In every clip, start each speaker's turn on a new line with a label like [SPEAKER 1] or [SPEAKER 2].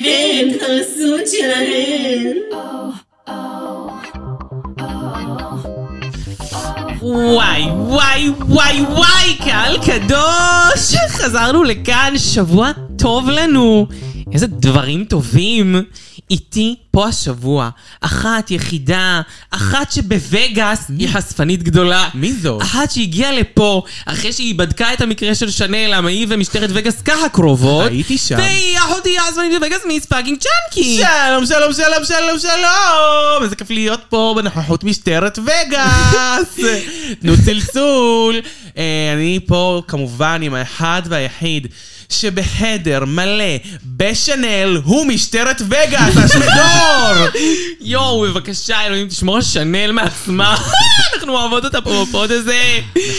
[SPEAKER 1] הן חרסות שלהן.
[SPEAKER 2] וואי, וואי, וואי, וואי, קהל קדוש! חזרנו לכאן, שבוע טוב לנו. איזה דברים טובים. איתי פה השבוע, אחת יחידה, אחת שבווגאס היא חשפנית גדולה.
[SPEAKER 3] מי זו?
[SPEAKER 2] אחת שהגיעה לפה, אחרי שהיא בדקה את המקרה של שנאל, המעיל ומשטרת וגאס כהקרובות.
[SPEAKER 3] הייתי שם.
[SPEAKER 2] והיא אחותי הזמנית בווגאס מיס פאגינג צ'אנקי.
[SPEAKER 3] שלום, שלום, שלום, שלום, שלום! איזה כיף להיות פה בנוכחות משטרת וגאס! תנו צלצול! אה, אני פה כמובן עם האחד והיחיד שבהדר מלא בשנל הוא משטרת וגאס, השמדור!
[SPEAKER 2] יואו, בבקשה, אלוהים, תשמור על שנאל מעצמה. אנחנו אוהבות אותה פה בפוד הזה.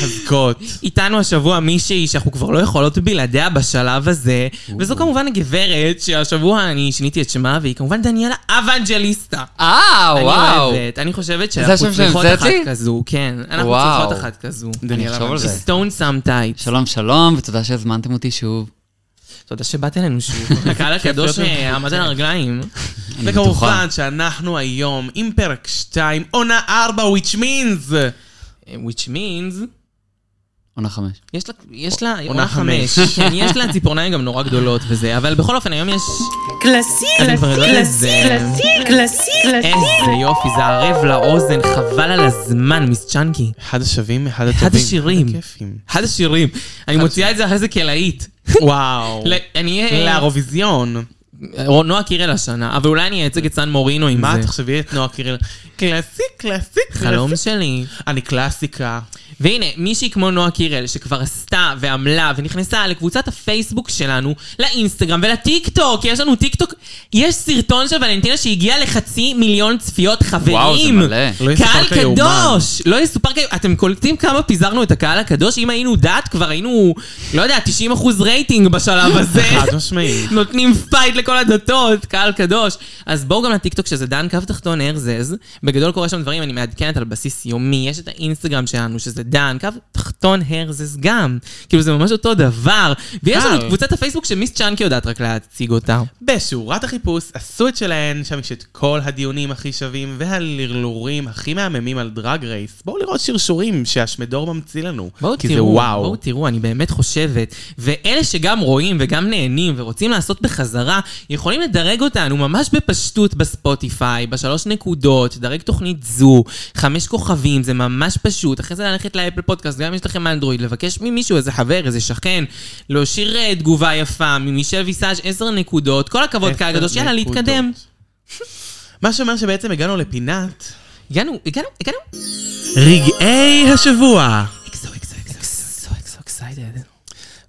[SPEAKER 3] חזקות.
[SPEAKER 2] איתנו השבוע מישהי שאנחנו כבר לא יכולות בלעדיה בשלב הזה, וזו כמובן הגברת שהשבוע אני שיניתי את שמה, והיא כמובן דניאלה אבנג'ליסטה.
[SPEAKER 4] אה,
[SPEAKER 2] אני
[SPEAKER 4] וואו.
[SPEAKER 2] אוהבת, אני חושבת
[SPEAKER 4] השם
[SPEAKER 2] שאנחנו צריכות אחת
[SPEAKER 4] שהמצאתי?
[SPEAKER 2] כזו, כן. אנחנו
[SPEAKER 4] וואו.
[SPEAKER 2] צריכות אחת כזו.
[SPEAKER 3] דניאלה
[SPEAKER 4] אחשוב על זה.
[SPEAKER 2] סטון סאם טייט.
[SPEAKER 4] שלום, שלום, ותודה שהזמנתם אותי שוב.
[SPEAKER 2] תודה שבאת אלינו שוב. הקהל הקדוש אה, עמד על הרגליים.
[SPEAKER 4] אני בטוחה.
[SPEAKER 3] וכמובן שאנחנו היום עם פרק 2, עונה 4, which means...
[SPEAKER 2] אה, which means...
[SPEAKER 4] עונה חמש.
[SPEAKER 2] יש לה, יש לה,
[SPEAKER 3] עונה
[SPEAKER 2] עונה חמש,
[SPEAKER 3] חמש.
[SPEAKER 2] כן, יש לה ציפורניים גם נורא גדולות וזה, אבל בכל אופן היום יש...
[SPEAKER 1] קלאסי,
[SPEAKER 2] אתם כבר יודעות את זה.
[SPEAKER 1] קלאסי, קלאסי.
[SPEAKER 2] איזה יופי, זה ערב לאוזן, חבל על הזמן, מיס צ'אנקי.
[SPEAKER 3] אחד השווים, אחד הטובים.
[SPEAKER 2] השירים.
[SPEAKER 3] אחד הכיפים.
[SPEAKER 2] אחד השירים, אני מוציאה את זה אחרי זה כלהיט.
[SPEAKER 3] וואו.
[SPEAKER 2] ל- אני אהיה...
[SPEAKER 3] לאירוויזיון.
[SPEAKER 2] נועה קירל השנה, אבל אולי אני אייצג את סן מורינו עם
[SPEAKER 3] מה,
[SPEAKER 2] זה.
[SPEAKER 3] תחשבי את נועה קירל. קלאסי, קלאסי,
[SPEAKER 2] חלום
[SPEAKER 3] קלאסי.
[SPEAKER 2] שלי.
[SPEAKER 3] אני קלאסיקה.
[SPEAKER 2] והנה, מישהי כמו נועה קירל, שכבר עשתה ועמלה ונכנסה לקבוצת הפייסבוק שלנו, לאינסטגרם ולטיק טוק, יש לנו טיק טוק, יש סרטון של ולנטינה שהגיע לחצי מיליון צפיות חברים.
[SPEAKER 4] וואו, זה מלא.
[SPEAKER 3] לא יסופר
[SPEAKER 2] קהל
[SPEAKER 3] כיומן.
[SPEAKER 2] קדוש! לא יסופר כיומן. אתם קולטים כמה פיזרנו את הקהל הקדוש? אם היינו דת, כבר היינו, לא יודע, 90% רייטינג בשלב הזה.
[SPEAKER 3] חד משמעית.
[SPEAKER 2] נותנים פייט לכל הדתות, קהל קדוש. אז בואו גם לטיקטוק שזה דן קו תחתון הרזז. בגדול קורה שם דברים, אני מעדכנת על בסיס יומי. יש את האינסטגרם שלנו שזה דן קו תחתון הרזז גם. כאילו זה ממש אותו דבר. ויש לנו את
[SPEAKER 3] קל.
[SPEAKER 2] קבוצת הפייסבוק שמיס צ'אנקי יודעת רק להציג אותה.
[SPEAKER 3] בשורת החיפוש עשו את שלהן, שם יש את כל הדיונים הכי שווים והלרלורים הכי מהממים על דרג רייס. בואו לראות שרשורים שהשמדור ממציא לנו.
[SPEAKER 2] בואו
[SPEAKER 3] כי זה
[SPEAKER 2] תראו, בואו
[SPEAKER 3] וואו.
[SPEAKER 2] תראו, אני באמת חושבת. ואלה שגם רואים וגם נהנים ורוצים לעשות בחזרה, יכולים לדרג אותנו ממש בפשטות בספוטיפיי, בשלוש נקודות, דרג תוכנית זו, חמש כוכבים, זה ממש פשוט. אחרי זה ללכת לאפל פודקאסט, גם אם יש לכם אנדרואיד, לבקש ממישהו, איזה חבר, איזה שכן, להשאיר אה, תגובה יפה, ממישל ויסאז' עשר נקודות, כל הכבוד
[SPEAKER 3] עשר
[SPEAKER 2] קהל גדוש, יאללה,
[SPEAKER 3] נקודות.
[SPEAKER 2] להתקדם.
[SPEAKER 3] מה שאומר שבעצם הגענו לפינת
[SPEAKER 2] הגענו, הגענו, הגענו.
[SPEAKER 3] רגעי השבוע.
[SPEAKER 2] אקסו, אקסו, אקסו, אקסו, אקסיידד.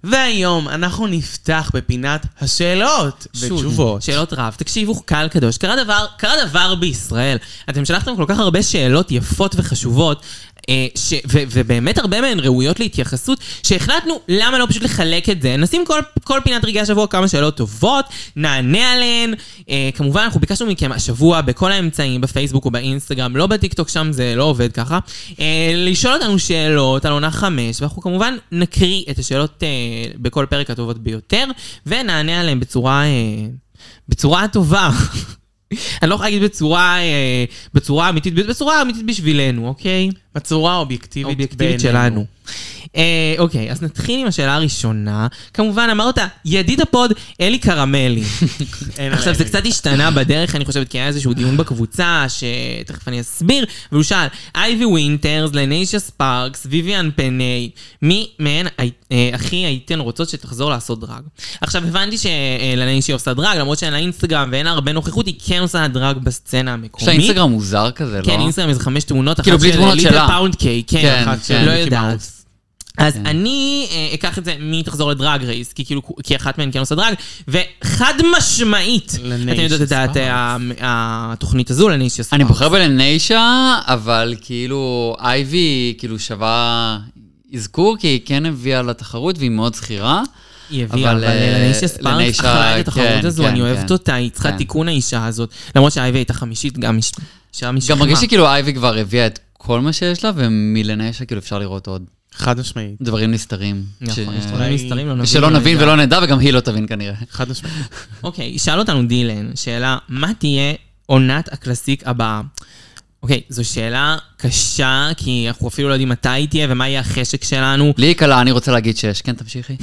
[SPEAKER 3] והיום אנחנו נפתח בפינת השאלות
[SPEAKER 2] שוב,
[SPEAKER 3] ותשובות.
[SPEAKER 2] שאלות רב. תקשיבו, קהל קדוש, קרה דבר, קרה דבר בישראל. אתם שלחתם כל כך הרבה שאלות יפות וחשובות. אה, ש, ו, ובאמת הרבה מהן ראויות להתייחסות, שהחלטנו למה לא פשוט לחלק את זה. נשים כל, כל פינת רגעי השבוע כמה שאלות טובות, נענה עליהן. אה, כמובן, אנחנו ביקשנו מכם השבוע בכל האמצעים, בפייסבוק ובאינסטגרם, לא בטיקטוק, שם זה לא עובד ככה. אה, לשאול אותנו שאלות על עונה חמש, ואנחנו כמובן נקריא את השאלות אה, בכל פרק הטובות ביותר, ונענה עליהן בצורה... אה, בצורה טובה. אני לא יכולה להגיד בצורה, אה, בצורה אמיתית, בצורה אמיתית בשבילנו, אוקיי?
[SPEAKER 3] בצורה אובייקטיבית
[SPEAKER 2] אובייקטיבית
[SPEAKER 3] בינינו.
[SPEAKER 2] שלנו. אה, אוקיי, אז נתחיל עם השאלה הראשונה. כמובן, אמר אותה, ידיד הפוד, אלי קרמלי.
[SPEAKER 3] אין
[SPEAKER 2] עכשיו,
[SPEAKER 3] עליהם.
[SPEAKER 2] זה קצת השתנה בדרך, אני חושבת, כי היה איזשהו דיון בקבוצה, שתכף אני אסביר, והוא שאל, אייבי ווינטרס, לניישה ספארקס, ויויאן פני, מי מהן הי- אה, הכי הייתן רוצות שתחזור לעשות דרג? עכשיו, הבנתי שלניישה עושה דרג, למרות שאין לה אינסטגרם ואין לה הרבה נוכחות, היא כן עושה דרג בסצנה המקומית.
[SPEAKER 4] יש לה אינסטגרם מוזר כזה, לא?
[SPEAKER 2] כן, אינסטגרם זה חמש תמונות,
[SPEAKER 4] כאילו,
[SPEAKER 2] אחת
[SPEAKER 4] בלי
[SPEAKER 2] של
[SPEAKER 4] תמונות
[SPEAKER 2] ליטל
[SPEAKER 4] שלה.
[SPEAKER 2] פאונד קיי, כן,
[SPEAKER 4] כן,
[SPEAKER 2] אחת
[SPEAKER 4] כן.
[SPEAKER 2] של לא
[SPEAKER 3] מיקי
[SPEAKER 2] יודעת.
[SPEAKER 3] מאוס.
[SPEAKER 2] אז אני אה, אקח את זה מי תחזור לדרג רייס, כי כאילו, כי אחת מהן כן עושה דרג, וחד משמעית,
[SPEAKER 3] לניישיה
[SPEAKER 2] אתם יודעות את דעת
[SPEAKER 3] ספארקס.
[SPEAKER 2] ה- התוכנית הזו לניישיה ספארקס.
[SPEAKER 4] אני בוחר בלניישה, אבל כאילו, אייבי כאילו שווה אזכור, כי היא כן הביאה לתחרות והיא מאוד שכירה.
[SPEAKER 2] היא הביאה, אבל
[SPEAKER 4] אבל, אה,
[SPEAKER 2] לניישיה ספארקס
[SPEAKER 4] לניישיה,
[SPEAKER 2] אחלה את התחרות
[SPEAKER 4] כן,
[SPEAKER 2] הזו,
[SPEAKER 4] כן,
[SPEAKER 2] אני אוהבת
[SPEAKER 4] כן.
[SPEAKER 2] אותה, היא צריכה
[SPEAKER 4] כן.
[SPEAKER 2] תיקון האישה הזאת, למרות שהאייבי הייתה חמישית, גם איש- אישה משכמה.
[SPEAKER 4] גם מרגיש שכאילו אייבי כבר הביאה את כל מה שיש לה, ומלניישה כאילו אפשר לראות עוד.
[SPEAKER 3] חד משמעית.
[SPEAKER 4] דברים נסתרים.
[SPEAKER 2] נכון,
[SPEAKER 4] ש-
[SPEAKER 2] יש דברים נסתרים, לא נבין.
[SPEAKER 4] שלא
[SPEAKER 2] לא
[SPEAKER 4] נבין
[SPEAKER 2] נדע.
[SPEAKER 4] ולא נדע, וגם היא לא תבין כנראה.
[SPEAKER 3] חד משמעית.
[SPEAKER 2] אוקיי, שאל אותנו דילן, שאלה, מה תהיה עונת הקלאסיק הבאה? אוקיי, זו שאלה קשה, כי אנחנו אפילו לא יודעים מתי היא תהיה ומה יהיה החשק שלנו.
[SPEAKER 4] לי היא קלה, אני רוצה להגיד שש. כן, תמשיכי.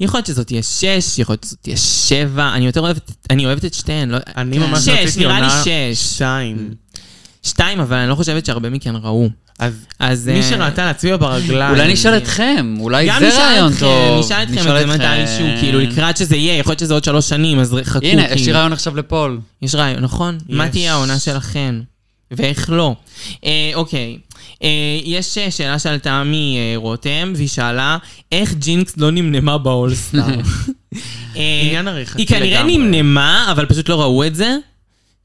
[SPEAKER 2] יכול להיות שזאת תהיה שש, יכול להיות שזאת תהיה שבע, אני יותר אוהבת, אני אוהבת את שתיהן. לא...
[SPEAKER 3] אני ממש
[SPEAKER 2] שש,
[SPEAKER 3] רציתי
[SPEAKER 2] נראה לי
[SPEAKER 3] עונה
[SPEAKER 2] שש. Mm.
[SPEAKER 3] שתיים.
[SPEAKER 2] שתיים, אבל אני לא חושבת שהרבה מכן ראו.
[SPEAKER 3] אז
[SPEAKER 2] אז...
[SPEAKER 3] מי
[SPEAKER 2] אה,
[SPEAKER 3] שראתה להצביע ברגליים.
[SPEAKER 4] אולי נשאל אתכם, אולי
[SPEAKER 2] גם
[SPEAKER 4] זה
[SPEAKER 2] נשאל
[SPEAKER 4] רעיון
[SPEAKER 2] אתכם,
[SPEAKER 4] טוב.
[SPEAKER 2] נשאל אתכם את זה מתישהו,
[SPEAKER 4] אתכם.
[SPEAKER 2] כאילו לקראת שזה יהיה, יכול להיות שזה עוד שלוש שנים, אז חכו.
[SPEAKER 4] הנה, יש לי
[SPEAKER 2] כאילו.
[SPEAKER 4] רעיון עכשיו לפול.
[SPEAKER 2] יש רעיון, נכון?
[SPEAKER 3] יש.
[SPEAKER 2] מה תהיה העונה שלכן? ואיך לא? אה, אוקיי, אה, יש אה, שאלה שעלתה מרותם, והיא שאלה, איך ג'ינקס לא נמנמה באולסטאר? אה,
[SPEAKER 3] עניין עריכתי
[SPEAKER 2] היא כנראה
[SPEAKER 3] לגמרי.
[SPEAKER 2] נמנמה, אבל פשוט לא ראו את זה.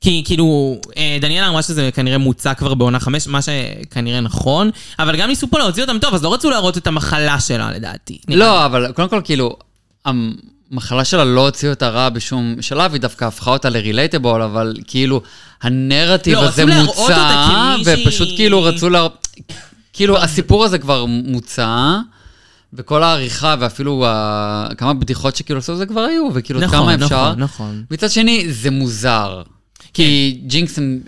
[SPEAKER 2] כי כאילו, אה, דניאלה אמרה שזה כנראה מוצע כבר בעונה חמש, מה שכנראה נכון, אבל גם ניסו פה להוציא אותם טוב, אז לא רצו להראות את המחלה שלה לדעתי.
[SPEAKER 4] לא, אבל קודם כל, כאילו, המחלה שלה לא הוציאה אותה רע בשום שלב, היא דווקא הפכה אותה לרילייטבול, אבל כאילו, הנרטיב
[SPEAKER 2] לא,
[SPEAKER 4] הזה
[SPEAKER 2] רצו להראות
[SPEAKER 4] מוצע,
[SPEAKER 2] אותה כמישהי-
[SPEAKER 4] ופשוט כאילו רצו ל... כאילו, הסיפור הזה כבר מוצע. וכל העריכה ואפילו ה... כמה בדיחות שכאילו עשו זה כבר היו, וכאילו
[SPEAKER 2] נכון,
[SPEAKER 4] כמה אפשר.
[SPEAKER 2] נכון, נכון. כן.
[SPEAKER 4] מצד שני, זה מוזר. כי ג'ינקס המ-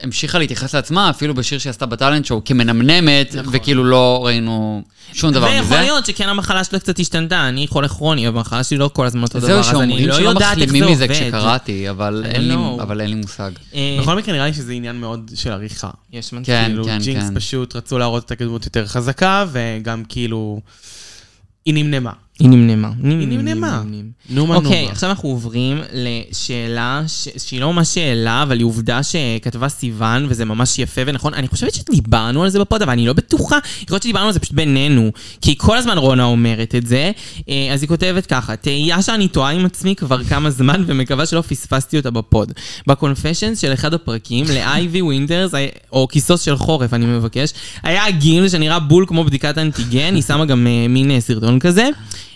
[SPEAKER 4] המשיכה להתייחס לעצמה, אפילו בשיר שהיא עשתה בטאלנט שואו, כמנמנמת, וכאילו לא ראינו שום דבר מזה.
[SPEAKER 2] נכון. ויכול להיות שכן המחלה שלה קצת השתנתה, אני חולה כרוני, אבל המחלה שלי לא כל הזמן אותו דבר,
[SPEAKER 4] זהו,
[SPEAKER 2] אז אני
[SPEAKER 4] שאומרים
[SPEAKER 2] לא
[SPEAKER 4] שלא
[SPEAKER 2] יודעת איך זה
[SPEAKER 4] מחלימים מזה
[SPEAKER 2] עובד. לא-
[SPEAKER 4] כשקראתי, אבל
[SPEAKER 2] I
[SPEAKER 4] אין לי-
[SPEAKER 2] don't know.
[SPEAKER 4] אבל אין לי מושג.
[SPEAKER 2] אה,
[SPEAKER 3] בכל מקרה נראה לי שזה עניין מאוד של עריכה.
[SPEAKER 2] יש מנכ"ל.
[SPEAKER 4] נכון? כן,
[SPEAKER 3] כאילו,
[SPEAKER 4] כן,
[SPEAKER 3] ג'ינקס
[SPEAKER 4] כן.
[SPEAKER 3] פשוט רצו להראות את הקדמות יותר חזקה, וגם כאילו... היא נמנמה.
[SPEAKER 2] היא נמנמה.
[SPEAKER 3] היא נמנמה. נומה נומה.
[SPEAKER 2] אוקיי, עכשיו אנחנו עוברים לשאלה ש- שהיא לא ממש שאלה, אבל היא עובדה שכתבה סיוון, וזה ממש יפה ונכון. אני חושבת שדיברנו על זה בפוד, אבל אני לא בטוחה. יכול להיות שדיברנו על זה פשוט בינינו, כי כל הזמן רונה אומרת את זה. אה, אז היא כותבת ככה, תהייה שאני טועה עם עצמי כבר כמה זמן, ומקווה שלא פספסתי אותה בפוד. בקונפשנס של אחד הפרקים, לאייבי ווינטרס, אה, או כיסוס של חורף, אני מבקש, היה גיל שנראה בול כמו בדיקת אנטיגן, היא שמה גם אה, מין אה, סרטון כזה.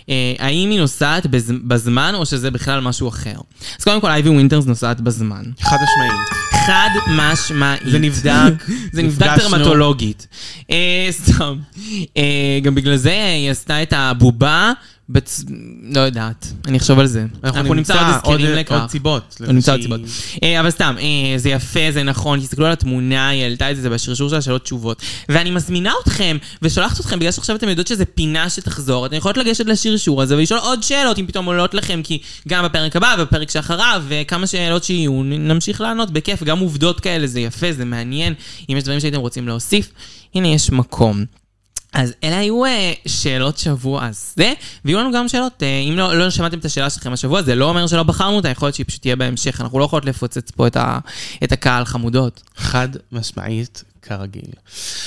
[SPEAKER 2] אה, האם היא נוסעת בז- בזמן, או שזה בכלל משהו אחר? אז קודם כל, אייבי ווינטרס נוסעת בזמן.
[SPEAKER 3] חד משמעית.
[SPEAKER 2] חד משמעית.
[SPEAKER 3] זה נבדק.
[SPEAKER 2] זה נבדק
[SPEAKER 3] נפגשנו.
[SPEAKER 2] טרמטולוגית. אה, סתם. אה, גם בגלל זה היא עשתה את הבובה, בצ... לא יודעת, אני אחשוב על זה. אנחנו נמצא עוד הזכרים
[SPEAKER 3] עוד
[SPEAKER 2] לכך.
[SPEAKER 3] סיבות.
[SPEAKER 2] לא נמצא עוד
[SPEAKER 3] שהיא-
[SPEAKER 2] סיבות. אה, אבל סתם, אה, זה יפה, זה נכון, תסתכלו על התמונה, היא העלתה את זה, זה בשרשור של השאלות תשובות. ואני מזמינה אתכם, ושולחת אתכם, בגלל שעכשיו אתם יודעות שזו פינה שתחזור, אתן יכולות לגשת לשרשור הזה ולשאול עוד שאלות, אם פתאום עולות לכם, כי גם בפרק הבא, בפרק שאחריו, וכמה שאלות שיהיו, נ- נמשיך לענות בכיף, גם עובדות כאלה, זה יפה, זה מעניין. אם יש דברים שהייתם רוצים להוסיף, הנה יש מקום. אז אלה היו אה, שאלות שבוע הזה, ויהיו לנו גם שאלות. אה, אם לא, לא שמעתם את השאלה שלכם השבוע, זה לא אומר שלא בחרנו אותה, יכול להיות שהיא פשוט תהיה בהמשך. אנחנו לא יכולות לפוצץ פה את, ה, את הקהל חמודות.
[SPEAKER 3] חד משמעית, כרגיל.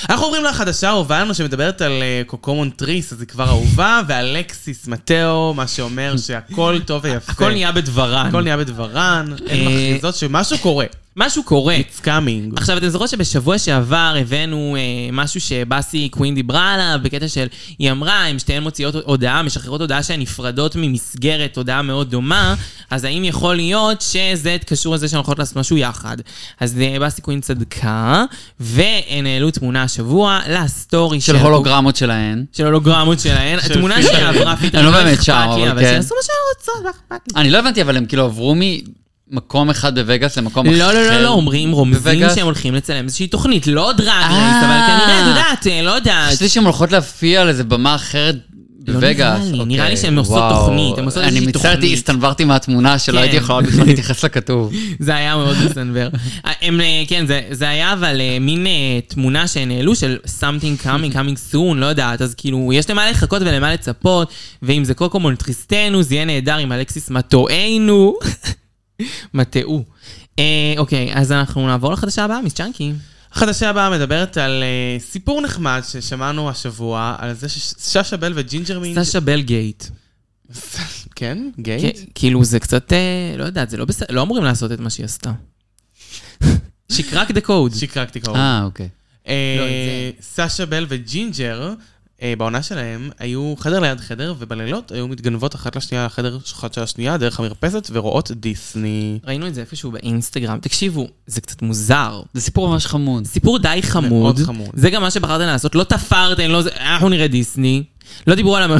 [SPEAKER 3] אנחנו עוברים לחדשה האהובה לנו שמדברת על אה, קוקו מונטריס, אז היא כבר אהובה, ואלקסיס מתאו, מה שאומר שהכל טוב ויפה.
[SPEAKER 2] הכל נהיה בדברן.
[SPEAKER 3] הכל נהיה בדברן,
[SPEAKER 2] אה,
[SPEAKER 3] אין מכריזות שמשהו קורה.
[SPEAKER 2] משהו קורה.
[SPEAKER 3] It's coming.
[SPEAKER 2] עכשיו, אתם זוכרות שבשבוע שעבר הבאנו אה, משהו שבאסי קווין דיברה עליו, בקטע של, היא אמרה, אם שתיהן מוציאות הודעה, משחררות הודעה שהן נפרדות ממסגרת, הודעה מאוד דומה, אז האם יכול להיות שזה קשור לזה שהן הולכות לעשות משהו יחד? אז אה, באסי קווין צדקה, והן העלו תמונה השבוע לסטורי
[SPEAKER 4] של הולוגרמות שלהן.
[SPEAKER 2] של הולוגרמות שלהן,
[SPEAKER 3] של
[SPEAKER 2] תמונה
[SPEAKER 3] פיטר.
[SPEAKER 2] שעברה פיטר,
[SPEAKER 4] אני לא באמת
[SPEAKER 2] אכפת
[SPEAKER 4] שם,
[SPEAKER 2] לי,
[SPEAKER 4] אבל
[SPEAKER 2] שהן
[SPEAKER 4] כן.
[SPEAKER 2] עשו מה שהן רוצות, לא אכפת לי.
[SPEAKER 4] אני לא הבנתי, אבל הם כאילו עברו ממקום אחד בווגאס למקום אחר.
[SPEAKER 2] לא, לא, לא, לא, אומרים, רומזים
[SPEAKER 4] בווגאס.
[SPEAKER 2] שהם הולכים לצלם איזושהי תוכנית, לא דרג רייס,
[SPEAKER 4] אה.
[SPEAKER 2] אבל כנראה, את יודעת, אה, לא יודעת.
[SPEAKER 4] חשבתי שהן הולכות להופיע על איזה במה אחרת
[SPEAKER 2] לא
[SPEAKER 4] בווגאס.
[SPEAKER 2] נראה לי,
[SPEAKER 4] אוקיי,
[SPEAKER 2] נראה לי שהן עושות
[SPEAKER 4] וואו.
[SPEAKER 2] תוכנית, הן עושות איזושהי
[SPEAKER 4] אני מצטערתי,
[SPEAKER 2] תוכנית.
[SPEAKER 4] הסתנוורתי מהתמונה שלא
[SPEAKER 2] כן.
[SPEAKER 4] הייתי יכולה בכלל להתייחס לכתוב.
[SPEAKER 2] זה היה מאוד מסנוור. הם, אה, כן, זה- זה היה אבל אה, מין אה, תמונה שהן העלו של something coming, coming soon, לא יודעת, אז כאילו, יש למה לחכות ולמה לצפות, ואם זה קוקו מונטריסטנו, זה יהיה נהדר עם אלכסיס מטוענו. מטעו. אה, אוקיי, אז אנחנו נעבור לחדשה הבאה, מיס צ'אנקי.
[SPEAKER 3] החדשה הבאה מדברת על אה, סיפור נחמד ששמענו השבוע, על זה ששאשא בל וג'ינג'ר מינט...
[SPEAKER 2] סשה בלגייט.
[SPEAKER 3] כן?
[SPEAKER 2] כן,
[SPEAKER 3] גייט?
[SPEAKER 2] כאילו זה קצת, אה, לא יודעת, זה לא בסדר, לא אמורים לעשות את מה שהיא עשתה. שיקרק דה קוד.
[SPEAKER 3] שיקרקתי קרוב.
[SPEAKER 4] אה, אוקיי.
[SPEAKER 3] אה,
[SPEAKER 2] לא, את
[SPEAKER 3] סאשה בל וג'ינג'ר אה, אה, בעונה שלהם, היו חדר ליד חדר, ובלילות היו מתגנבות אחת לשנייה לחדר אחת של השנייה דרך המרפסת ורואות דיסני.
[SPEAKER 2] ראינו את זה איפשהו באינסטגרם. תקשיבו, זה קצת מוזר.
[SPEAKER 4] זה סיפור ממש חמוד.
[SPEAKER 2] סיפור די חמוד.
[SPEAKER 3] מאוד חמוד.
[SPEAKER 2] זה גם מה שבחרתם לעשות. לא תפרתם, לא זה... אנחנו נראה דיסני. לא דיברו על המ...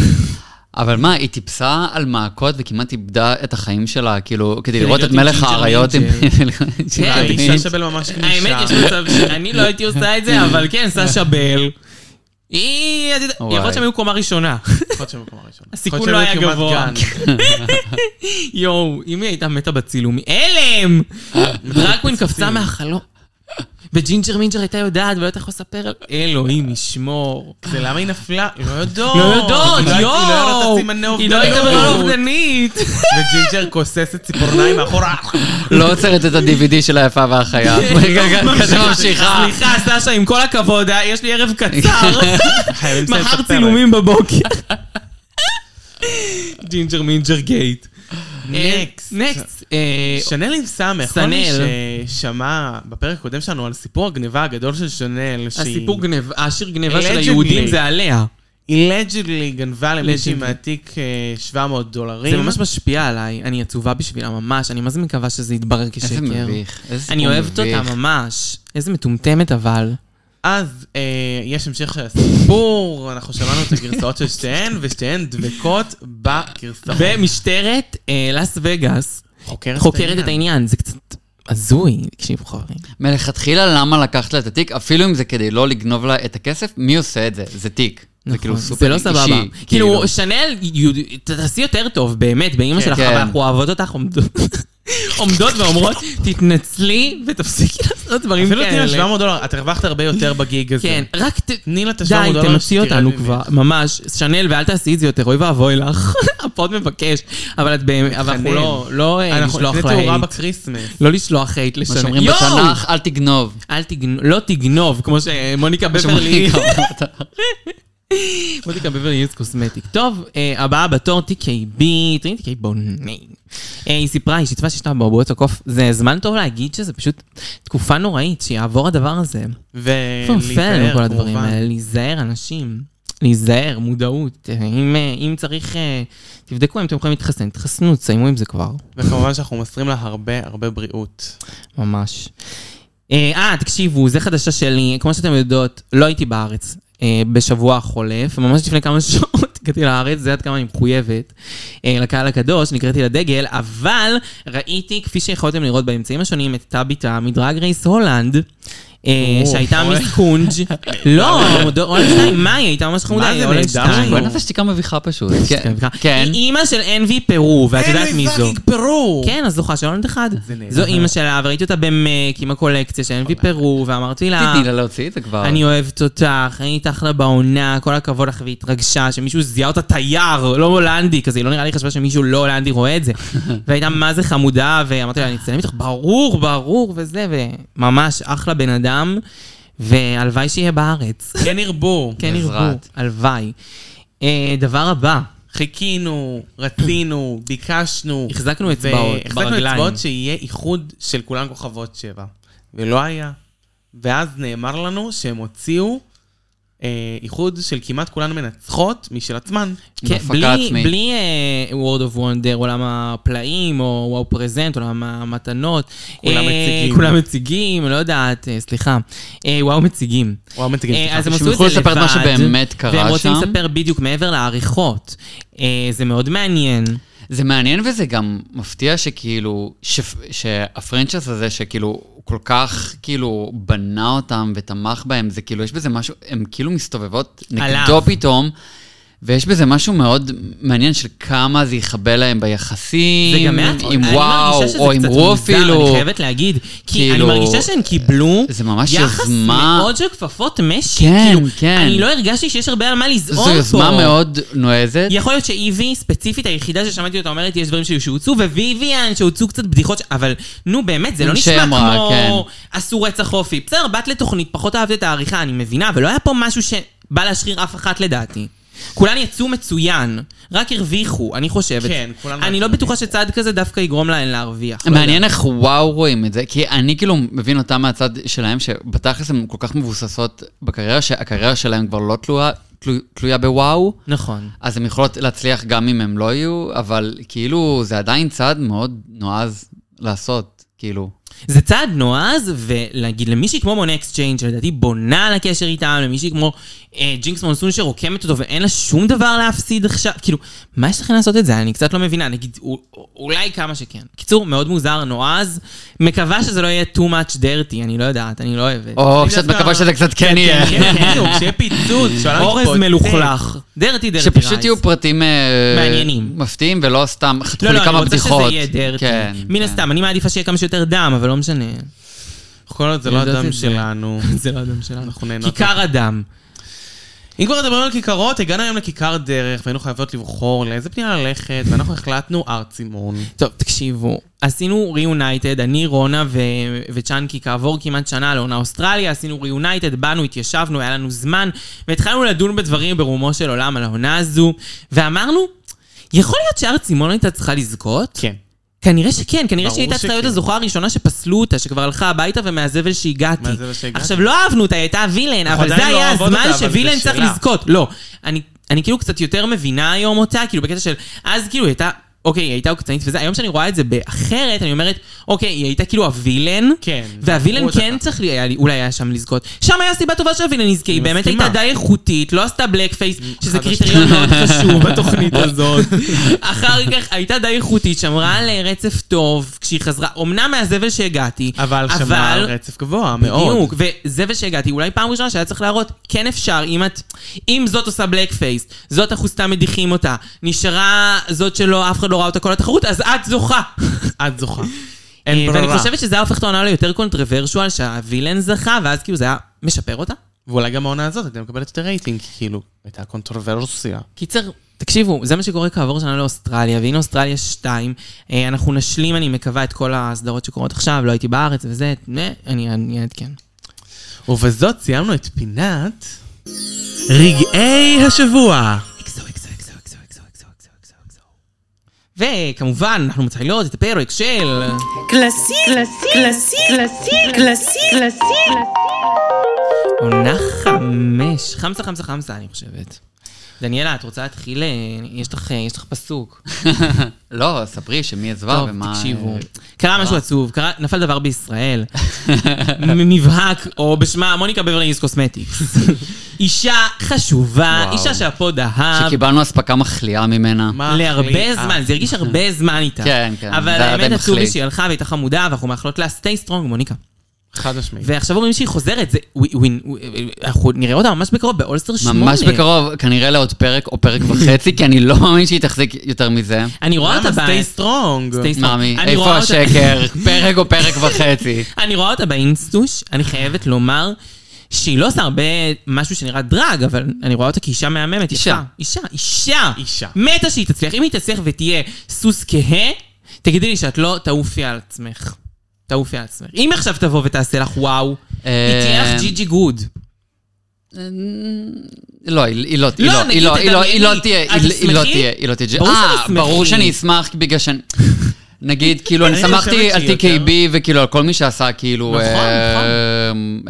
[SPEAKER 4] אבל מה, היא טיפסה על מעקות וכמעט איבדה את החיים שלה, כאילו, כדי
[SPEAKER 2] כדי
[SPEAKER 4] לראות את
[SPEAKER 2] להיות עם
[SPEAKER 4] מלך
[SPEAKER 2] ג'ינג'ר
[SPEAKER 4] האריות עם...
[SPEAKER 2] כן,
[SPEAKER 3] אולי
[SPEAKER 2] האישה
[SPEAKER 3] אישה
[SPEAKER 4] ג'ינג'ר
[SPEAKER 3] שבל אה, ממש
[SPEAKER 2] האמת, יש מצב שאני לא הייתי עושה את זה, אבל כן, סשה בל. היא... את יודעת, יכול
[SPEAKER 4] וואי.
[SPEAKER 2] להיות שהם היו קומה ראשונה.
[SPEAKER 3] יכול להיות שהם במקום הראשון.
[SPEAKER 2] הסיכון
[SPEAKER 3] יכול להיות
[SPEAKER 2] לא היה
[SPEAKER 3] שהם היו
[SPEAKER 2] גבוה.
[SPEAKER 3] כמעט גן.
[SPEAKER 2] יואו, אם היא הייתה מתה בצילום, היא הלם! דרקווין קפצה מהחלום. וג'ינג'ר מינג'ר הייתה יודעת ולא הייתה יכולה לספר על... אלוהים ישמור.
[SPEAKER 3] זה למה היא נפלה? לא יודעות.
[SPEAKER 2] לא יודעות,
[SPEAKER 3] היא לא- היא לא יודעת
[SPEAKER 2] יואו!
[SPEAKER 3] לשים מנה
[SPEAKER 2] היא לא הייתה
[SPEAKER 3] אובדנות.
[SPEAKER 2] ברירה אובדנית.
[SPEAKER 3] וג'ינג'ר כוססת ציפורניים מאחורה.
[SPEAKER 4] לא עוצרת את ה-DVD של היפה והחיה. רגע, רגע, כזה ממשיכה.
[SPEAKER 2] סליחה, סשה, עם כל הכבוד, אה, יש לי ערב קצר.
[SPEAKER 3] חייבים לסיים את
[SPEAKER 2] מחר
[SPEAKER 3] הפרק.
[SPEAKER 2] צילומים בבוקר. ג'ינג'ר מינג'ר גייט. אה,
[SPEAKER 3] נקסט.
[SPEAKER 2] נקסט. אה,
[SPEAKER 3] שנל עם סמך, כל מי
[SPEAKER 2] סנל.
[SPEAKER 3] ששמע בפרק הקודם שלנו על סיפור הגניבה הגדול של שנל, שהיא-
[SPEAKER 2] הסיפור גניבה, השיר גניבה של
[SPEAKER 3] Allegedly.
[SPEAKER 2] היהודים זה עליה.
[SPEAKER 3] היא לג'דלי גנבה למישהי
[SPEAKER 2] Allegedly.
[SPEAKER 3] מהתיק אה, 700 דולרים.
[SPEAKER 2] זה ממש משפיע עליי, אני עצובה בשבילה ממש, אני מה זה מקווה שזה יתברר
[SPEAKER 4] איזה
[SPEAKER 2] כשקר.
[SPEAKER 4] מביך. איזה סיפור
[SPEAKER 2] אני אוהבת
[SPEAKER 4] מביך.
[SPEAKER 2] אותה ממש. איזה מטומטמת אבל.
[SPEAKER 3] אז אה, יש המשך של הסיפור, אנחנו שמענו את הגרסאות של שתיהן, ושתיהן דבקות בגרסאות.
[SPEAKER 2] ומשטרת אה, לאס וגאס
[SPEAKER 3] וחוקרת
[SPEAKER 2] חוקרת את העניין, זה קצת הזוי, תקשיבו חברים.
[SPEAKER 4] מלכתחילה למה לקחת לה את התיק, אפילו אם זה כדי לא לגנוב לה את הכסף, מי עושה את זה? זה תיק. זה כאילו
[SPEAKER 2] נכון,
[SPEAKER 4] סופר אישי.
[SPEAKER 2] זה לא סבבה. כאילו, שנאל, יוד- ת- תעשי יותר טוב, באמת, באימא
[SPEAKER 3] כן,
[SPEAKER 2] שלך,
[SPEAKER 4] כן.
[SPEAKER 2] אבל אנחנו אוהבות אותך, עומדות- עומדות ואומרות, תתנצלי ותפסיקי לעשות דברים
[SPEAKER 3] אפילו תני לה
[SPEAKER 2] כאלה.
[SPEAKER 3] 700 דולר, את הרווחת הרבה יותר בגיג הזה.
[SPEAKER 2] כן, רק ת...
[SPEAKER 3] תני לה את לא ה-700
[SPEAKER 2] די,
[SPEAKER 3] דולר.
[SPEAKER 2] תמציא
[SPEAKER 3] שתרד
[SPEAKER 2] אותנו
[SPEAKER 3] ממך.
[SPEAKER 2] כבר, ממש. שנאל, ואל תעשי את זה יותר, אוי ואבוי לך. הפוד מבקש, אבל את באמת, אבל אנחנו
[SPEAKER 3] חנן.
[SPEAKER 2] לא- לא אה,
[SPEAKER 3] אנחנו
[SPEAKER 2] לשלוח
[SPEAKER 3] לפני
[SPEAKER 2] לה
[SPEAKER 3] תאורה
[SPEAKER 2] hate.
[SPEAKER 3] בקריסמס.
[SPEAKER 2] לא לשלוח hate
[SPEAKER 4] מה
[SPEAKER 2] לשנאל.
[SPEAKER 4] שאומרים
[SPEAKER 2] יואו!
[SPEAKER 4] בתנ"ך, אל תגנוב.
[SPEAKER 2] אל תגנוב, לא תגנוב, כמו שמוניקה
[SPEAKER 4] מה
[SPEAKER 2] בברלי
[SPEAKER 4] שאומרים בתנ"ך.
[SPEAKER 2] מוזיקה בברלי יוז קוסמטיק. טוב, אה, הבאה בתור TKB, טרינית TKB בוני. אה, היא סיפרה, היא שיתפה שיש לה בעבועות הקוף. זה זמן טוב להגיד שזה פשוט תקופה נוראית, שיעבור הדבר הזה.
[SPEAKER 3] ולהיזהר,
[SPEAKER 2] פרפל, כל הדברים
[SPEAKER 3] אה, כמובן.
[SPEAKER 2] האלה, להיזהר, אנשים. להיזהר, מודעות. אה, אם, אה, אם צריך, אה, תבדקו אם אתם יכולים להתחסן, תתחסנו, תסיימו עם זה כבר,
[SPEAKER 3] וכמובן שאנחנו מוסרים לה הרבה הרבה בריאות.
[SPEAKER 2] ממש. אה, אה, תקשיבו, זה חדשה שלי. כמו שאתם יודעות, לא הייתי בארץ אה, בשבוע החולף, ממש לפני כמה שעות הגעתי לארץ, זה עד כמה אני מחויבת אה, לקהל הקדוש, נקראתי לדגל, אבל ראיתי, כפי שיכולתם לראות באמצעים השונים, את טאביטה מדרג רייס הולנד. אה,
[SPEAKER 3] או,
[SPEAKER 2] שהייתה
[SPEAKER 3] אוי.
[SPEAKER 2] מיס קונג' לא, הולנד שתיים, מה היא? הייתה ממש חמודה,
[SPEAKER 3] מה זה
[SPEAKER 2] הולנד
[SPEAKER 3] נהדר
[SPEAKER 2] שתיים.
[SPEAKER 3] שלו?
[SPEAKER 4] בוא'נה, זו שתיקה מביכה פשוט. כן.
[SPEAKER 2] היא
[SPEAKER 4] כן.
[SPEAKER 2] אימא של אנבי פרו, ואת יודעת מי זו.
[SPEAKER 3] פרו!
[SPEAKER 2] כן, הזוכה של הולנד אחד.
[SPEAKER 3] זה נהדר. אוקיי.
[SPEAKER 2] זו אימא שלה, וראיתי אותה במק עם הקולקציה של אנבי פרו, ואמרתי לה,
[SPEAKER 4] תתני לה להוציא את זה כבר.
[SPEAKER 2] אני אוהבת אותך, אני איתך לה בעונה, כל הכבוד לך, והיא התרגשה שמישהו זיהה אותה תייר, לא הולנדי כזה, לא נראה לי חשבה שמישהו לא הולנדי רואה את זה. והייתה מה זה חמודה, ואמרתי לה, אני אצטלם איתך, ברור, ברור, וזה, וממש אחלה בן אדם, והלוואי שיהיה בארץ.
[SPEAKER 3] כן ירבו.
[SPEAKER 2] כן ירבו,
[SPEAKER 4] בעזרת.
[SPEAKER 2] הלוואי. אה, דבר הבא,
[SPEAKER 3] חיכינו, רצינו, ביקשנו.
[SPEAKER 2] החזקנו אצבעות
[SPEAKER 3] החזקנו
[SPEAKER 2] ברגליים.
[SPEAKER 3] אצבעות שיהיה איחוד של כולן כוכבות שבע. ולא היה. ואז נאמר לנו שהם הוציאו אה, איחוד של כמעט כולן מנצחות משל עצמן.
[SPEAKER 2] כן,
[SPEAKER 4] בהפקה
[SPEAKER 2] בלי,
[SPEAKER 4] עצמית.
[SPEAKER 2] בלי uh, Word of Wonder, עולם הפלאים, או וואו פרזנט, עולם המתנות.
[SPEAKER 3] כולם
[SPEAKER 2] אה,
[SPEAKER 3] מציגים.
[SPEAKER 2] כולם מציגים, לא יודעת, אה, סליחה. אה, וואו מציגים.
[SPEAKER 3] וואו, מציגים,
[SPEAKER 2] אה,
[SPEAKER 3] סליחה.
[SPEAKER 2] אז הם
[SPEAKER 4] שהם
[SPEAKER 2] עשו את זה
[SPEAKER 4] יוכלו
[SPEAKER 2] לבד.
[SPEAKER 4] לספר את מה שבאמת קרה
[SPEAKER 2] והם רוצים
[SPEAKER 4] שם.
[SPEAKER 2] לספר בדיוק מעבר לעריכות. אה, זה מאוד מעניין.
[SPEAKER 4] זה מעניין וזה גם מפתיע שכאילו, שפ, שהפרנצ'ס הזה שכאילו הוא כל כך כאילו בנה אותם ותמך בהם, זה כאילו, יש בזה משהו, הם כאילו מסתובבות נגדו
[SPEAKER 2] עליו.
[SPEAKER 4] פתאום, ויש בזה משהו מאוד מעניין של כמה זה יכבה להם ביחסים,
[SPEAKER 2] זה גם מעט,
[SPEAKER 4] עם
[SPEAKER 2] אני
[SPEAKER 4] וואו,
[SPEAKER 2] מרגישה שזה
[SPEAKER 4] או עם
[SPEAKER 2] קצת
[SPEAKER 4] רו
[SPEAKER 2] מוזר,
[SPEAKER 4] אפילו.
[SPEAKER 2] אני חייבת להגיד, כי אני
[SPEAKER 4] כאילו,
[SPEAKER 2] מרגישה שהם קיבלו
[SPEAKER 4] זה ממש
[SPEAKER 2] יחס
[SPEAKER 4] יוזמה-
[SPEAKER 2] מאוד של כפפות משי.
[SPEAKER 4] כן,
[SPEAKER 2] כאילו,
[SPEAKER 4] כן.
[SPEAKER 2] אני לא הרגשתי שיש הרבה על מה לזעום
[SPEAKER 4] זו
[SPEAKER 2] פה.
[SPEAKER 4] יוזמה מאוד נועזת.
[SPEAKER 2] יכול להיות שאיבי, ספציפית היחידה ששמעתי אותה אומרת, יש דברים שהוצאו, וויביאן, שהוצאו קצת בדיחות, ש- אבל נו באמת, זה לא נשמע
[SPEAKER 4] שאמרה,
[SPEAKER 2] כמו עשו רצח אופי. בסדר, באת לתוכנית, פחות אהבת את העריכה, אני מבינה, אבל לא היה פה משהו שבא להשחיר אף אחת לדעתי. כולן יצאו מצוין, רק הרוויחו, אני חושבת.
[SPEAKER 3] כן, כולן
[SPEAKER 2] אני לא
[SPEAKER 3] מצוין.
[SPEAKER 2] בטוחה שצעד כזה דווקא יגרום להן להרוויח. לא
[SPEAKER 4] מעניין איך וואו רואים את זה, כי אני כאילו מבין אותם מהצד שלהם, שבתכלס הן כל כך מבוססות בקריירה, שהקריירה שלהם כבר לא תלויה, תלו, תלויה בוואו,
[SPEAKER 2] נכון.
[SPEAKER 4] אז הן יכולות להצליח גם אם הן לא יהיו, אבל כאילו זה עדיין צעד מאוד נועז לעשות, כאילו.
[SPEAKER 2] זה צעד נועז, ולהגיד למישהי כמו מונה אקסצ'יינג, שלדעתי בונה על הקשר איתם, למישהי כמו אה, ג'ינקס מונסון שרוקמת אותו ואין לה שום דבר להפסיד עכשיו, כאילו, מה יש לכם לעשות את זה? אני קצת לא מבינה, נגיד, א- אולי כמה שכן. קיצור, מאוד מוזר, נועז, מקווה שזה לא יהיה too much dirty, אני לא יודעת, אני לא אוהבת.
[SPEAKER 4] או,
[SPEAKER 3] אני
[SPEAKER 4] שאת
[SPEAKER 3] דווקא-
[SPEAKER 4] מקווה שזה קצת כן יהיה.
[SPEAKER 3] בדיוק, שיהיה פיצוץ, שהעולם
[SPEAKER 2] אורז
[SPEAKER 3] יתפוצץ.
[SPEAKER 2] מלוכלך. דרטי דרטי רייס.
[SPEAKER 4] שפשוט יהיו פרטים אה,
[SPEAKER 2] מעניינים.
[SPEAKER 4] מפתיעים ולא סתם חתכו
[SPEAKER 2] לא,
[SPEAKER 4] לי
[SPEAKER 2] לא, אני
[SPEAKER 4] כמה
[SPEAKER 2] רוצה
[SPEAKER 4] בדיחות.
[SPEAKER 2] שזה יהיה דרטי.
[SPEAKER 4] כן,
[SPEAKER 2] מן
[SPEAKER 4] כן.
[SPEAKER 2] הסתם, אני מעדיפה שיהיה כמה שיותר דם, אבל לא משנה.
[SPEAKER 3] כל עוד זה לא
[SPEAKER 2] יודעת
[SPEAKER 3] הדם
[SPEAKER 2] את זה.
[SPEAKER 3] שלנו.
[SPEAKER 2] זה לא הדם שלנו.
[SPEAKER 3] אנחנו נהנות.
[SPEAKER 2] כיכר הדם.
[SPEAKER 3] אם כבר מדברים על כיכרות, הגענו היום לכיכר דרך, והיינו חייבות לבחור לאיזה פנייה ללכת, ואנחנו החלטנו הר צימון.
[SPEAKER 2] טוב, תקשיבו, עשינו ריאונייטד, אני, רונה ו- וצ'אנקי, כעבור כמעט שנה לעונה אוסטרליה, עשינו ריאונייטד, באנו, התיישבנו, היה לנו זמן, והתחלנו לדון בדברים ברומו של עולם על העונה הזו, ואמרנו, יכול להיות שהר צימון הייתה צריכה לזכות?
[SPEAKER 3] כן.
[SPEAKER 2] כנראה שכן, כנראה
[SPEAKER 3] ברור
[SPEAKER 2] שהיא הייתה צריכה
[SPEAKER 3] שכן.
[SPEAKER 2] להיות הזוכה הראשונה שפסלו אותה, שכבר הלכה הביתה ומהזבל שהגעתי.
[SPEAKER 3] מהזבל שהגעתי.
[SPEAKER 2] עכשיו, לא אהבנו אותה, היא הייתה וילן, אבל
[SPEAKER 3] עדיין
[SPEAKER 2] זה
[SPEAKER 3] לא
[SPEAKER 2] היה
[SPEAKER 3] אוהבות
[SPEAKER 2] הזמן
[SPEAKER 3] אותה, אבל זה
[SPEAKER 2] שווילן צריך
[SPEAKER 3] שלה.
[SPEAKER 2] לזכות. לא, אני- אני כאילו קצת יותר מבינה היום אותה, כאילו בקטע של, אז כאילו היא הייתה, אוקיי, היא הייתה עוקצנית וזה, היום שאני רואה את זה באחרת, אני אומרת, אוקיי, היא הייתה כאילו הווילן,
[SPEAKER 3] כן,
[SPEAKER 2] והווילן
[SPEAKER 3] זכרו אותה
[SPEAKER 2] כן
[SPEAKER 3] ככה.
[SPEAKER 2] צריך, היה לי- אולי היה שם לזכות. שם היה סיבה טובה שהווילן יזכה, היא
[SPEAKER 3] אני
[SPEAKER 2] באמת
[SPEAKER 3] מסכימה.
[SPEAKER 2] הייתה די איכותית, לא עשתה בלק פייס, שזה
[SPEAKER 3] חד
[SPEAKER 2] קריטריון מאוד חשוב.
[SPEAKER 3] בתוכנית הזאת.
[SPEAKER 2] אחר כך הייתה די איכותית, שמרה על אה, רצף טוב כשהיא חזרה, אמנם מהזבל שהגעתי,
[SPEAKER 3] אבל שמרה על רצף גבוה מאוד.
[SPEAKER 2] בדיוק, וזבל שהגעתי, אולי פעם ראשונה שהיה צריך להראות, כן אפשר, אם את, אם זאת עושה בלק פייס, זאת אנחנו סתם מדיחים אותה, נשארה זאת שלא, אף אחד לא ראה אותה כל התחרות, אז את זוכה.
[SPEAKER 3] את זוכה.
[SPEAKER 2] אה,
[SPEAKER 3] אין ברירה.
[SPEAKER 2] ואני חושבת שזה היה הופך את העונה ליותר קונטרוברשואל, שהווילן זכה, ואז כאילו זה היה משפר אותה.
[SPEAKER 3] ואולי גם העונה הזאת הייתה מקבלת יותר רייטינג, כי כאילו, הייתה קונטרוברסיה.
[SPEAKER 2] קיצר, תקשיבו, זה מה שקורה כעבור שנה לאוסטרליה, והנה אוסטרליה 2. אה, אנחנו נשלים, אני מקווה, את כל הסדרות שקורות עכשיו, לא הייתי בארץ וזה, אה, אני אני אעדכן.
[SPEAKER 3] ובזאת סיימנו את פינת... רגעי השבוע.
[SPEAKER 2] וכמובן, אנחנו מתחילות את הפרק של...
[SPEAKER 1] Classique, classique, classique, classique, classique, classique.
[SPEAKER 2] עונה חמש. חמסה, חמסה, חמסה, אני חושבת. דניאלה, את רוצה להתחיל? אה, יש לך, אה, יש לך פסוק.
[SPEAKER 4] לא, ספרי שמי עזבה
[SPEAKER 2] טוב,
[SPEAKER 4] ומה... אה, לא.
[SPEAKER 2] תקשיבו. קרה משהו עצוב, קרה- נפל דבר בישראל. מ- מבהק, או בשמה מוניקה בברליניס קוסמטיקס. אישה חשובה,
[SPEAKER 4] וואו.
[SPEAKER 2] אישה שהפוד אהב.
[SPEAKER 4] שקיבלנו אספקה מחליאה ממנה.
[SPEAKER 3] מה
[SPEAKER 2] להרבה
[SPEAKER 3] אחי?
[SPEAKER 2] זמן, זה הרגיש הרבה זמן איתה.
[SPEAKER 4] אה. כן, כן,
[SPEAKER 2] אבל
[SPEAKER 4] זה היה
[SPEAKER 2] האמת
[SPEAKER 4] די
[SPEAKER 2] עצוב לי
[SPEAKER 4] מחליא.
[SPEAKER 2] שהיא הלכה והייתה חמודה, ואנחנו מאחלות לה stay strong, מוניקה.
[SPEAKER 3] אה, חד משמעית.
[SPEAKER 2] ועכשיו אומרים שהיא חוזרת, זה... we- we- we- אנחנו נראה אותה ממש בקרוב, באולסטר שמונה.
[SPEAKER 4] ממש בקרוב, כנראה לעוד פרק או פרק וחצי, כי אני לא מאמין שהיא תחזיק יותר מזה.
[SPEAKER 2] אני רואה אותה
[SPEAKER 3] למה?
[SPEAKER 2] ב...
[SPEAKER 3] סטי סטרונג.
[SPEAKER 2] Stay-
[SPEAKER 4] מאמי,
[SPEAKER 2] אני רואה
[SPEAKER 4] איפה
[SPEAKER 2] אותה-
[SPEAKER 4] השקר? פרק או פרק וחצי.
[SPEAKER 2] אני רואה אותה באינסטוש, אני חייבת לומר שהיא לא עושה הרבה משהו שנראה דרג, אבל אני רואה אותה כאישה מהממת,
[SPEAKER 4] אישה.
[SPEAKER 2] יפה. אישה, אישה.
[SPEAKER 3] אישה.
[SPEAKER 2] מתה שהיא תצליח. אם היא תצליח ותהיה סוס כהה, תגידי לי שאת לא תעופי על עצמך. תעופי על עצמך. אם עכשיו תבוא ותעשה לך וואו, היא
[SPEAKER 4] אה,
[SPEAKER 2] תהיה לך ג'י ג'י גוד.
[SPEAKER 4] לא, היא היא לא היא
[SPEAKER 2] לא,
[SPEAKER 4] לא- היא לא-
[SPEAKER 2] נגיד,
[SPEAKER 4] היא לא- היא לא
[SPEAKER 2] תדמייני.
[SPEAKER 4] תהיה,
[SPEAKER 2] את
[SPEAKER 4] היא לא- היא לא
[SPEAKER 2] תשמחי?
[SPEAKER 4] תהיה, היא לא תהיה ג'י.
[SPEAKER 2] ברור שאני
[SPEAKER 4] אה,
[SPEAKER 2] שמחי.
[SPEAKER 4] ברור שאני אשמח בגלל שאני... נגיד, כאילו, אני
[SPEAKER 3] אני חושבת
[SPEAKER 4] שמחתי
[SPEAKER 3] שהיא
[SPEAKER 4] על
[SPEAKER 3] יותר-
[SPEAKER 4] TKB וכאילו על כל מי שעשה כאילו... אה,
[SPEAKER 2] נכון,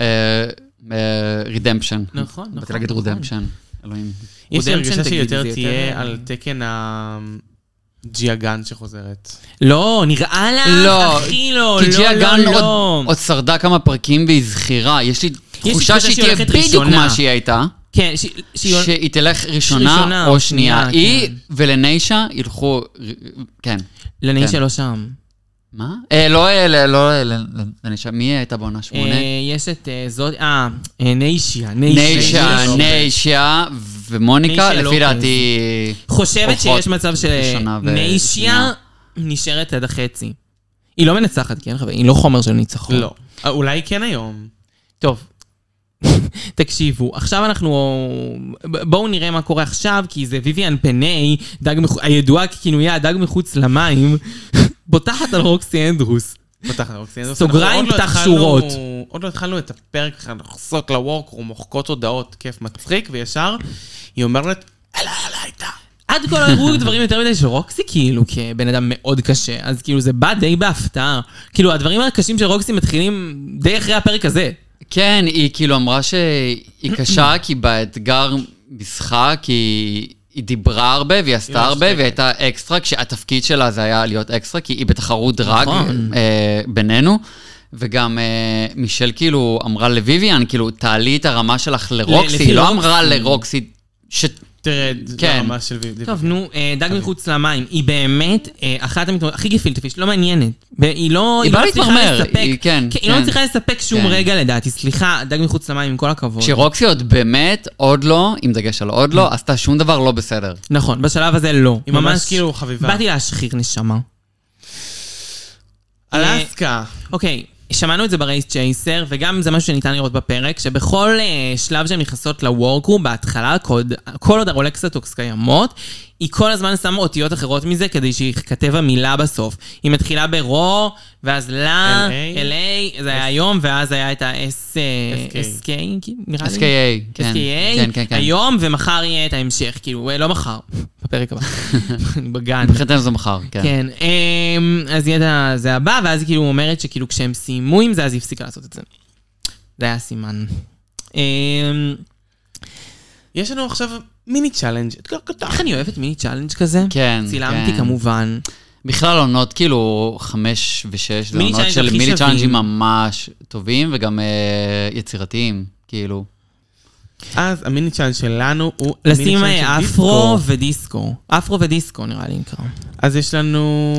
[SPEAKER 4] רידמפשן.
[SPEAKER 2] נכון, נכון,
[SPEAKER 4] באתי להגיד
[SPEAKER 2] נכון.
[SPEAKER 4] רודמפשן. אלוהים.
[SPEAKER 3] יש לי
[SPEAKER 2] אודם
[SPEAKER 3] הרגשה
[SPEAKER 2] שתגיד,
[SPEAKER 3] שהיא
[SPEAKER 2] זה
[SPEAKER 3] יותר
[SPEAKER 2] יותר- אה,
[SPEAKER 3] תהיה על תקן ה... ג'יה גן שחוזרת.
[SPEAKER 2] לא, נראה לך,
[SPEAKER 4] לא,
[SPEAKER 2] אחי, לא,
[SPEAKER 4] כי ג'יה
[SPEAKER 2] לא,
[SPEAKER 4] גן
[SPEAKER 2] לא,
[SPEAKER 4] עוד-
[SPEAKER 2] לא.
[SPEAKER 4] עוד שרדה כמה פרקים והיא זכירה. יש לי תחושה
[SPEAKER 2] תחושה
[SPEAKER 4] שהיא
[SPEAKER 2] שהיא
[SPEAKER 4] תהיה
[SPEAKER 2] הולכת
[SPEAKER 4] בדיוק
[SPEAKER 2] ראשונה.
[SPEAKER 4] מה שהיא הייתה.
[SPEAKER 2] כן, ש- שהיא...
[SPEAKER 4] שהיא תלך
[SPEAKER 2] ראשונה
[SPEAKER 4] ראשונה
[SPEAKER 2] או
[SPEAKER 4] או שנייה.
[SPEAKER 2] שנייה,
[SPEAKER 4] היא
[SPEAKER 2] כן.
[SPEAKER 4] ולניישה ילכו... כן.
[SPEAKER 2] לנאי
[SPEAKER 4] כן.
[SPEAKER 2] שלו שם.
[SPEAKER 4] מה? אה, לא אלה, לא אלה, לניישה. מי הייתה בעונה שמונה?
[SPEAKER 2] אה, יש את אה, זאת, אה, אה, ניישיה, ניישיה.
[SPEAKER 4] ניישה,
[SPEAKER 2] ניישיה. ניישה
[SPEAKER 4] ניישה ומוניקה, לפי
[SPEAKER 2] לופז.
[SPEAKER 4] דעתי...
[SPEAKER 2] חושבת
[SPEAKER 4] הולכות
[SPEAKER 2] שיש מצב
[SPEAKER 4] ראשונה
[SPEAKER 2] שניישיה
[SPEAKER 4] ושנייה.
[SPEAKER 2] נשארת עד החצי. היא לא מנצחת, כן, חברים? היא לא חומר של ניצחון.
[SPEAKER 3] לא. אה, אולי כן היום.
[SPEAKER 2] טוב. תקשיבו, עכשיו אנחנו... בואו נראה מה קורה עכשיו, כי זה ויויאן פני, דג מח... הידועה ככינויה הדג מחוץ למים, בוטחת על רוקסי אנדרוס.
[SPEAKER 3] פתחנו אוקסידוס.
[SPEAKER 2] סוגריים,
[SPEAKER 3] אנחנו עוד לא
[SPEAKER 2] פתח
[SPEAKER 3] התחלנו-
[SPEAKER 2] שורות.
[SPEAKER 3] עוד לא התחלנו את הפרק בכלל, אנחנו נכנסות לוורקרום, מוחקות הודעות, כיף מצחיק, וישר היא אומרת, אלה, אלה הייתה.
[SPEAKER 2] עד כה לא הראו דברים יותר מדי של רוקסי, כאילו, כבן אדם מאוד קשה, אז כאילו זה בא די בהפתעה. כאילו, הדברים הקשים של רוקסי מתחילים די אחרי הפרק הזה.
[SPEAKER 4] כן, היא כאילו אמרה שהיא קשה, כי באתגר ביסחה, כי היא דיברה הרבה והיא עשתה
[SPEAKER 3] לא
[SPEAKER 4] הרבה,
[SPEAKER 3] משחקת.
[SPEAKER 4] והיא הייתה אקסטרה, כשהתפקיד שלה זה היה להיות אקסטרה, כי היא בתחרות דרג
[SPEAKER 2] נכון.
[SPEAKER 4] אה, בינינו. וגם אה, מישל כאילו אמרה לוויביאן, כאילו, תעלי את הרמה שלך לרוקסי,
[SPEAKER 2] לפי
[SPEAKER 4] היא לא
[SPEAKER 2] רוקסי.
[SPEAKER 4] אמרה לרוקסי, ש...
[SPEAKER 3] תרד
[SPEAKER 4] כן.
[SPEAKER 3] לרמה לא של וידי.
[SPEAKER 2] טוב, נו, אה, דג מחוץ למים. היא באמת אה, אחת המתמודדות הכי גפילטפיש, לא מעניינת. והיא לא
[SPEAKER 4] היא באה
[SPEAKER 2] מצליחה
[SPEAKER 4] להתמרמר,
[SPEAKER 2] לספק-
[SPEAKER 4] היא- כן,
[SPEAKER 2] היא לא
[SPEAKER 4] כן.
[SPEAKER 2] מצליחה לספק שום
[SPEAKER 4] כן.
[SPEAKER 2] רגע לדעתי. סליחה, דג מחוץ למים, עם כל הכבוד.
[SPEAKER 4] שרוקסי עוד באמת, עוד לא, עם דגש על עוד לא, עשתה שום דבר לא בסדר.
[SPEAKER 2] נכון, בשלב הזה לא.
[SPEAKER 3] היא ממש כאילו חביבה.
[SPEAKER 2] באתי להשחיר נשמה.
[SPEAKER 3] אלסקה.
[SPEAKER 2] אוקיי, שמענו את זה ברייס צ'ייסר, וגם זה משהו שניתן לראות בפרק, שבכל אה, שלב שהן נכנסות לוורקרום, בהתחלה, כל, כל עוד הרולקסטוקס קיימות, היא כל הזמן שמה אותיות אחרות מזה כדי שייכתב המילה בסוף. היא מתחילה ברו, ואז לה,
[SPEAKER 3] LA,
[SPEAKER 2] LA, זה היה היום, ואז היה את ה-S...
[SPEAKER 3] SK.
[SPEAKER 2] SK, נראה לי.
[SPEAKER 4] SKA, כן.
[SPEAKER 2] SKA,
[SPEAKER 4] כן, כן, כן.
[SPEAKER 2] היום ומחר יהיה את ההמשך, כאילו, אה, לא מחר, בפרק הבא, בגן.
[SPEAKER 4] מבחינתנו זה מחר, כן.
[SPEAKER 2] כן, אמ, אז ידע זה הבא, ואז היא כאילו אומרת שכאילו כשהם סיימו עם זה, אז היא הפסיקה לעשות את זה. זה היה סימן. אמ,
[SPEAKER 3] יש לנו עכשיו מיני לא צ'אלנג'. אתגר קטן.
[SPEAKER 2] איך אני אוהבת מיני צ'אלנג' כזה.
[SPEAKER 4] כן,
[SPEAKER 2] צילמתי
[SPEAKER 4] כן.
[SPEAKER 2] כמובן.
[SPEAKER 4] בכלל עונות כאילו חמש ושש, זה
[SPEAKER 2] מיני
[SPEAKER 4] עונות
[SPEAKER 2] צ'אלנג'
[SPEAKER 4] של
[SPEAKER 2] הכי
[SPEAKER 4] מיני
[SPEAKER 2] שווים.
[SPEAKER 4] צ'אלנג'ים ממש טובים וגם אה, יצירתיים, כאילו.
[SPEAKER 3] אז המיני צ'אלנג' שלנו הוא... המיני
[SPEAKER 2] לשים אה,
[SPEAKER 3] צ'אלנג' של
[SPEAKER 2] אפרו
[SPEAKER 3] דיסקו.
[SPEAKER 2] ודיסקו. אפרו ודיסקו נראה לי נקרא.
[SPEAKER 3] אז יש לנו...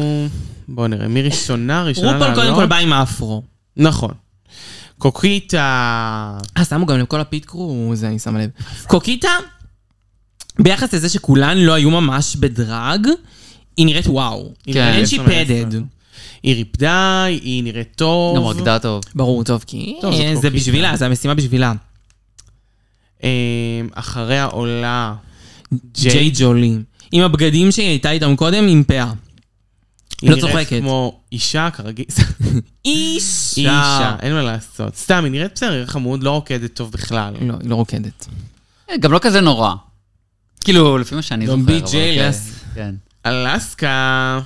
[SPEAKER 3] בואו נראה, מי ראשונה? ראשונה
[SPEAKER 2] רופול קודם
[SPEAKER 3] לעלות?
[SPEAKER 2] כל בא עם האפרו.
[SPEAKER 3] נכון. קוקיטה.
[SPEAKER 2] אה, שמו גם לכל הפיט קרו, זה אני שמה לב. קוקיטה, ביחס לזה שכולן לא היו ממש בדרג, היא נראית וואו. היא
[SPEAKER 4] כן.
[SPEAKER 2] נראית
[SPEAKER 4] יש
[SPEAKER 2] שהיא
[SPEAKER 3] לה מעשר.
[SPEAKER 2] פדד.
[SPEAKER 3] היא ריפדה, היא נראית טוב.
[SPEAKER 4] גם רקדה טוב.
[SPEAKER 2] ברור, טוב, כי
[SPEAKER 3] טוב, זאת
[SPEAKER 2] אה, זה
[SPEAKER 3] קוקיטה.
[SPEAKER 2] בשבילה, זה המשימה בשבילה.
[SPEAKER 3] אמ, אחריה עולה
[SPEAKER 2] ג'יי ג'ולי. עם הבגדים שהיא הייתה איתם קודם, עם פאה.
[SPEAKER 3] היא
[SPEAKER 2] לא
[SPEAKER 3] נראית
[SPEAKER 2] צוחקת.
[SPEAKER 3] כמו אישה, כרגיל.
[SPEAKER 2] אישה.
[SPEAKER 3] היא אישה, אין מה לעשות. סתם, היא נראית בסדר, היא חמוד, לא רוקדת טוב בכלל.
[SPEAKER 2] לא, היא לא רוקדת.
[SPEAKER 4] אה, גם לא כזה נורא. כאילו, לפי מה שאני
[SPEAKER 2] Don't
[SPEAKER 4] זוכר.
[SPEAKER 2] be
[SPEAKER 4] אבל
[SPEAKER 2] jealous.
[SPEAKER 4] כן, כן.
[SPEAKER 3] אלסקה.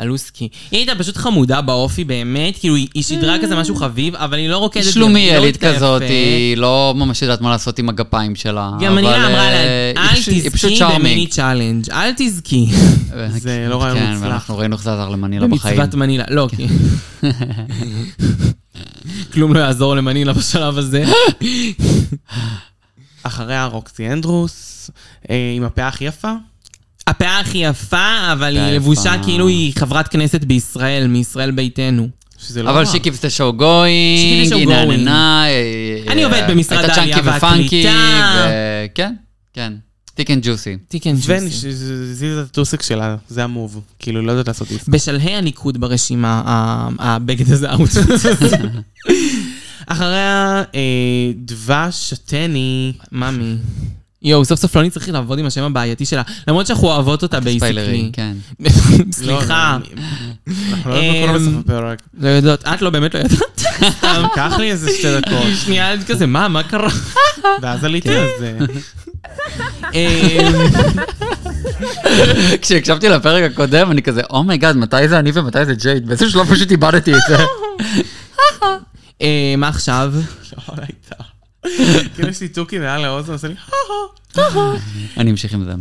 [SPEAKER 2] אלוסקי. היא הייתה פשוט חמודה באופי, באמת, כאילו, היא היא שידרה כזה משהו חביב, אבל היא לא רוקדת.
[SPEAKER 4] היא
[SPEAKER 2] גם, לא
[SPEAKER 4] שלומיאלית
[SPEAKER 2] מתאפרת.
[SPEAKER 4] כזאת, היא לא ממש יודעת מה לעשות עם הגפיים שלה.
[SPEAKER 2] גם אני
[SPEAKER 4] אבל,
[SPEAKER 2] אמרה
[SPEAKER 4] אה,
[SPEAKER 2] לה,
[SPEAKER 4] היא
[SPEAKER 2] אל
[SPEAKER 4] פשוט- היא פשוט
[SPEAKER 2] תזכי
[SPEAKER 4] charming."
[SPEAKER 2] במיני צ'אלנג', אל תזכי.
[SPEAKER 3] זה לא רעיון
[SPEAKER 4] כן,
[SPEAKER 3] מוצלח.
[SPEAKER 4] ואנחנו ראינו איך זה עזר למנילה בחיים.
[SPEAKER 2] במצוות מנילה, לא, כי... כלום לא יעזור למנילה בשלב הזה.
[SPEAKER 3] אחריה רוקסי אנדרוס, אה, עם הפאה הכי יפה.
[SPEAKER 2] הפאה הכי יפה, אבל
[SPEAKER 4] הפאה
[SPEAKER 2] היא לבושה
[SPEAKER 4] יפה.
[SPEAKER 2] כאילו היא חברת כנסת בישראל, מישראל ביתנו.
[SPEAKER 3] שזה לא
[SPEAKER 4] אבל
[SPEAKER 3] רע.
[SPEAKER 4] she keeps the show going,
[SPEAKER 2] She keeps the show
[SPEAKER 4] היא
[SPEAKER 2] going.
[SPEAKER 4] נעננה. אה,
[SPEAKER 2] אני עובדת במשרד העלייה והקליטה.
[SPEAKER 4] כן, כן. טיק אנד ג'וסי.
[SPEAKER 2] תיקן ג'וסי.
[SPEAKER 3] וזיזת הטוסיק שלה, זה המוב. כאילו, לא יודעת לעשות דיסק.
[SPEAKER 2] בשלהי הניקוד ברשימה, ה- הבגד הזה, האוטפיט הזה.
[SPEAKER 3] אחריה, אה, דבש שתני.
[SPEAKER 2] ממי. יואו, סוף סוף לא אני צריך לעבוד עם השם הבעייתי שלה, למרות שאנחנו אוהבות אותה בייסיקלי.
[SPEAKER 4] ספיילרים, כן.
[SPEAKER 2] סליחה,
[SPEAKER 3] לא, לא, אנחנו לא יודעים מה קורה
[SPEAKER 2] אמ,
[SPEAKER 3] בסוף הפרק.
[SPEAKER 2] לא יודעות, את לא באמת לא יודעת. סתם.
[SPEAKER 3] קח לי איזה שתי דקות,
[SPEAKER 2] שנייה, את כזה, מה, מה קרה?
[SPEAKER 3] ואז עליתי אה, על זה.
[SPEAKER 2] אמ,
[SPEAKER 4] כשהקשבתי לפרק הקודם, אני כזה, אומייגאד, מתי זה אני ומתי זה ג'ייד? באיזשהו שלב פשוט איבדתי את זה.
[SPEAKER 2] אה, מה עכשיו?
[SPEAKER 3] לא, לא הייתה. כאילו יש לי תוכי מעל האוזן, עושה לי...
[SPEAKER 4] אני אמשיך עם זה.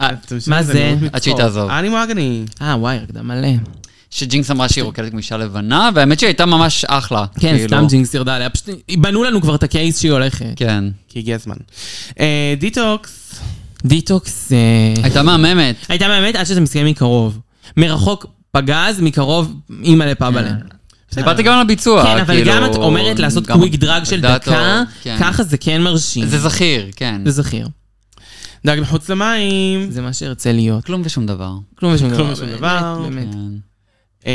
[SPEAKER 3] אה, תמשיך,
[SPEAKER 2] מה זה?
[SPEAKER 3] נאום
[SPEAKER 4] עד שהיא
[SPEAKER 3] מצחוק.
[SPEAKER 4] תעזוב.
[SPEAKER 3] אני מרגני.
[SPEAKER 2] אה, וואי, הרקדה מלא.
[SPEAKER 4] שג'ינקס אמרה שהיא רוקדת כמו אישה לבנה, והאמת שהיא הייתה ממש אחלה.
[SPEAKER 2] כן,
[SPEAKER 4] כאילו.
[SPEAKER 2] סתם ג'ינגס ירדה עליה, פשוט בנו לנו כבר את הקייס שהיא הולכת.
[SPEAKER 4] כן.
[SPEAKER 3] כי הגיע הזמן. אה, דיטוקס.
[SPEAKER 2] דיטוקס... אה,
[SPEAKER 4] הייתה מהממת.
[SPEAKER 2] הייתה באמת עד שזה מסתיים מקרוב. מרחוק פגז, מקרוב אימא לפאבלה.
[SPEAKER 4] דיברתי גם על הביצוע,
[SPEAKER 2] כן, אבל
[SPEAKER 4] כאילו,
[SPEAKER 2] כן. גם את אומרת לעשות
[SPEAKER 4] גם-
[SPEAKER 2] קוויק דרג של
[SPEAKER 4] דאטו,
[SPEAKER 2] דקה,
[SPEAKER 4] כן.
[SPEAKER 2] ככה זה כן מרשים.
[SPEAKER 4] זה זכיר, כן.
[SPEAKER 2] זה זכיר.
[SPEAKER 3] דג מחוץ למים.
[SPEAKER 2] זה מה שארצה להיות.
[SPEAKER 4] כלום ושום דבר.
[SPEAKER 2] כלום ושום דבר.
[SPEAKER 3] כלום ושום
[SPEAKER 2] באמת,
[SPEAKER 3] דבר.
[SPEAKER 2] באמת.
[SPEAKER 4] כן.
[SPEAKER 3] אה,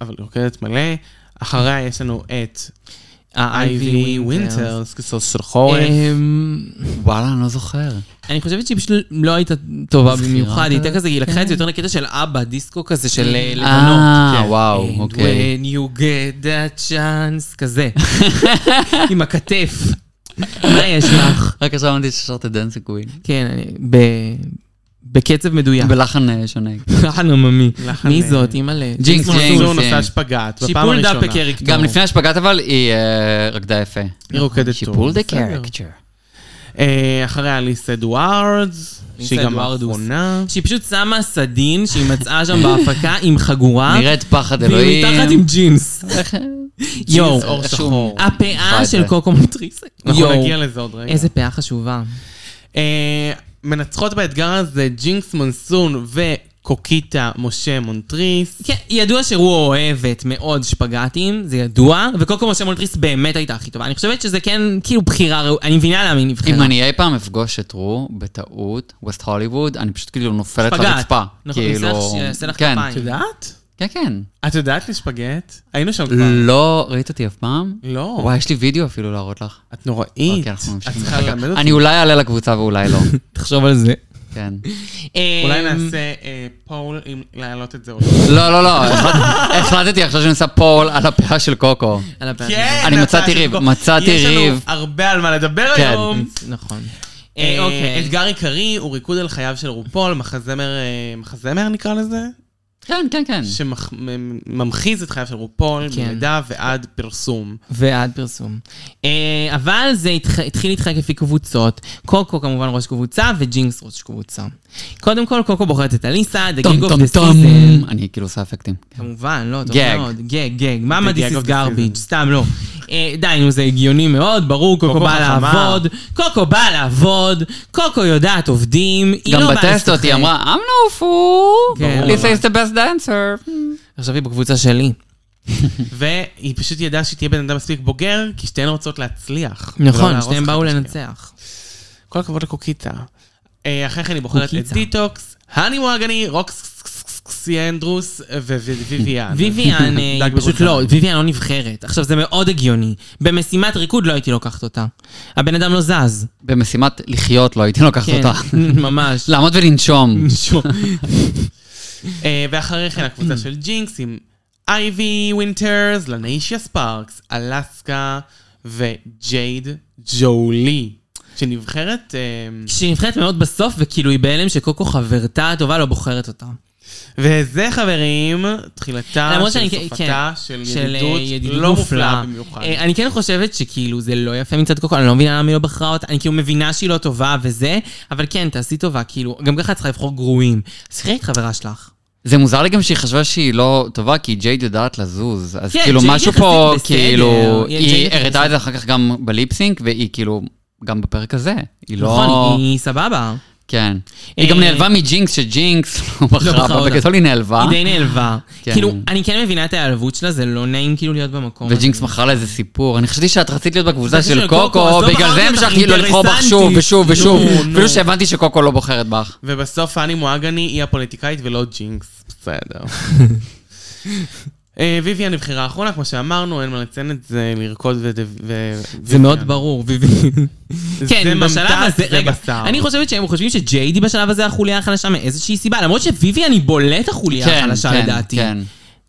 [SPEAKER 3] אבל היא רוקדת מלא. אחריה יש לנו את
[SPEAKER 2] ה-IV
[SPEAKER 3] אייבי
[SPEAKER 2] ווינטר.
[SPEAKER 3] ווינטרס, כסוס של חורף.
[SPEAKER 2] אה,
[SPEAKER 4] וואלה, אני לא זוכר.
[SPEAKER 2] אמ, אני חושבת שהיא פשוט לא הייתה טובה
[SPEAKER 4] זכירה.
[SPEAKER 2] במיוחד, היא הייתה כזה, היא לקחה את זה יותר לקטע של אבא, דיסקו כזה של כן. אה, לבנות.
[SPEAKER 4] אה,
[SPEAKER 3] כן.
[SPEAKER 4] וואו,
[SPEAKER 2] And
[SPEAKER 4] אוקיי.
[SPEAKER 2] when you get that chance, כזה. עם הכתף. מה יש לך?
[SPEAKER 4] רק עכשיו אמרתי ששרת את דנסי קווין.
[SPEAKER 2] כן, אני- ב- בקצב מדויק.
[SPEAKER 4] בלחן אה, שונה.
[SPEAKER 2] לחן עממי.
[SPEAKER 3] לחן,
[SPEAKER 2] מי
[SPEAKER 3] אה,
[SPEAKER 2] זאת? אימא'לה.
[SPEAKER 4] ג'ינקס, ג'ינקס.
[SPEAKER 3] הוא
[SPEAKER 4] כן.
[SPEAKER 3] נוסע שפגאט, בפעם
[SPEAKER 2] שיפול
[SPEAKER 3] הראשונה.
[SPEAKER 2] דאפק קריקטור.
[SPEAKER 4] גם לפני השפגת אבל, היא אה, רקדה יפה.
[SPEAKER 3] היא רוקדת טוב.
[SPEAKER 4] She pulled the
[SPEAKER 3] בסדר.
[SPEAKER 4] character.
[SPEAKER 3] אה, אחריה ליס אדוארדס,
[SPEAKER 2] ליס
[SPEAKER 3] שהיא גם
[SPEAKER 2] אדוארדוס.
[SPEAKER 3] האחרונה.
[SPEAKER 2] שהיא פשוט שמה סדין שהיא מצאה שם בהפקה עם חגורה.
[SPEAKER 4] נראית פחד
[SPEAKER 2] והיא
[SPEAKER 4] אלוהים.
[SPEAKER 2] מתחת עם ג'ינס. יואו,
[SPEAKER 3] ג'ינס אור
[SPEAKER 4] רשום.
[SPEAKER 3] שחור.
[SPEAKER 2] הפאה
[SPEAKER 4] אחד.
[SPEAKER 2] של קוקו מטריסה.
[SPEAKER 3] אנחנו
[SPEAKER 2] יואו,
[SPEAKER 3] נגיע לזה עוד רגע.
[SPEAKER 2] איזה פאה חשובה.
[SPEAKER 3] אה, מנצחות באתגר הזה ג'ינקס מונסון וקוקיטה משה מונטריס.
[SPEAKER 2] כן, ידוע שרוע אוהבת מאוד שפגטים, זה ידוע, וקוקו משה מולטריס באמת הייתה הכי טובה. אני חושבת שזה כן, כאילו, בחירה ראויה, אני מבינה למה היא
[SPEAKER 4] אם
[SPEAKER 2] נבחרה.
[SPEAKER 4] אני אי פעם אפגוש את רו, בטעות, ווסט הוליווד, אני פשוט כאילו נופלת
[SPEAKER 2] שפגאט.
[SPEAKER 4] לרצפה.
[SPEAKER 2] נכון,
[SPEAKER 4] כאילו-
[SPEAKER 2] אני
[SPEAKER 3] אה,
[SPEAKER 2] אעשה לך- אעשה לך
[SPEAKER 4] כן,
[SPEAKER 2] כפיים.
[SPEAKER 3] את יודעת? אה.
[SPEAKER 4] כן, כן.
[SPEAKER 3] את יודעת לשפגט? היינו שם כבר.
[SPEAKER 4] לא ראית אותי אף פעם?
[SPEAKER 3] נכון. לא.
[SPEAKER 4] וואי, יש לי וידאו אפילו להראות לך.
[SPEAKER 3] את נוראית.
[SPEAKER 4] אוקיי, אנחנו
[SPEAKER 3] את
[SPEAKER 4] ממשיכים
[SPEAKER 3] צריכה ללמד אותי.
[SPEAKER 4] אני אולי אעלה לקבוצה ואולי לא.
[SPEAKER 2] תחשוב על זה.
[SPEAKER 4] כן.
[SPEAKER 3] אולי
[SPEAKER 2] אמ,
[SPEAKER 3] נעשה אה, פול אם להעלות את זה עוד.
[SPEAKER 4] לא, לא, לא, החלט- החלטתי עכשיו שאני עושה פול על הפאה של קוקו.
[SPEAKER 2] על הפאה.
[SPEAKER 4] אני
[SPEAKER 3] הצעה
[SPEAKER 4] מצאתי
[SPEAKER 3] של
[SPEAKER 4] ריב,
[SPEAKER 3] כל-
[SPEAKER 4] מצאתי
[SPEAKER 3] יש לנו
[SPEAKER 4] ריב.
[SPEAKER 3] הרבה על מה לדבר
[SPEAKER 4] כן.
[SPEAKER 3] היום.
[SPEAKER 2] נכון. אה,
[SPEAKER 3] אה,
[SPEAKER 2] אוקיי.
[SPEAKER 3] אתגר עיקרי הוא ריקוד על חייו של רופול, מחזמר, אה, מחזמר נקרא לזה?
[SPEAKER 4] כן, כן, כן.
[SPEAKER 3] שממחיז את חייו של רופול,
[SPEAKER 2] כן.
[SPEAKER 3] מלידה ועד פרסום.
[SPEAKER 2] ועד פרסום. אה, אבל זה התח- התחיל להתחלק לפי קבוצות. קוקו כמובן ראש קבוצה, וג'ינקס ראש קבוצה. קודם כל, קוקו בוחרת את אליסה, The
[SPEAKER 4] טום
[SPEAKER 2] Gig of
[SPEAKER 4] טום
[SPEAKER 2] the
[SPEAKER 4] טום.
[SPEAKER 2] Season.
[SPEAKER 4] אני כאילו עושה אפקטים.
[SPEAKER 2] כמובן, לא, טוב
[SPEAKER 4] גג.
[SPEAKER 2] מאוד. גג, גג. מאמה
[SPEAKER 3] The gag
[SPEAKER 2] דיס
[SPEAKER 3] of
[SPEAKER 2] איז
[SPEAKER 3] the
[SPEAKER 2] גארביג',
[SPEAKER 3] season.
[SPEAKER 2] סתם לא. אה, די, נו, זה הגיוני מאוד, ברור, קוקו
[SPEAKER 3] קוקו
[SPEAKER 2] בא
[SPEAKER 3] חכמה.
[SPEAKER 2] לעבוד, קוקו בא לעבוד, קוקו יודעת עובדים, היא
[SPEAKER 4] גם
[SPEAKER 2] לא באה
[SPEAKER 4] בטסטות היא
[SPEAKER 2] לשחק.
[SPEAKER 4] אמרה, I'm no fool.
[SPEAKER 2] כן,
[SPEAKER 4] Lisa
[SPEAKER 3] אבל-
[SPEAKER 4] is the best dancer.
[SPEAKER 2] עכשיו היא בקבוצה שלי.
[SPEAKER 3] והיא פשוט ידעה שהיא תהיה בן אדם מספיק בוגר, כי שתיהן רוצות להצליח. ולא
[SPEAKER 2] נכון,
[SPEAKER 3] לא להרוס
[SPEAKER 2] שתיהם
[SPEAKER 3] אחת
[SPEAKER 2] באו
[SPEAKER 3] את השנייה.
[SPEAKER 2] לנצח.
[SPEAKER 3] כל הכבוד לקוקיטה. אה, אחרי כן היא בוחרת את
[SPEAKER 2] קוקיטה.
[SPEAKER 3] דיטוקס, האני מואגני, רוקסי אנדרוס וויביאן.
[SPEAKER 2] ויויאן אה,
[SPEAKER 3] דג
[SPEAKER 2] היא פשוט
[SPEAKER 3] בראשם.
[SPEAKER 2] לא, ויויאן לא נבחרת. עכשיו, זה מאוד הגיוני. במשימת ריקוד לא הייתי לוקחת אותה. הבן אדם לא זז.
[SPEAKER 4] במשימת לחיות לא הייתי לוקחת
[SPEAKER 2] כן,
[SPEAKER 4] אותה.
[SPEAKER 2] ממש. לא,
[SPEAKER 4] לעמוד ולנשום.
[SPEAKER 3] אה, ואחרי כן הקבוצה של ג'ינקס עם אייבי ווינטרס, לניישיה ספארקס, אלסקה וג'ייד ג'ולי, שנבחרת, אה,
[SPEAKER 2] כשהיא נבחרת מאוד בסוף, וכאילו היא בהלם שקוקו חברתה הטובה לא בוחרת אותה.
[SPEAKER 3] וזה חברים, תחילתה
[SPEAKER 2] למרות
[SPEAKER 3] של
[SPEAKER 2] שאני-
[SPEAKER 3] סופתה של
[SPEAKER 2] של אה,
[SPEAKER 3] ידידות לא מופלאה במיוחד.
[SPEAKER 2] אה, אני כן חושבת שכאילו זה לא יפה מצד קוקו, אני לא מבינה למה היא לא בחרה אותה, אני כאילו מבינה שהיא לא טובה וזה, אבל כן, תעשי טובה, כאילו, גם ככה את צריכה לבחור גרועים. אז תחי את חברה שלך.
[SPEAKER 4] זה מוזר לי גם שהיא חשבה שהיא לא טובה, כי ג'ייד יודעת לזוז. אז
[SPEAKER 2] כן,
[SPEAKER 4] כאילו
[SPEAKER 2] ג'ייד
[SPEAKER 4] משהו
[SPEAKER 2] יחסית
[SPEAKER 4] פה,
[SPEAKER 2] בסדר.
[SPEAKER 4] כאילו,
[SPEAKER 2] היא-
[SPEAKER 4] היא
[SPEAKER 2] ג'ייד
[SPEAKER 4] הראתה
[SPEAKER 2] יחסית-
[SPEAKER 4] את זה אחר כך גם בליפסינק, והיא כאילו, גם בפרק הזה. היא לא...
[SPEAKER 2] נכון, היא סבבה.
[SPEAKER 4] כן. היא גם
[SPEAKER 2] אה,
[SPEAKER 4] נעלבה מג'ינקס, שג'ינקס לא
[SPEAKER 2] בחרה
[SPEAKER 4] בחרה בה,
[SPEAKER 2] אותה.
[SPEAKER 4] בגדול היא נעלבה,
[SPEAKER 2] היא די נעלבה.
[SPEAKER 4] אה? כן.
[SPEAKER 2] כאילו, אני כן מבינה את ההיעלבות שלה, זה לא נעים כאילו להיות במקום. הזה.
[SPEAKER 4] וג'ינקס מכרה לה איזה סיפור. אני חשבתי שאת רצית להיות בקבוצה
[SPEAKER 2] בקבוצה
[SPEAKER 4] של
[SPEAKER 2] של קוקו,
[SPEAKER 4] קוקו,
[SPEAKER 2] אז לא
[SPEAKER 4] בגלל
[SPEAKER 2] בחרתי
[SPEAKER 4] זה
[SPEAKER 2] אותך,
[SPEAKER 4] המשכתי לא לבחור בך
[SPEAKER 2] אינטרסנטית.
[SPEAKER 4] שוב ושוב ושוב,
[SPEAKER 3] נו,
[SPEAKER 4] אפילו
[SPEAKER 3] נו.
[SPEAKER 4] שהבנתי שקוקו לא בוחרת בך.
[SPEAKER 3] ובסוף פאני מואגני היא הפוליטיקאית ולא ג'ינקס. בסדר. אה, ויויאן נבחרה האחרונה, כמו שאמרנו, אין מה לציין את זה, לרקוד ו... ו-
[SPEAKER 2] זה מאוד
[SPEAKER 3] ויויאן.
[SPEAKER 2] ברור, ביבי. כן, בשלב
[SPEAKER 3] ממתק,
[SPEAKER 2] הזה,
[SPEAKER 3] זה
[SPEAKER 2] רגע,
[SPEAKER 3] בשר.
[SPEAKER 2] אני חושבת שהם חושבים שג'יידי בשלב הזה החוליה החלשה מאיזושהי סיבה, למרות שוויבי אני בולט החוליה
[SPEAKER 4] כן,
[SPEAKER 2] החלשה
[SPEAKER 4] כן,
[SPEAKER 2] לדעתי.
[SPEAKER 4] כן.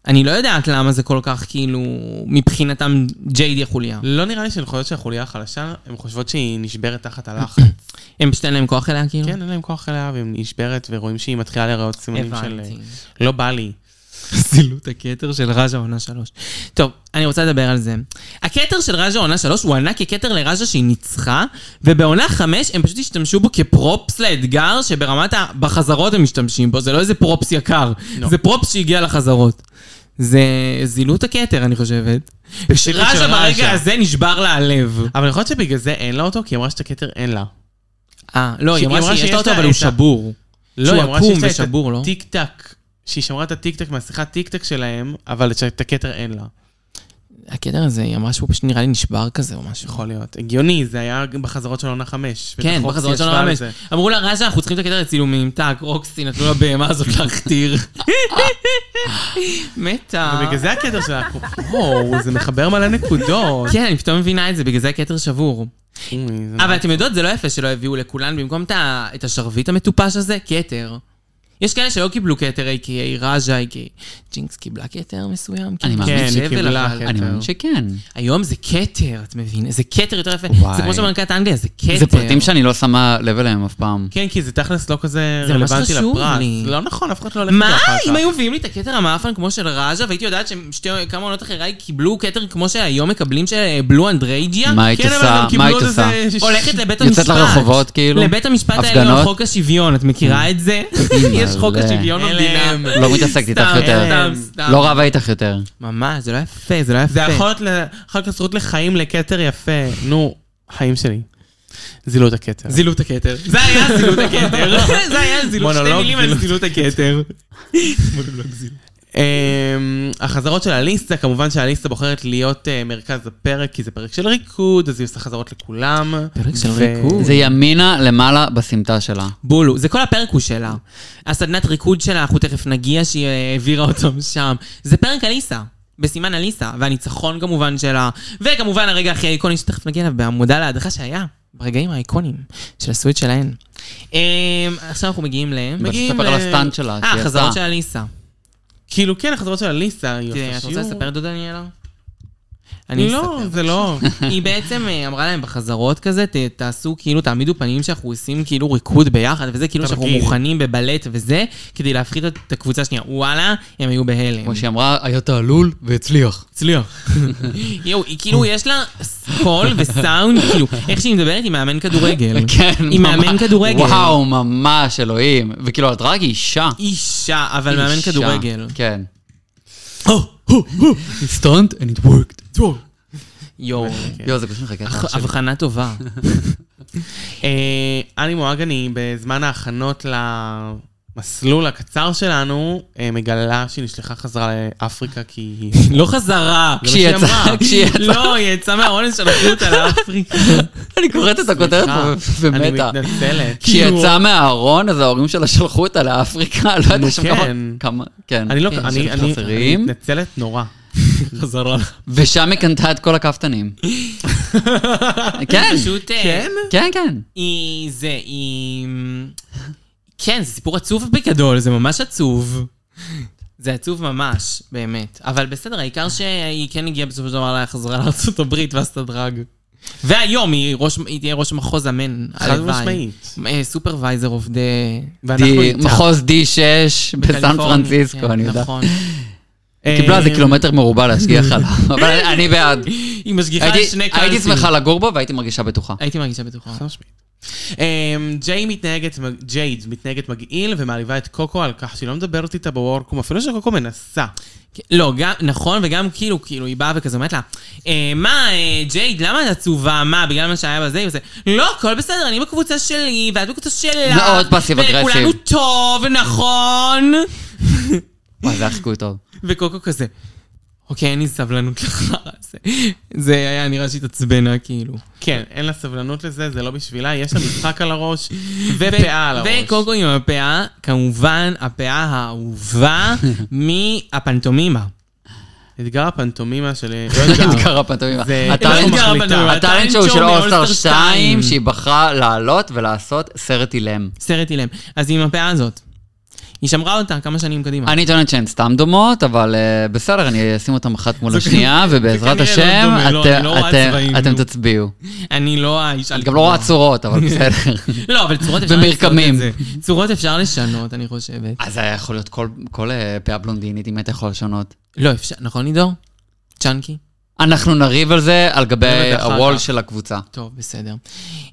[SPEAKER 2] אני לא יודעת למה זה כל כך כאילו, מבחינתם ג'יידי החוליה.
[SPEAKER 3] לא נראה לי שהן חושבות שהחוליה החלשה, הן חושבות שהיא נשברת תחת הלחץ.
[SPEAKER 2] הם פשוט אין להם כוח אליה כאילו?
[SPEAKER 3] כן, אין להם כוח אליה, והיא נשברת, ורואים שהיא מתחילה להיראות סימנים של...
[SPEAKER 2] הבנתי.
[SPEAKER 3] אה, לא בא לי.
[SPEAKER 2] זילות הכתר של רג'ה עונה 3. טוב, אני רוצה לדבר על זה. הכתר של רג'ה עונה 3 הוא ענק ככתר לרג'ה שהיא ניצחה, ובעונה 5 הם פשוט השתמשו בו כפרופס לאתגר, שברמת ה... בחזרות הם משתמשים בו, זה לא איזה פרופס יקר,
[SPEAKER 3] לא.
[SPEAKER 2] זה פרופס שהגיע לחזרות. זה זילות הכתר, אני חושבת.
[SPEAKER 3] של
[SPEAKER 2] רג'ה
[SPEAKER 3] רג'ה.
[SPEAKER 2] ברגע הזה נשבר לה הלב.
[SPEAKER 3] אבל יכול להיות שבגלל זה אין לה אותו, כי היא אמרה שאת הכתר אין לה.
[SPEAKER 2] אה, לא, היא
[SPEAKER 3] שהיא אמרה
[SPEAKER 2] אמרה שיש
[SPEAKER 3] שיש
[SPEAKER 2] לה אותו,
[SPEAKER 3] לה
[SPEAKER 2] אבל הוא
[SPEAKER 3] את ה-
[SPEAKER 2] שבור.
[SPEAKER 3] לא,
[SPEAKER 2] שהוא
[SPEAKER 3] היא אמרה
[SPEAKER 2] עקום
[SPEAKER 3] שיש לה את
[SPEAKER 2] ושבור, לא?
[SPEAKER 3] הטיק טק, שהיא שמרה את הטיק טק מהשיחת טיק טק שלהם, אבל את הכתר אין לה.
[SPEAKER 2] הכתר הזה, היא אמרה שהוא פשוט נראה לי נשבר כזה או משהו.
[SPEAKER 3] יכול להיות. הגיוני, זה היה גם בחזרות של עונה חמש.
[SPEAKER 2] כן,
[SPEAKER 3] בטח
[SPEAKER 2] בחזרות
[SPEAKER 3] רוקסי
[SPEAKER 2] שלנו
[SPEAKER 3] ישבה על
[SPEAKER 2] ממש.
[SPEAKER 3] זה.
[SPEAKER 2] אמרו לה, רז'ה, אנחנו צריכים את הקטע לצילומים. טאק, רוקסי, נתנו לבהמה הזאת להכתיר. מתה.
[SPEAKER 3] ובגלל זה הכתר שלה, וואו, זה מחבר מלא נקודות.
[SPEAKER 2] כן, אני פתאום מבינה את זה, בגלל זה הכתר שבור.
[SPEAKER 3] אוי, זה נכון.
[SPEAKER 2] אבל אתם יודעות, זה לא יפה שלא הביאו לכולן במקום את ה- את השרביט המטופש הזה, כתר. יש כאלה שלא קיבלו כתר A.K.A. רג'ה A.K.A. ג'ינקס קיבלה כתר מסוים?
[SPEAKER 4] אני מאמין
[SPEAKER 2] כן,
[SPEAKER 4] שהיא
[SPEAKER 2] אבל
[SPEAKER 3] קיבלה
[SPEAKER 2] אבל-
[SPEAKER 3] כתר.
[SPEAKER 4] אני מאמין שכן.
[SPEAKER 2] היום זה כתר, את מבין? זה כתר יותר יפה.
[SPEAKER 4] וואי.
[SPEAKER 2] זה כמו שבמלכת אנגליה, זה כתר.
[SPEAKER 4] זה פרטים שאני לא שמה לב אליהם אף פעם.
[SPEAKER 3] כן, כי זה תכלס לא כזה
[SPEAKER 2] זה ממש
[SPEAKER 3] רלוונטי
[SPEAKER 2] חשוב
[SPEAKER 3] לפרס.
[SPEAKER 2] לי.
[SPEAKER 3] לא נכון, אף אחד לא הולך
[SPEAKER 2] מה?
[SPEAKER 3] אחר כך.
[SPEAKER 2] אם היו מביאים לי את הכתר המאפן כמו של רג'ה, והייתי יודעת שכמה עונות אחריי קיבלו כתר כמו שהיום מקבלים של אה, בלו אנדרייג'יה?
[SPEAKER 4] מה היית
[SPEAKER 3] כן, אבל
[SPEAKER 4] עושה?
[SPEAKER 3] הם קיבלו
[SPEAKER 4] מה היית
[SPEAKER 3] עוד
[SPEAKER 4] עושה?
[SPEAKER 3] איזה-
[SPEAKER 2] הולכת לבית המשפט.
[SPEAKER 4] יוצאת לרחובות כאילו?
[SPEAKER 2] לבית המשפט העליון,
[SPEAKER 4] הפגנות?
[SPEAKER 2] חוק השוויון, את מכירה את Mm. זה? יש חוק
[SPEAKER 4] מלא.
[SPEAKER 2] השוויון
[SPEAKER 3] אין
[SPEAKER 2] במדינה.
[SPEAKER 3] להם.
[SPEAKER 4] לא מתעסקת איתך
[SPEAKER 2] סתם,
[SPEAKER 4] יותר.
[SPEAKER 2] סתם, סתם.
[SPEAKER 4] לא רבה איתך יותר.
[SPEAKER 2] ממש, זה לא יפה, זה לא יפה.
[SPEAKER 3] זה יכול להיות ל- אחר כך זכות לחיים לכתר יפה. נו, חיים שלי. זילו את הכתר.
[SPEAKER 2] זילות הכתר. זה היה זילות הכתר. זה היה זילות, שתי
[SPEAKER 3] מונולוג
[SPEAKER 2] מילים על
[SPEAKER 3] זילות.
[SPEAKER 2] זילות הכתר.
[SPEAKER 3] אמ, החזרות של אליסה, כמובן שאליסה בוחרת להיות אה, מרכז הפרק, כי זה פרק של ריקוד, אז היא עושה חזרות לכולם.
[SPEAKER 2] פרק של
[SPEAKER 3] ו-
[SPEAKER 2] ריקוד.
[SPEAKER 4] זה ימינה למעלה בסמטה שלה.
[SPEAKER 2] בולו, זה כל הפרק הוא שלה. הסדנת ריקוד שלה, אנחנו תכף נגיע שהיא אה, העבירה אותו משם. זה פרק אליסה, בסימן אליסה, והניצחון כמובן שלה, וכמובן הרגע הכי איקוני שתכף נגיע אליו, בעמודה להדחה שהיה, ברגעים האיקונים של הסוויט שלהן. אה, עכשיו אנחנו מגיעים ל...
[SPEAKER 3] מגיעים
[SPEAKER 4] תספר
[SPEAKER 3] ל-
[SPEAKER 4] על הסטנט שלה,
[SPEAKER 2] אה,
[SPEAKER 4] שהיא
[SPEAKER 2] חזרות של
[SPEAKER 4] עשתה.
[SPEAKER 2] אליסה.
[SPEAKER 3] כאילו, כן, החזרות של אליסה, היא
[SPEAKER 2] תראה, כן, את
[SPEAKER 3] עושה
[SPEAKER 2] רוצה
[SPEAKER 3] שיעור.
[SPEAKER 2] לספר דודה דניאלה? אני
[SPEAKER 3] לא,
[SPEAKER 2] אספר.
[SPEAKER 3] זה לא.
[SPEAKER 2] היא בעצם אה, אמרה להם בחזרות כזה, ת- תעשו כאילו, תעמידו פנים שאנחנו עושים כאילו ריקוד ביחד וזה, כאילו שאנחנו
[SPEAKER 3] תרגיל.
[SPEAKER 2] מוכנים בבלט וזה, כדי להפחית את את הקבוצה השנייה. וואלה, הם היו בהלם.
[SPEAKER 4] כמו שהיא אמרה, היה תעלול והצליח.
[SPEAKER 3] הצליח.
[SPEAKER 2] יואו, היא כאילו, יש לה ס- קול וסאונד, כאילו, איך שהיא מדברת, היא מאמן כדורגל.
[SPEAKER 4] כן,
[SPEAKER 2] היא מאמן
[SPEAKER 4] ממש-
[SPEAKER 2] כדורגל.
[SPEAKER 4] וואו, ממש, אלוהים. וכאילו, את רק אישה.
[SPEAKER 2] אישה, אבל מאמן
[SPEAKER 4] אישה.
[SPEAKER 2] כדורגל.
[SPEAKER 4] כן. סטונט and it worked.
[SPEAKER 2] יואו,
[SPEAKER 4] יואו, זה פשוט מחכה.
[SPEAKER 2] כן. אח- הבחנה טובה.
[SPEAKER 3] אה, אני מואגני, בזמן ההכנות למסלול הקצר שלנו, אה, מגלה שהיא נשלחה חזרה לאפריקה כי היא...
[SPEAKER 2] לא חזרה.
[SPEAKER 3] זה מה שהיא
[SPEAKER 4] כשהיא יצאה-
[SPEAKER 3] אמרה.
[SPEAKER 4] כשהיא יצאה.
[SPEAKER 2] לא, היא יצאה מהאונס, שלחו אותה לאפריקה.
[SPEAKER 4] אני קוראת את הכותרת פה
[SPEAKER 3] סליחה, אני כאילו-
[SPEAKER 4] ומתה.
[SPEAKER 3] מתנצלת.
[SPEAKER 4] כשהיא יצאה מהארון, אז ההורים שלה שלחו אותה לאפריקה, לא
[SPEAKER 3] נו,
[SPEAKER 4] יודעת שם
[SPEAKER 3] כן.
[SPEAKER 4] כמה- כמה... כן.
[SPEAKER 3] אני לא...
[SPEAKER 4] כן,
[SPEAKER 3] אני
[SPEAKER 4] של
[SPEAKER 3] אני- אני
[SPEAKER 4] חברים.
[SPEAKER 3] מתנצלת נורא.
[SPEAKER 2] חזרה.
[SPEAKER 4] ושם היא קנתה את כל הכפתנים. כן,
[SPEAKER 2] פשוט... אה,
[SPEAKER 3] כן?
[SPEAKER 4] כן, כן.
[SPEAKER 2] היא... זה... היא... כן, זה סיפור עצוב בגדול, זה ממש עצוב. זה עצוב ממש, באמת. אבל בסדר, העיקר שהיא כן הגיעה בסופו של דבר לחזרה לארצות הברית ועשתה דרג. והיום היא, ראש, היא תהיה ראש מחוז אמן, אה,
[SPEAKER 3] חד משמעית.
[SPEAKER 2] סופרוויזר אוף דה...
[SPEAKER 3] ואנחנו
[SPEAKER 4] די-
[SPEAKER 3] איתה.
[SPEAKER 4] מחוז D6 בסן פרנסיסקו, אני יודע.
[SPEAKER 2] כן, נכון.
[SPEAKER 3] אה,
[SPEAKER 4] קיבלה איזה קילומטר מרובע להשגיח
[SPEAKER 2] אה,
[SPEAKER 4] עליו, אבל אני- אני בעד.
[SPEAKER 2] היא משגיחה אה, על
[SPEAKER 4] הייתי-
[SPEAKER 2] שני קלפים. אה,
[SPEAKER 4] הייתי שמחה לגור בו והייתי מרגישה בטוחה.
[SPEAKER 2] הייתי מרגישה בטוחה.
[SPEAKER 3] חד משמעית. אמ, ג'יי מתנהגת, ג'ייד מתנהגת מגעיל ומעליבה את קוקו על כך שהיא לא מדברת איתה בוורקום, אפילו שקוקו מנסה. כן,
[SPEAKER 2] לא, גם, נכון, וגם כאילו, כאילו, היא באה וכזה אומרת לה, אה, מה, אה, ג'ייד, למה את עצובה? מה, בגלל מה שהיה בזה? היא עושה, לא, הכל בסדר, אני בקבוצה שלי, ואת בקבוצה שלה.
[SPEAKER 4] מאוד passive aggressive.
[SPEAKER 2] וכולנו טוב, נכון?
[SPEAKER 4] וואי, זה היה חיקוי טוב.
[SPEAKER 2] וקוקו כזה, אוקיי, אין לי סבלנות לך. זה, זה היה נראה שהתעצבנה, כאילו.
[SPEAKER 3] כן, אין לה סבלנות לזה, זה לא בשבילה, יש לה משחק על הראש ופאה על הראש.
[SPEAKER 2] וקוקו עם הפאה, כמובן, הפאה האהובה מהפנטומימה.
[SPEAKER 3] אתגר הפנטומימה של... אה,
[SPEAKER 2] לא אה,
[SPEAKER 4] אתגר הפנטומימה.
[SPEAKER 3] זה-
[SPEAKER 4] הטאלנט-
[SPEAKER 3] לא אתגר הפנטומימה,
[SPEAKER 4] הטאלנט שואו
[SPEAKER 2] הטאלנט
[SPEAKER 4] של
[SPEAKER 2] שואו
[SPEAKER 4] אולסטאר
[SPEAKER 2] מאולסטאר
[SPEAKER 4] 2,
[SPEAKER 2] שתיים.
[SPEAKER 4] שהיא בחרה לעלות ולעשות סרט אילם.
[SPEAKER 2] סרט אילם. אז היא עם הפאה הזאת. היא שמרה אותה כמה שנים קדימה.
[SPEAKER 4] אני טוענת שהן סתם דומות, אבל אה, בסדר, אני אשים אותן אחת מול השנייה, ובעזרת
[SPEAKER 2] כנראה לא
[SPEAKER 4] השם,
[SPEAKER 2] דומה, לא,
[SPEAKER 4] אתם-
[SPEAKER 2] אני לא רואה
[SPEAKER 4] אתם-
[SPEAKER 2] צבעים,
[SPEAKER 4] אתם
[SPEAKER 2] נו.
[SPEAKER 4] תצביעו.
[SPEAKER 2] אני לא האישה...
[SPEAKER 4] את גם לא רואה צורות, אבל בסדר.
[SPEAKER 2] לא, אבל צורות אפשר
[SPEAKER 4] ומרקמים.
[SPEAKER 2] לשנות את זה. צורות אפשר לשנות, אני חושבת.
[SPEAKER 4] אז זה היה יכול להיות כל- כל אה, פאה בלונדינית, אם היית יכול לשנות.
[SPEAKER 2] לא אפשר, נכון לידור? צ'אנקי?
[SPEAKER 4] אנחנו נריב על זה, על גבי
[SPEAKER 2] נריב אחר
[SPEAKER 4] הוול
[SPEAKER 2] כך.
[SPEAKER 4] של הקבוצה.
[SPEAKER 2] טוב, בסדר.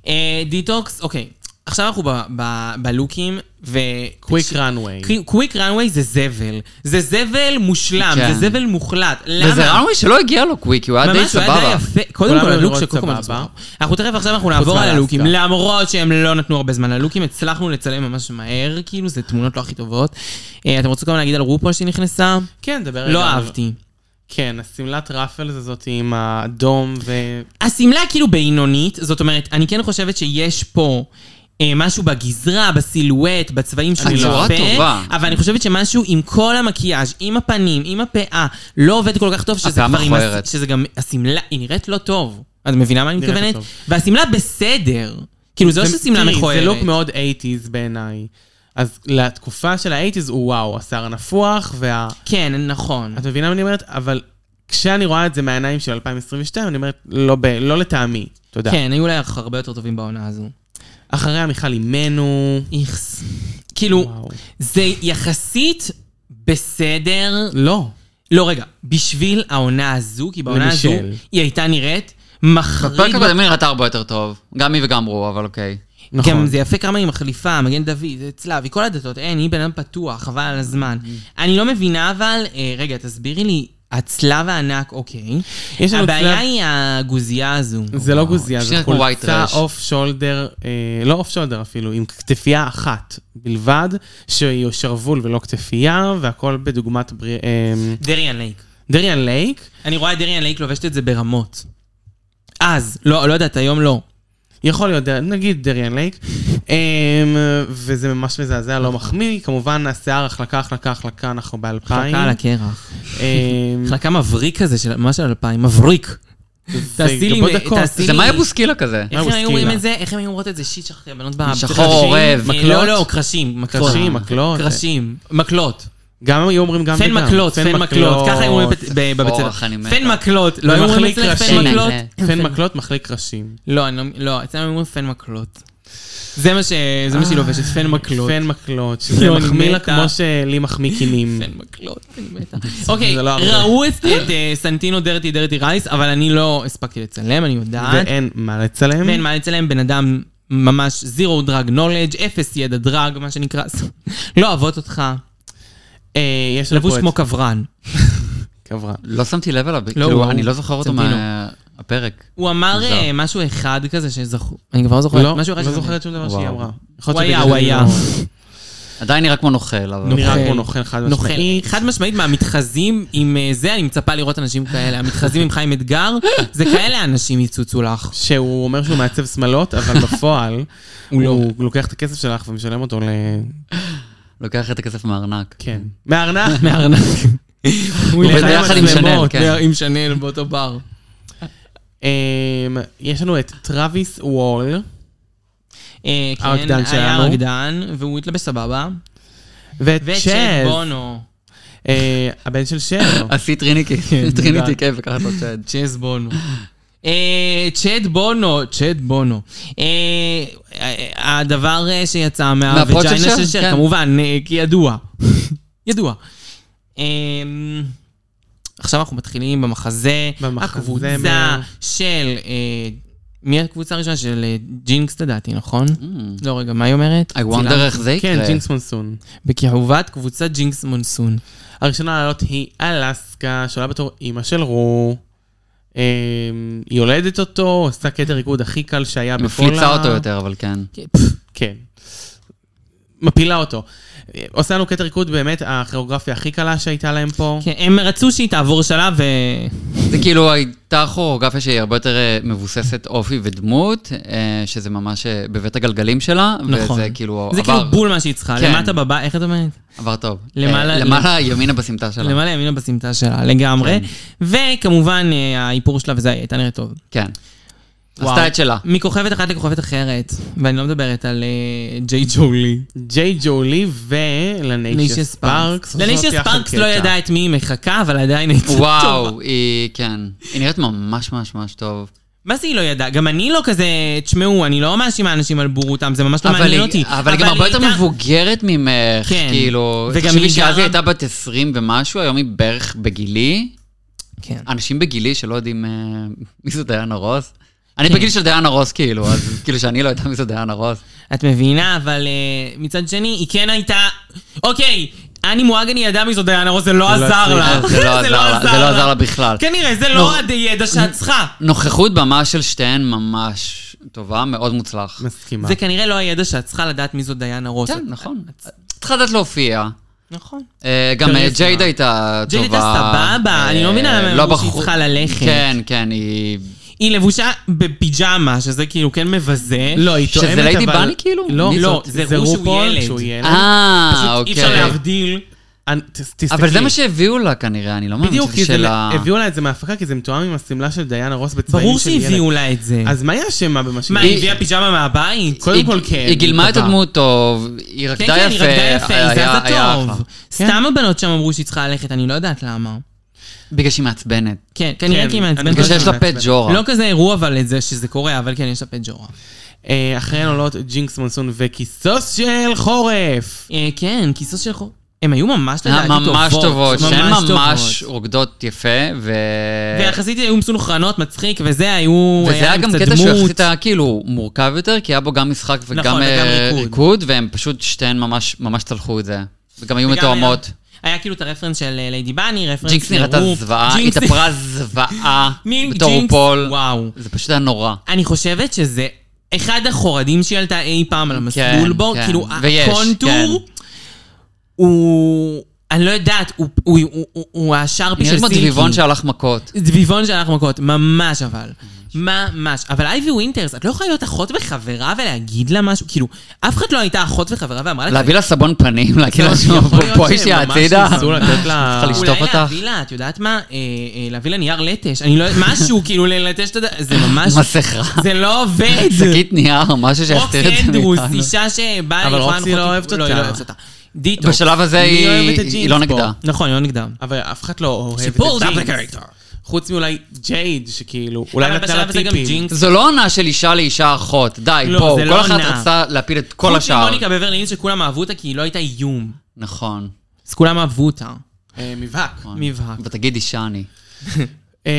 [SPEAKER 2] אה, דיטוקס, אוקיי. עכשיו אנחנו ב- ב- בלוקים, ו...
[SPEAKER 3] קוויק ראנוויי.
[SPEAKER 2] קוויק ראנוויי זה זבל. זה זבל מושלם,
[SPEAKER 4] כן.
[SPEAKER 2] זה זבל מוחלט. למה?
[SPEAKER 4] וזה ראנווי שלא הגיע לו קוויק, הוא היה די
[SPEAKER 2] ממש הוא היה די
[SPEAKER 4] סבבה.
[SPEAKER 2] יפה. קודם
[SPEAKER 3] כולם
[SPEAKER 2] כל,
[SPEAKER 3] היו
[SPEAKER 2] הלוק
[SPEAKER 3] מאוד
[SPEAKER 2] של קוקו
[SPEAKER 3] סבבה.
[SPEAKER 2] מצבע. אנחנו תכף עכשיו אנחנו נעבור על
[SPEAKER 3] מאלסקה.
[SPEAKER 2] הלוקים, למרות שהם לא נתנו הרבה זמן ללוקים, הצלחנו לצלם ממש מהר, כאילו, זה תמונות לא הכי טובות. אה, אתם רוצים גם להגיד על רופול שנכנסה?
[SPEAKER 3] כן, דבר רגע.
[SPEAKER 2] לא
[SPEAKER 3] על-
[SPEAKER 2] אהבתי.
[SPEAKER 3] כן, השמלת ראפלס הזאת עם האדום ו...
[SPEAKER 2] השמלה כאילו בינונית, זאת אומרת, אני כן חושבת שיש פה... אה, משהו בגזרה, בסילואט, בצבעים של
[SPEAKER 4] הצורה
[SPEAKER 2] הפה,
[SPEAKER 4] טובה.
[SPEAKER 2] אבל אני חושבת שמשהו עם כל המקיאז', עם הפנים, עם הפאה, לא עובד כל כך טוב, שזה
[SPEAKER 4] הפאה
[SPEAKER 2] כבר עם... הס-
[SPEAKER 4] מכוערת.
[SPEAKER 2] שזה גם... השמלה, היא נראית לא טוב. את מבינה מה אני
[SPEAKER 3] נראית לא
[SPEAKER 2] מתכוונת?
[SPEAKER 3] טוב.
[SPEAKER 2] והשמלה בסדר. כאילו, זה לא
[SPEAKER 3] זה-
[SPEAKER 2] ששמלה
[SPEAKER 3] תראי,
[SPEAKER 2] מכוערת.
[SPEAKER 3] זה לוק מאוד 80's בעיניי. אז לתקופה של האייטיז הוא וואו, השיער הנפוח וה...
[SPEAKER 2] כן, נכון.
[SPEAKER 3] את מבינה מה אני אומרת? אבל כשאני רואה את זה מהעיניים של 2022, אני אומרת, לא, ב... לא לטעמי. תודה. כן.
[SPEAKER 2] כן, היו לה הרבה יותר טובים בעונה הזו.
[SPEAKER 3] אחריה מיכל אימנו.
[SPEAKER 2] איכס. כאילו,
[SPEAKER 3] וואו.
[SPEAKER 2] זה יחסית בסדר.
[SPEAKER 3] לא.
[SPEAKER 2] לא, רגע, בשביל העונה הזו, כי בעונה הזו
[SPEAKER 3] למישל.
[SPEAKER 2] היא הייתה נראית מחריד.
[SPEAKER 4] בפרק הקודם היא נראתה הרבה יותר טוב. גם היא וגם רו, אבל אוקיי.
[SPEAKER 3] נכון.
[SPEAKER 2] גם זה יפה כמה היא מחליפה, מגן דוד, זה צלב, היא כל הדתות, אין, היא בן אדם פתוח, חבל על הזמן.
[SPEAKER 3] Mm.
[SPEAKER 2] אני לא מבינה אבל, אה, רגע, תסבירי לי, הצלב הענק, אוקיי.
[SPEAKER 3] יש לנו
[SPEAKER 2] הבעיה
[SPEAKER 3] צלב-
[SPEAKER 2] היא הגוזייה הזו.
[SPEAKER 3] זה לא גוזייה, זה
[SPEAKER 4] שנראית כמו white
[SPEAKER 3] חולצה
[SPEAKER 4] trash.
[SPEAKER 3] אוף שולדר, לא אוף שולדר אפילו, עם כתפייה אחת בלבד, שהיא שרוול ולא כתפייה, והכל בדוגמת בריא- אה,
[SPEAKER 2] דריאן לייק.
[SPEAKER 3] דריאן לייק.
[SPEAKER 2] אני רואה את דריאן לייק לובשת את זה ברמות. אז, לא, לא יודעת, היום לא.
[SPEAKER 3] יכול להיות, דר- נגיד דריאן לייק, אמ, וזה ממש מזעזע, לא מחמיא, כמובן השיער, החלקה, החלקה, החלקה, אנחנו באלפיים.
[SPEAKER 2] חלקה על הקרח.
[SPEAKER 3] אמ,
[SPEAKER 2] חלקה מבריק כזה, של ממש על אלפיים, מבריק. תעשי לי-
[SPEAKER 3] וגבות דקות.
[SPEAKER 2] תעשי לי-
[SPEAKER 4] זה מאיה בוסקילה כזה.
[SPEAKER 2] איך הם
[SPEAKER 3] הוא
[SPEAKER 2] היו אומרים
[SPEAKER 3] סקילה?
[SPEAKER 2] את זה? איך הם היו אומרות את זה? שיט, שכחתי, הבנות ב...
[SPEAKER 4] שחור
[SPEAKER 2] בקרשים.
[SPEAKER 4] עורב,
[SPEAKER 2] אה,
[SPEAKER 3] מקלות?
[SPEAKER 2] לא, לא, קרשים. מקלות.
[SPEAKER 3] קרשים, מקלות.
[SPEAKER 2] קרשים, מקלות.
[SPEAKER 3] גם היו אומרים גם
[SPEAKER 2] פן מקלות, פן מקלות, ככה היו אומרים בבית- ב- בבית
[SPEAKER 4] אוח,
[SPEAKER 2] ספר.
[SPEAKER 4] אני מתה.
[SPEAKER 2] פן מקלות, לא היו אומרים
[SPEAKER 3] ומחליק
[SPEAKER 2] אצלך פן
[SPEAKER 3] ראשים.
[SPEAKER 2] מקלות?
[SPEAKER 3] פן מקלות מחליק ראשים.
[SPEAKER 2] לא, אני לא, לא, אצלנו אומרים פן מקלות. זה מה ש... זה מה שהיא לובשת, אה. פן מקלות.
[SPEAKER 3] פן מקלות, שזה
[SPEAKER 2] לא, אני
[SPEAKER 3] מחמיא לה
[SPEAKER 2] מתה.
[SPEAKER 3] כמו שלי מחמיא קינים.
[SPEAKER 2] פן מקלות, אני מתה. אוקיי,
[SPEAKER 3] זה לא הרבה.
[SPEAKER 2] ראו את את, אה, סנטינו דרטי דרטי רייס, אבל אני לא הספקתי לצלם, אני יודעת.
[SPEAKER 3] ואין מה לצלם.
[SPEAKER 2] ואין מה לצלם, בן אדם ממש זירו דרג נולדג', אפס ידע דרג, מה שנקרא. לא אוהבות אותך.
[SPEAKER 3] אה, יש לנו
[SPEAKER 2] לבוש
[SPEAKER 3] פה
[SPEAKER 2] כמו
[SPEAKER 3] את כברה.
[SPEAKER 2] קברן.
[SPEAKER 4] לא שמתי לב אליו,
[SPEAKER 2] הוא-
[SPEAKER 4] כאילו, אני לא זוכר אותו
[SPEAKER 2] צנטינו.
[SPEAKER 4] מהפרק.
[SPEAKER 2] הוא אמר
[SPEAKER 4] מוזר.
[SPEAKER 2] אה, משהו אחד כזה שזכור, אני כבר לא זוכרת.
[SPEAKER 3] לא,
[SPEAKER 2] משהו אחד
[SPEAKER 3] לא
[SPEAKER 2] שזכור.
[SPEAKER 3] זוכרת שום דבר שהיא
[SPEAKER 4] וואו.
[SPEAKER 3] אמרה.
[SPEAKER 2] הוא היה, הוא היה.
[SPEAKER 4] עדיין נראה כמו נוכל, אבל...
[SPEAKER 3] לא נראה
[SPEAKER 2] נוכל.
[SPEAKER 3] כמו נוכל חד
[SPEAKER 2] נוכל.
[SPEAKER 3] משמעית.
[SPEAKER 2] חד משמעית, מהמתחזים עם אה, זה, אני מצפה לראות אנשים כאלה. המתחזים עם חיים אתגר, זה כאלה אנשים יצוצו לך.
[SPEAKER 3] שהוא אומר שהוא מעצב שמלות, אבל בפועל,
[SPEAKER 2] הוא לא.
[SPEAKER 3] הוא לוקח את הכסף שלך ומשלם אותו ל...
[SPEAKER 4] לוקח את הכסף מהארנק.
[SPEAKER 3] כן. מהארנק.
[SPEAKER 2] מהארנק. הוא
[SPEAKER 4] עובד
[SPEAKER 2] הולך עם
[SPEAKER 4] ביחד עם שנאל,
[SPEAKER 2] מצלמות,
[SPEAKER 4] כן.
[SPEAKER 2] עם שנאל באותו בר.
[SPEAKER 3] אמ, יש לנו את טראביס וול,
[SPEAKER 2] אה,
[SPEAKER 3] הרקדן
[SPEAKER 2] כן, היה
[SPEAKER 3] שלנו.
[SPEAKER 2] הרקדן, והוא התלבש סבבה.
[SPEAKER 3] ואת
[SPEAKER 2] וצ'אט
[SPEAKER 3] צ'ז,
[SPEAKER 2] בונו.
[SPEAKER 3] אה, הבן של שר.
[SPEAKER 4] עשי טריניקי,
[SPEAKER 2] כן,
[SPEAKER 4] טריניטי כיף וככה אתה צ'אד.
[SPEAKER 2] צ'ז בונו. אה, צ'אט בונו, צ'אט בונו. אה, אה, הדבר אה, שיצא
[SPEAKER 4] מהפרוט של
[SPEAKER 2] מהווג'יינה
[SPEAKER 4] שר,
[SPEAKER 2] של שר,
[SPEAKER 4] כן.
[SPEAKER 2] כמובן, אה, כי ידוע. ידוע. אמ, עכשיו אנחנו מתחילים במחזה,
[SPEAKER 3] במחזה
[SPEAKER 2] הקבוצה
[SPEAKER 3] מה-
[SPEAKER 2] של... אה, מי הקבוצה הראשונה? של אה, ג'ינקס לדעתי, נכון? לא, רגע, מה היא אומרת?
[SPEAKER 4] Hmm. I wonder איך זה יקרה.
[SPEAKER 3] כן, ג'ינקס מונסון.
[SPEAKER 2] בכיעובת קבוצת ג'ינקס מונסון. אה,
[SPEAKER 3] הראשונה לעלות היא אלסקה, שעולה בתור אימא של רו. אמ, היא יולדת אותו, עושה קטע ריקוד הכי קל שהיה בכל ה...
[SPEAKER 4] מפליצה אותו יותר, אבל כן.
[SPEAKER 2] כן, פפ,
[SPEAKER 3] כן. מפילה אותו. אה, עושה לנו קטע ריקוד באמת, הכיאוגרפיה הכי קלה שהייתה להם פה.
[SPEAKER 2] כן, הם רצו שהיא תעבור שלב אה, ו...
[SPEAKER 4] זה כאילו הייתה כוריאוגרפיה שהיא הרבה יותר אה, מבוססת אופי ודמות, אה, שזה ממש אה, בבית הגלגלים שלה,
[SPEAKER 2] נכון.
[SPEAKER 4] וזה כאילו
[SPEAKER 2] זה
[SPEAKER 4] עבר-
[SPEAKER 2] כאילו בול מה שהיא צריכה.
[SPEAKER 4] כן.
[SPEAKER 2] למטה בבית, איך את אומרת?
[SPEAKER 4] עבר טוב.
[SPEAKER 2] למעלה-
[SPEAKER 4] אה, למעלה ימינה בסמטה שלה.
[SPEAKER 2] למעלה ימינה בסמטה שלה, לגמרי. וכמובן, אה, האיפור שלה וזה הייתה נראית טוב.
[SPEAKER 4] כן.
[SPEAKER 2] וואו.
[SPEAKER 4] עשתה את שלה.
[SPEAKER 2] מכוכבת אחת לכוכבת אחרת, ואני לא מדברת על אה, ג'יי ג'ולי.
[SPEAKER 3] ג'יי ג'ולי ולניישיה ספארקס.
[SPEAKER 2] לנישה ספארקס לא ידעה את מי היא מחכה, אבל עדיין הייתה טובה.
[SPEAKER 4] וואו, היא, כן. היא נראית ממש ממש ממש טוב.
[SPEAKER 2] מה זה היא לא ידעה? גם אני לא כזה, תשמעו, אני לא מאשימה אנשים על בורותם, זה ממש לא
[SPEAKER 4] אבל
[SPEAKER 2] מעניין
[SPEAKER 4] היא
[SPEAKER 2] אותי.
[SPEAKER 4] אבל היא גם הרבה יותר
[SPEAKER 2] הייתה-
[SPEAKER 4] מבוגרת ממך,
[SPEAKER 2] כן.
[SPEAKER 4] כאילו.
[SPEAKER 2] וגם
[SPEAKER 4] תחשבי
[SPEAKER 2] היא
[SPEAKER 4] שאז
[SPEAKER 2] גרה-
[SPEAKER 4] היא הייתה בת 20 ומשהו, היום היא בערך בגילי.
[SPEAKER 2] כן.
[SPEAKER 4] אנשים בגילי שלא יודעים אה, מי זו דיאנה רוס. אני
[SPEAKER 2] כן.
[SPEAKER 4] בגיל של דיאנה רוס, כאילו, אז כאילו שאני לא יודעת מי זו דיאנה רוס.
[SPEAKER 2] את מבינה, אבל אה, מצד שני, היא כן הייתה... אוקיי, אני מואגני ידעה מי זאת דיאנה רוס, זה לא עזר לה.
[SPEAKER 4] אז זה לא עזר לה, זה לא עזר לה בכלל.
[SPEAKER 2] כנראה, זה לא
[SPEAKER 4] לא.
[SPEAKER 2] הידע שאת צריכה.
[SPEAKER 4] נוכחות במה של שתיהן ממש טובה, מאוד מוצלח.
[SPEAKER 3] מסכימה.
[SPEAKER 2] זה כנראה לא הידע שאת צריכה לדעת מי זאת דיאנה רוס.
[SPEAKER 4] כן, נכון. צריכה לדעת להופיע.
[SPEAKER 2] נכון.
[SPEAKER 4] אה, גם אה,
[SPEAKER 2] כריזמה.
[SPEAKER 4] ג'יידה הייתה טובה.
[SPEAKER 2] ג'ייד הייתה סבבה,
[SPEAKER 4] אה,
[SPEAKER 2] אני לא מבינה למה
[SPEAKER 4] לא
[SPEAKER 2] הם אמרו שהיא
[SPEAKER 4] בחרו-
[SPEAKER 2] צריכה ללכת.
[SPEAKER 4] כן, כן, היא...
[SPEAKER 2] היא לבושה בפיג'מה, שזה כאילו כן מבזה.
[SPEAKER 3] לא, היא
[SPEAKER 4] שזה
[SPEAKER 3] תואמת, אבל...
[SPEAKER 4] ליידי באני, כאילו?
[SPEAKER 3] לא,
[SPEAKER 4] מי
[SPEAKER 2] לא,
[SPEAKER 3] זאת?
[SPEAKER 2] זה רו שהוא
[SPEAKER 3] רופול,
[SPEAKER 2] ילד.
[SPEAKER 3] שהוא ילד.
[SPEAKER 4] אה,
[SPEAKER 2] כן, לא? אי אפשר
[SPEAKER 4] אוקיי.
[SPEAKER 2] להבדיל
[SPEAKER 3] אני- ת- תסתכלי.
[SPEAKER 4] אבל זה מה שהביאו לה כנראה, אני לא מאמין
[SPEAKER 3] בדיוק,
[SPEAKER 4] שזה
[SPEAKER 3] כי זה-
[SPEAKER 4] של ה...
[SPEAKER 3] הביאו לה את זה מההפקה, כי זה מתואם עם השמלה של דיאנה רוס בצבעים
[SPEAKER 2] ברור
[SPEAKER 3] של ילד.
[SPEAKER 2] שהביאו לה את זה.
[SPEAKER 3] אז מה היא אשמה במה שהיא...
[SPEAKER 2] מה, היא הביאה פיג'מה מהבית?
[SPEAKER 3] קודם
[SPEAKER 4] היא-
[SPEAKER 3] כל כן,
[SPEAKER 4] היא גילמה את
[SPEAKER 3] טובה.
[SPEAKER 4] הדמות טוב, היא רקדה
[SPEAKER 2] כן,
[SPEAKER 4] יפה.
[SPEAKER 2] כן, היא רקדה יפה, היא
[SPEAKER 4] היה-
[SPEAKER 2] זזה
[SPEAKER 4] היה אחלה.
[SPEAKER 2] טוב. סתם הבנות שם אמרו שהיא צריכה ללכת, אני לא יודעת למה.
[SPEAKER 4] בגלל שהיא מעצבנת.
[SPEAKER 2] כן, כנראה
[SPEAKER 3] כן,
[SPEAKER 2] כי היא
[SPEAKER 3] אני
[SPEAKER 2] מעצבנת.
[SPEAKER 4] בגלל שיש לה
[SPEAKER 3] מעצבנת.
[SPEAKER 4] פט ג'ורה.
[SPEAKER 2] לא כזה אירוע אבל את זה שזה קורה, אבל כן, יש לה פג'ורה.
[SPEAKER 3] אה, אחריהן עולות ג'ינקס מונסון וכיסוס של חורף.
[SPEAKER 2] אה, כן, כיסוס של חור... הם היו ממש
[SPEAKER 4] אה,
[SPEAKER 2] לדעתי טובות.
[SPEAKER 4] ממש טובות, שהן ממש
[SPEAKER 2] טובות.
[SPEAKER 4] רוקדות יפה, ו...
[SPEAKER 2] ויחסית היו מסונכרנות, מצחיק, וזה היו...
[SPEAKER 4] וזה היה
[SPEAKER 2] להם
[SPEAKER 4] גם
[SPEAKER 2] קצת
[SPEAKER 4] קטע
[SPEAKER 2] דמות. נכון,
[SPEAKER 4] שיחסית היה כאילו מורכב יותר, כי היה בו גם משחק וגם
[SPEAKER 2] וגם
[SPEAKER 4] אה,
[SPEAKER 2] ריקוד.
[SPEAKER 4] ריקוד, והם פשוט שתיהן ממש ממש צלחו את זה. וגם היו
[SPEAKER 2] וגם
[SPEAKER 4] מתואמות.
[SPEAKER 2] היה כאילו את הרפרנס של אה, ליידי באני, רפרנס...
[SPEAKER 4] ג'ינקס נראתה
[SPEAKER 2] לרופ.
[SPEAKER 4] זוועה,
[SPEAKER 2] ג'ינקס-
[SPEAKER 4] התאפרה זוועה
[SPEAKER 2] מי-
[SPEAKER 4] בתור
[SPEAKER 2] ג'ינקס-
[SPEAKER 4] פול.
[SPEAKER 2] וואו.
[SPEAKER 4] זה פשוט היה נורא.
[SPEAKER 2] אני חושבת שזה אחד החורדים שהיא עלתה אי פעם על המסלול
[SPEAKER 4] כן,
[SPEAKER 2] בו,
[SPEAKER 4] כן.
[SPEAKER 2] כאילו
[SPEAKER 4] ויש, כן.
[SPEAKER 2] הקונטור הוא... אני לא יודעת, הוא- הוא- הוא- הוא- הוא השרפי
[SPEAKER 4] נראית
[SPEAKER 2] של
[SPEAKER 4] כמו
[SPEAKER 2] סילקי.
[SPEAKER 4] דביבון שהלך מכות.
[SPEAKER 2] דביבון שלח מכות, ממש אבל. ממש. אבל אייבי ווינטרס, את לא יכולה להיות אחות וחברה ולהגיד לה משהו, כאילו, אף אחד לא הייתה אחות וחברה ואמרה לה...
[SPEAKER 4] להביא לה סבון פנים, להגיד לה שהוא
[SPEAKER 2] יכול להיות
[SPEAKER 4] בואי
[SPEAKER 2] שהם
[SPEAKER 4] שהיא
[SPEAKER 2] ממש
[SPEAKER 4] הצידה.
[SPEAKER 3] ניסו לתת לה-
[SPEAKER 4] צריכה לשטוף
[SPEAKER 2] אולי
[SPEAKER 4] אותך.
[SPEAKER 2] להביא לה, את יודעת מה? אה, אה, להביא לה נייר לטש, אני לא יודעת, משהו, כאילו, ללטש את הד... זה ממש...
[SPEAKER 4] מסכה.
[SPEAKER 2] זה לא עובד.
[SPEAKER 4] שקית נייר, משהו שיסתיר את
[SPEAKER 2] רוקסי
[SPEAKER 4] זה
[SPEAKER 2] אנדרוס,
[SPEAKER 4] מאיתנו.
[SPEAKER 2] אישה שבאה
[SPEAKER 3] אבל
[SPEAKER 2] לראות
[SPEAKER 3] רוקסי לא אוהבת
[SPEAKER 2] לא, היא
[SPEAKER 3] אותה.
[SPEAKER 2] לא אוהבת אותה. דיטוקס.
[SPEAKER 4] בשלב הזה
[SPEAKER 3] אני
[SPEAKER 4] היא
[SPEAKER 3] אוהבת את
[SPEAKER 4] היא
[SPEAKER 3] ג'ינס
[SPEAKER 4] לא
[SPEAKER 3] פה.
[SPEAKER 4] נגדה.
[SPEAKER 2] נכון, היא לא נגדה.
[SPEAKER 3] אבל אף אחד לא אוהב את
[SPEAKER 2] pulled up the
[SPEAKER 3] הג'ינקס.
[SPEAKER 2] character.
[SPEAKER 3] חוץ מאולי ג'ייד, שכאילו, אולי
[SPEAKER 2] אבל
[SPEAKER 3] נתנה
[SPEAKER 2] בשלב
[SPEAKER 3] לה
[SPEAKER 2] הזה גם
[SPEAKER 3] טיפים.
[SPEAKER 2] ג'ינקס.
[SPEAKER 4] זו לא עונה של אישה לאישה אחות, די,
[SPEAKER 2] לא,
[SPEAKER 4] בואו,
[SPEAKER 2] זה
[SPEAKER 4] כל
[SPEAKER 2] לא
[SPEAKER 4] אחת
[SPEAKER 2] עונה.
[SPEAKER 4] רצתה להפיל את כל
[SPEAKER 2] חוץ
[SPEAKER 4] השאר.
[SPEAKER 2] ממוניקה בברלי הילס שכולם אהבו אותה כי היא לא הייתה איום.
[SPEAKER 4] נכון.
[SPEAKER 2] אז כולם אהבו אותה.
[SPEAKER 3] אה, מבהק.
[SPEAKER 2] מבהק.
[SPEAKER 4] ותגיד אישה אני.
[SPEAKER 3] אה,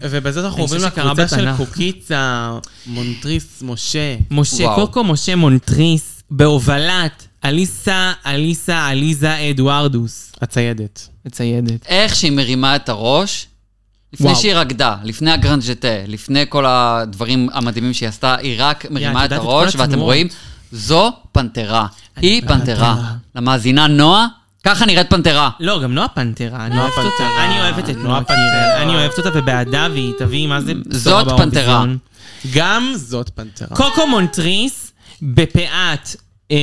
[SPEAKER 3] ובזאת אנחנו
[SPEAKER 2] אני
[SPEAKER 3] עוברים
[SPEAKER 2] חושב שקראת
[SPEAKER 3] לקבוצה של
[SPEAKER 2] תנ"ך.
[SPEAKER 3] קוקיצה, מונטריס, משה.
[SPEAKER 2] משה,
[SPEAKER 4] וואו.
[SPEAKER 2] קוקו משה מונטריס, בהובלת אליסה, אליסה, אליזה אדוארדוס.
[SPEAKER 3] הציידת.
[SPEAKER 2] מציידת.
[SPEAKER 4] איך שהיא מרימה את הראש, לפני
[SPEAKER 2] וואו.
[SPEAKER 4] שהיא רקדה, לפני הגרנג'טה, לפני כל הדברים המדהימים שהיא עשתה, היא רק מרימה את
[SPEAKER 2] יודעת את כל
[SPEAKER 4] הראש, ואתם
[SPEAKER 2] התנועות.
[SPEAKER 4] רואים, זו פנתרה. היא פנתרה. למאזינה נועה, ככה נראית פנתרה.
[SPEAKER 2] לא, גם נועה פנתרה,
[SPEAKER 3] אה,
[SPEAKER 2] אני אוהבת
[SPEAKER 3] פנתרה.
[SPEAKER 2] אותה. אני אוהבת את נועה
[SPEAKER 3] פנתרה.
[SPEAKER 2] פנתרה. אני אוהבת אותה ובעדה, והיא תביא מה זה... בשורה
[SPEAKER 4] זאת
[SPEAKER 2] באירוויזיון.
[SPEAKER 4] פנתרה.
[SPEAKER 3] גם זאת פנתרה.
[SPEAKER 2] קוקו מונטריס, בפאת אה,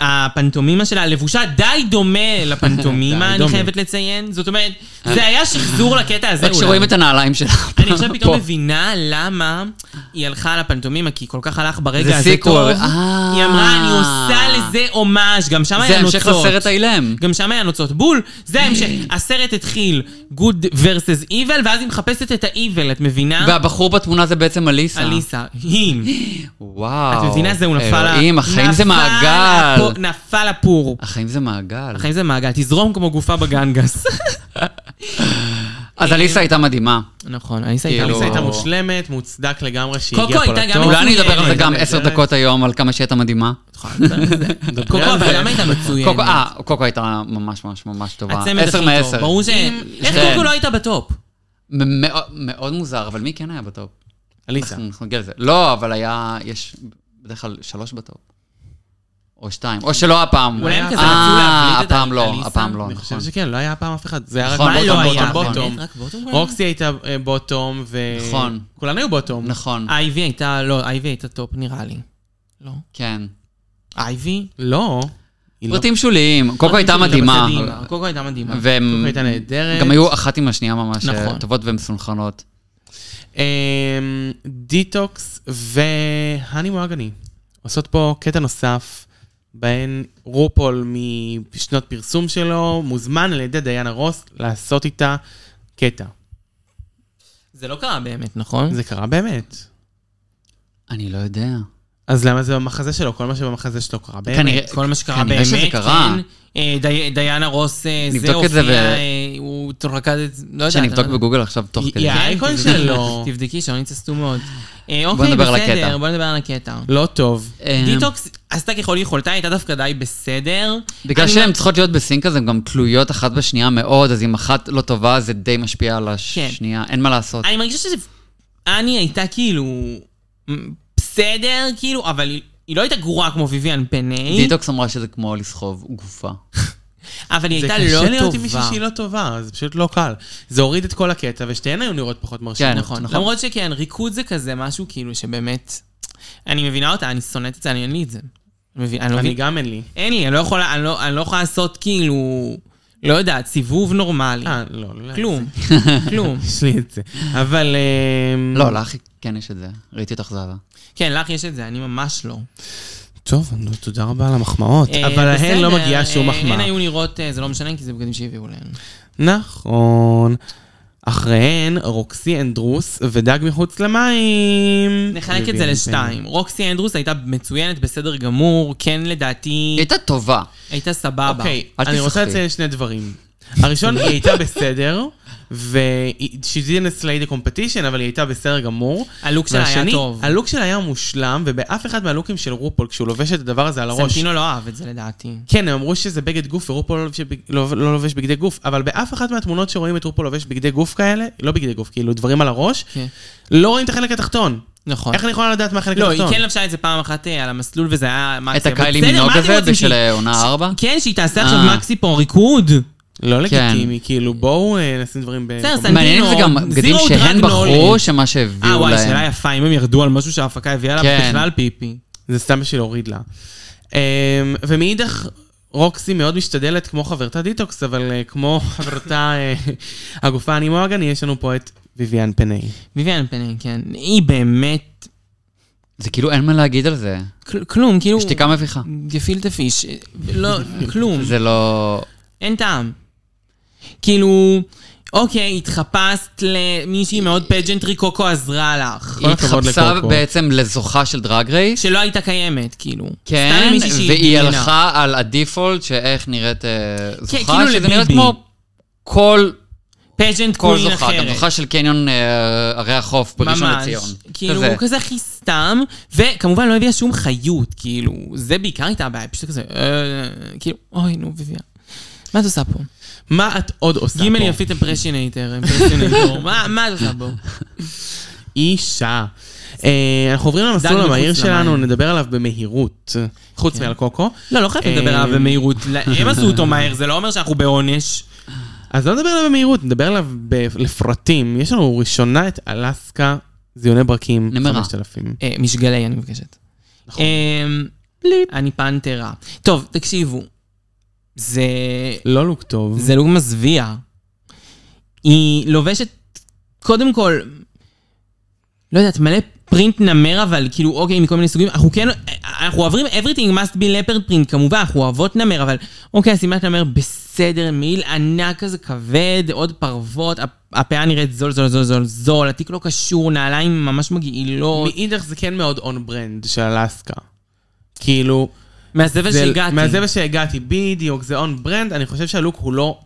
[SPEAKER 2] הפנטומימה שלה, לבושה די דומה
[SPEAKER 3] די
[SPEAKER 2] לפנטומימה, אני
[SPEAKER 3] דומה.
[SPEAKER 2] חייבת לציין. זאת אומרת, זה היה שחזור לקטע הזה
[SPEAKER 4] רק
[SPEAKER 2] אולי.
[SPEAKER 4] שרואים את הנעליים שלה.
[SPEAKER 2] אני עכשיו
[SPEAKER 4] פה.
[SPEAKER 2] פתאום מבינה למה היא הלכה על הפנטומימה, כי היא כל כך הלך
[SPEAKER 4] זה
[SPEAKER 2] ברגע הזה
[SPEAKER 4] סיקוול.
[SPEAKER 2] טוב.
[SPEAKER 4] אה.
[SPEAKER 2] היא אמרה, אני עושה לזה הומאז', גם שם
[SPEAKER 4] זה
[SPEAKER 2] היה
[SPEAKER 4] המשך
[SPEAKER 2] נוצות.
[SPEAKER 4] לסרט האילם.
[SPEAKER 2] גם שם היה נוצות בול, זה ההמשך. הסרט התחיל Good versus Evil, ואז היא מחפשת את ה-Evil, את מבינה?
[SPEAKER 4] והבחור בתמונה זה בעצם אליסה.
[SPEAKER 2] אליסה, היא.
[SPEAKER 4] וואו.
[SPEAKER 2] את מבינה? זהו, נפל ה...
[SPEAKER 4] אלוהים, החיים זה
[SPEAKER 2] נפל
[SPEAKER 4] מעגל.
[SPEAKER 2] הפו- נפל הפור.
[SPEAKER 4] החיים זה מעגל.
[SPEAKER 2] החיים זה מעגל, תזרום כמו גופה בגנגס.
[SPEAKER 4] אז אליסה הייתה מדהימה.
[SPEAKER 2] נכון, אליסה
[SPEAKER 4] כאילו-
[SPEAKER 2] הייתה...
[SPEAKER 3] אליסה הייתה
[SPEAKER 4] או-
[SPEAKER 3] מושלמת, מוצדק לגמרי שהיא
[SPEAKER 2] קוקו
[SPEAKER 3] הגיעה פה
[SPEAKER 2] הייתה גם אוקיי.
[SPEAKER 3] לתואר.
[SPEAKER 4] אולי אני אדבר על זה גם
[SPEAKER 3] מצוינת.
[SPEAKER 4] עשר דקות היום, על כמה שהיא הייתה מדהימה.
[SPEAKER 2] קוקו, אבל למה הייתה
[SPEAKER 4] קוקו,
[SPEAKER 2] מצוינת?
[SPEAKER 4] אה, קוקו הייתה ממש ממש ממש טובה.
[SPEAKER 2] הצמד
[SPEAKER 4] עשר
[SPEAKER 2] הכי טוב.
[SPEAKER 4] מעשר. כן.
[SPEAKER 2] ברור ש... איך
[SPEAKER 4] שתיהן.
[SPEAKER 2] קוקו לא הייתה בטופ?
[SPEAKER 4] מ- מאוד- מאוד מוזר, אבל מי כן היה בטופ?
[SPEAKER 3] אליסה.
[SPEAKER 4] אנחנו אנחנו נגיע לזה. לא, אבל היה, יש בדרך כלל שלוש בטופ. או שתיים. או שלא הפעם.
[SPEAKER 2] אולי הם כזה
[SPEAKER 4] אה,
[SPEAKER 2] רצו להבליט את
[SPEAKER 4] הפעם לא,
[SPEAKER 2] אליסה?
[SPEAKER 4] הפעם לא,
[SPEAKER 3] אני
[SPEAKER 4] נכון.
[SPEAKER 3] חושב שכן, לא היה הפעם אף אחד. זה היה רק
[SPEAKER 4] נכון,
[SPEAKER 2] מה
[SPEAKER 4] בוטום,
[SPEAKER 2] לא היה?
[SPEAKER 3] בוטום,
[SPEAKER 4] בוטום,
[SPEAKER 3] בוטום.
[SPEAKER 2] באמת? רק בוטום?
[SPEAKER 3] רוקסי הייתה אה, בוטום, ו...
[SPEAKER 4] נכון.
[SPEAKER 3] כולן היו בוטום.
[SPEAKER 4] נכון,
[SPEAKER 2] אייבי הייתה... לא, אייבי הייתה טופ נראה לי. לא.
[SPEAKER 4] כן.
[SPEAKER 2] אייבי?
[SPEAKER 3] לא. היא לא-
[SPEAKER 4] פרטים שוליים. קוקו הייתה
[SPEAKER 2] אבל זה
[SPEAKER 4] מדהימה.
[SPEAKER 2] קוקו הייתה מדהימה.
[SPEAKER 4] והם
[SPEAKER 3] קוקו הייתה נהדרת.
[SPEAKER 4] גם היו אחת עם השנייה ממש אה,
[SPEAKER 2] נכון.
[SPEAKER 4] טובות ומסונכרנות.
[SPEAKER 3] אמ, דיטוקס והני מואגני עושות פה קטע נוסף, בהן רופול משנות פרסום שלו מוזמן על ידי דיינה רוס לעשות איתה קטע.
[SPEAKER 2] זה לא קרה באמת, נכון?
[SPEAKER 3] זה קרה באמת.
[SPEAKER 4] אני לא יודע.
[SPEAKER 3] אז למה זה במחזה שלו? כל מה שבמחזה שלו קרה באמת.
[SPEAKER 4] כנראה-
[SPEAKER 2] כל מה שקרה
[SPEAKER 4] כנראה
[SPEAKER 2] באמת,
[SPEAKER 4] שזה קרה.
[SPEAKER 2] כן. אה, די- דיאנה רוס, אה, זה
[SPEAKER 4] נבדוק את זה
[SPEAKER 2] הופיע,
[SPEAKER 4] ו-
[SPEAKER 2] אה, הוא רקד את זה, לא יודעת.
[SPEAKER 4] שאני אבדוק בגוגל עכשיו תוך
[SPEAKER 3] היא-
[SPEAKER 4] כדי.
[SPEAKER 3] היא האייקון
[SPEAKER 2] כן, תבדקי,
[SPEAKER 3] שלו.
[SPEAKER 2] תבדקי, שעונים תסתום מאוד. אה, אוקיי,
[SPEAKER 4] נדבר על הקטע.
[SPEAKER 2] בסדר, בוא נדבר על הקטע.
[SPEAKER 3] לא טוב.
[SPEAKER 4] אה,
[SPEAKER 2] דיטוקס עשתה ככל יכולתה, הייתה דווקא די בסדר.
[SPEAKER 4] בגלל
[SPEAKER 2] אני
[SPEAKER 4] שהן
[SPEAKER 2] לא-
[SPEAKER 4] צריכות להיות בסינק אז הן גם תלויות אחת בשנייה מאוד, אז אם אחת לא טובה זה די משפיע על
[SPEAKER 2] כן.
[SPEAKER 4] השנייה, אין מה לעשות.
[SPEAKER 2] אני מרגישה שזה... אני הייתה כאילו... מ, בסדר, כאילו, אבל היא- היא לא הייתה גרועה כמו ויויאן פני,
[SPEAKER 4] דיטוקס אמרה שזה כמו לסחוב גופה.
[SPEAKER 2] אבל היא
[SPEAKER 3] זה
[SPEAKER 2] הייתה
[SPEAKER 3] קשה
[SPEAKER 2] לא
[SPEAKER 3] להיות עם מישהי
[SPEAKER 2] טובה.
[SPEAKER 3] שהיא לא טובה, זה פשוט לא קל. זה הוריד את כל הקטע, ושתיהן היו נראות פחות מרשימות.
[SPEAKER 4] כן,
[SPEAKER 2] נכון,
[SPEAKER 4] נכון.
[SPEAKER 2] נכון. למרות שכן, ריקוד זה כזה משהו כאילו שבאמת... אני מבינה אותה, אני שונאת את זה, אני אין לי את זה. אני מבין, אני לא
[SPEAKER 3] אני
[SPEAKER 2] מבין.
[SPEAKER 3] גם אין לי.
[SPEAKER 2] אין לי, אני לא יכולה, אני לא- אני לא יכולה לעשות כאילו, לא יודעת, סיבוב נורמלי.
[SPEAKER 3] אה, לא, לא.
[SPEAKER 2] כלום, כלום.
[SPEAKER 3] יש לי את זה. אבל... אמ,
[SPEAKER 4] לא, לך כן יש את זה. ראיתי אותך זהבה.
[SPEAKER 2] כן, לך יש את זה, אני ממש לא.
[SPEAKER 3] טוב, נו, תודה רבה על המחמאות.
[SPEAKER 2] אה,
[SPEAKER 3] אבל להן לא
[SPEAKER 2] בסדר,
[SPEAKER 3] מגיעה שום
[SPEAKER 2] אה, הן
[SPEAKER 3] מחמאה.
[SPEAKER 2] היו נראות, אה, זה לא משנה, כי זה בגדים שהביאו להן.
[SPEAKER 3] נכון. אחריהן, רוקסי אנדרוס ודג מחוץ למים.
[SPEAKER 2] נחלק את זה לשתיים. רוקסי אנדרוס הייתה מצוינת, בסדר גמור, כן לדעתי,
[SPEAKER 4] היא הייתה טובה.
[SPEAKER 2] הייתה סבבה.
[SPEAKER 3] אוקיי,
[SPEAKER 4] אל
[SPEAKER 3] אני רוצה
[SPEAKER 4] תשחקי.
[SPEAKER 3] לציין שני דברים. הראשון, היא הייתה בסדר, ו- she didn't slay the competition, אבל היא הייתה בסדר גמור.
[SPEAKER 2] הלוק שלה היה
[SPEAKER 3] והשני,
[SPEAKER 2] טוב.
[SPEAKER 3] הלוק שלה היה מושלם, ובאף אחד מהלוקים של רופול, כשהוא לובש את הדבר הזה על הראש,
[SPEAKER 2] סנטינו לא אהב את זה לדעתי.
[SPEAKER 3] כן, הם אמרו שזה בגד גוף, ורופול לא לובש בג- לא, לא לובש בגדי גוף, אבל באף אחת מהתמונות שרואים את רופול לובש בגדי גוף כאלה, לא בגדי גוף, כאילו דברים על הראש,
[SPEAKER 2] כן.
[SPEAKER 3] לא רואים את החלק התחתון.
[SPEAKER 2] נכון.
[SPEAKER 3] איך אני יכולה לדעת מה החלק
[SPEAKER 2] לא, היא
[SPEAKER 3] התחתון?
[SPEAKER 2] כן לבשה את זה פעם אחת אה, על המסלול, וזה היה מקסי.
[SPEAKER 4] את
[SPEAKER 2] אבל
[SPEAKER 4] הקיילי
[SPEAKER 2] בסדר,
[SPEAKER 4] מינוג
[SPEAKER 2] מה אתם
[SPEAKER 4] הזה
[SPEAKER 2] רוצים
[SPEAKER 4] בשל
[SPEAKER 2] שהיא-
[SPEAKER 4] העונה ארבע?
[SPEAKER 2] כן, שהיא תעשה עכשיו
[SPEAKER 4] אה.
[SPEAKER 2] מקסי פה ריקוד.
[SPEAKER 3] לא לגיטימי, כאילו בואו אה, נשים דברים ב...
[SPEAKER 2] כן. בסדר, סנטינו,
[SPEAKER 4] מעניין אם זה גם בגדים
[SPEAKER 2] זירו
[SPEAKER 4] שהן
[SPEAKER 2] דרגנולי.
[SPEAKER 4] בחרו, שמה
[SPEAKER 2] אה,
[SPEAKER 4] שהביאו
[SPEAKER 2] וואי, שאלה
[SPEAKER 4] להם.
[SPEAKER 2] יפה, אם הם ירדו על משהו שההפקה הביאה לה
[SPEAKER 4] כן.
[SPEAKER 2] בכלל פיפי.
[SPEAKER 3] זה סתם בשביל להוריד לה. אמ, ומאידך, רוקסי מאוד משתדלת כמו חברתה דיטוקס, אבל אה, כמו חברתה אה, הגופה אני מואגני, יש לנו פה את ויויאן פני.
[SPEAKER 2] ויויאן פנין, כן. היא באמת...
[SPEAKER 4] זה כאילו אין מה להגיד על זה.
[SPEAKER 2] כל- כלום, כאילו...
[SPEAKER 4] שתיקה מביכה.
[SPEAKER 2] גפילטה פיש. לא, כלום.
[SPEAKER 4] זה לא...
[SPEAKER 2] אין טעם. כאילו, אוקיי, התחפשת למישהי מאוד פג'נטרי, קוקו עזרה לך.
[SPEAKER 4] היא
[SPEAKER 3] הכבוד
[SPEAKER 4] התחפשה
[SPEAKER 3] לקוקו.
[SPEAKER 4] בעצם לזוכה של דרג רייס.
[SPEAKER 2] שלא הייתה קיימת, כאילו. סתם
[SPEAKER 4] כן,
[SPEAKER 2] למישהי שהיא
[SPEAKER 4] והיא
[SPEAKER 2] דמינה.
[SPEAKER 4] הלכה על הדיפולט שאיך נראית אה,
[SPEAKER 2] כאילו
[SPEAKER 4] זוכה, שזה
[SPEAKER 2] לביבי.
[SPEAKER 4] נראית כמו כל
[SPEAKER 2] פג'נט
[SPEAKER 4] כל
[SPEAKER 2] קווין
[SPEAKER 4] זוכה, גם
[SPEAKER 2] אחרת.
[SPEAKER 4] זוכה של קניון אה, ערי החוף בראשון לציון.
[SPEAKER 2] כאילו,
[SPEAKER 4] כזה.
[SPEAKER 2] הוא כזה הכי סתם, וכמובן לא הביאה שום חיות, כאילו, זה בעיקר הייתה הבעיה, פשוט כזה, אה, כאילו, אוי, נו, ויביאן. מה את עושה פה?
[SPEAKER 3] מה את עוד עושה פה?
[SPEAKER 2] גימל יפית אמפרשינטר, אמפרשינטר, מה מה את עושה פה?
[SPEAKER 3] אישה. אה, אנחנו עוברים למסלול
[SPEAKER 2] מחוץ
[SPEAKER 3] המהיר שלנו,
[SPEAKER 2] למים.
[SPEAKER 3] נדבר עליו במהירות, חוץ מעל קוקו.
[SPEAKER 2] לא, לא חייב לדבר עליו
[SPEAKER 3] אה,
[SPEAKER 2] במהירות, הם עשו אותו מהר, זה לא אומר שאנחנו בעונש.
[SPEAKER 3] אז לא נדבר עליו במהירות, נדבר עליו ב- לפרטים. יש לנו ראשונה את אלסקה, זיוני ברקים,
[SPEAKER 4] נמרה.
[SPEAKER 3] 5,000.
[SPEAKER 2] אה, משגלי, אני מבקשת.
[SPEAKER 3] נכון.
[SPEAKER 2] אמ, אני פנתרה. טוב, תקשיבו. זה...
[SPEAKER 3] לא לוק טוב.
[SPEAKER 2] זה לוג מזוויע. היא לובשת, קודם כל, לא יודעת, מלא פרינט נמר, אבל כאילו, אוקיי, מכל מיני סוגים. אנחנו כן, אנחנו אוהבים everything must be leopard print, כמובן, אנחנו אוהבות נמר, אבל אוקיי, השימת נמר בסדר, מעיל ענק כזה כבד, עוד פרוות, הפ- הפאה נראית זול, זול, זול, זול, זול, התיק לא קשור, נעליים ממש מגעילות.
[SPEAKER 3] מאידך זה כן מאוד און ברנד של אלסקה. כאילו,
[SPEAKER 2] מהזבל
[SPEAKER 3] זה-
[SPEAKER 2] שהגעתי.
[SPEAKER 3] מהזבל שהגעתי, בדיוק, זה און ברנד. אני חושב שהלוק הוא לא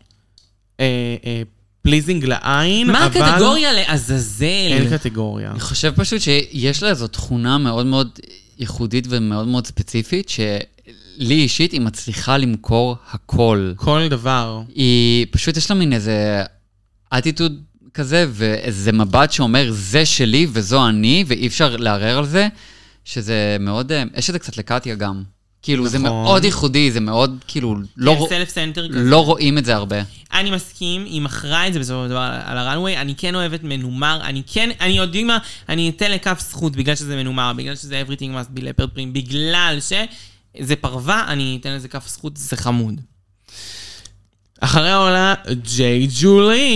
[SPEAKER 3] פליזינג לעין,
[SPEAKER 2] מה
[SPEAKER 3] אבל
[SPEAKER 2] הקטגוריה לעזאזל?
[SPEAKER 3] אין קטגוריה.
[SPEAKER 4] אני חושב פשוט שיש לה איזו תכונה מאוד מאוד ייחודית ומאוד מאוד ספציפית, שלי אישית היא מצליחה למכור הכל.
[SPEAKER 3] כל דבר.
[SPEAKER 4] היא פשוט, יש לה מין איזה אטיטוד כזה, ואיזה מבט שאומר, זה שלי וזו אני, ואי אפשר לערער על זה, שזה מאוד, אה, יש את זה קצת לקטיה גם. כאילו, זה
[SPEAKER 3] נכון.
[SPEAKER 4] מאוד ייחודי, זה מאוד, כאילו, לא, רוא-
[SPEAKER 2] סלף סנטר כזה.
[SPEAKER 4] לא רואים את זה הרבה.
[SPEAKER 2] אני מסכים, היא מכרה את זה בסופו של דבר על- על הראנוויי, אני כן אוהבת מנומר, אני כן, אני יודעים מה, אני אתן לכף זכות בגלל שזה מנומר, בגלל שזה everything must be leopard print, בגלל שזה פרווה, אני אתן לזה כף זכות, זה חמוד.
[SPEAKER 3] אחרי העולה, ג'יי ג'ולי.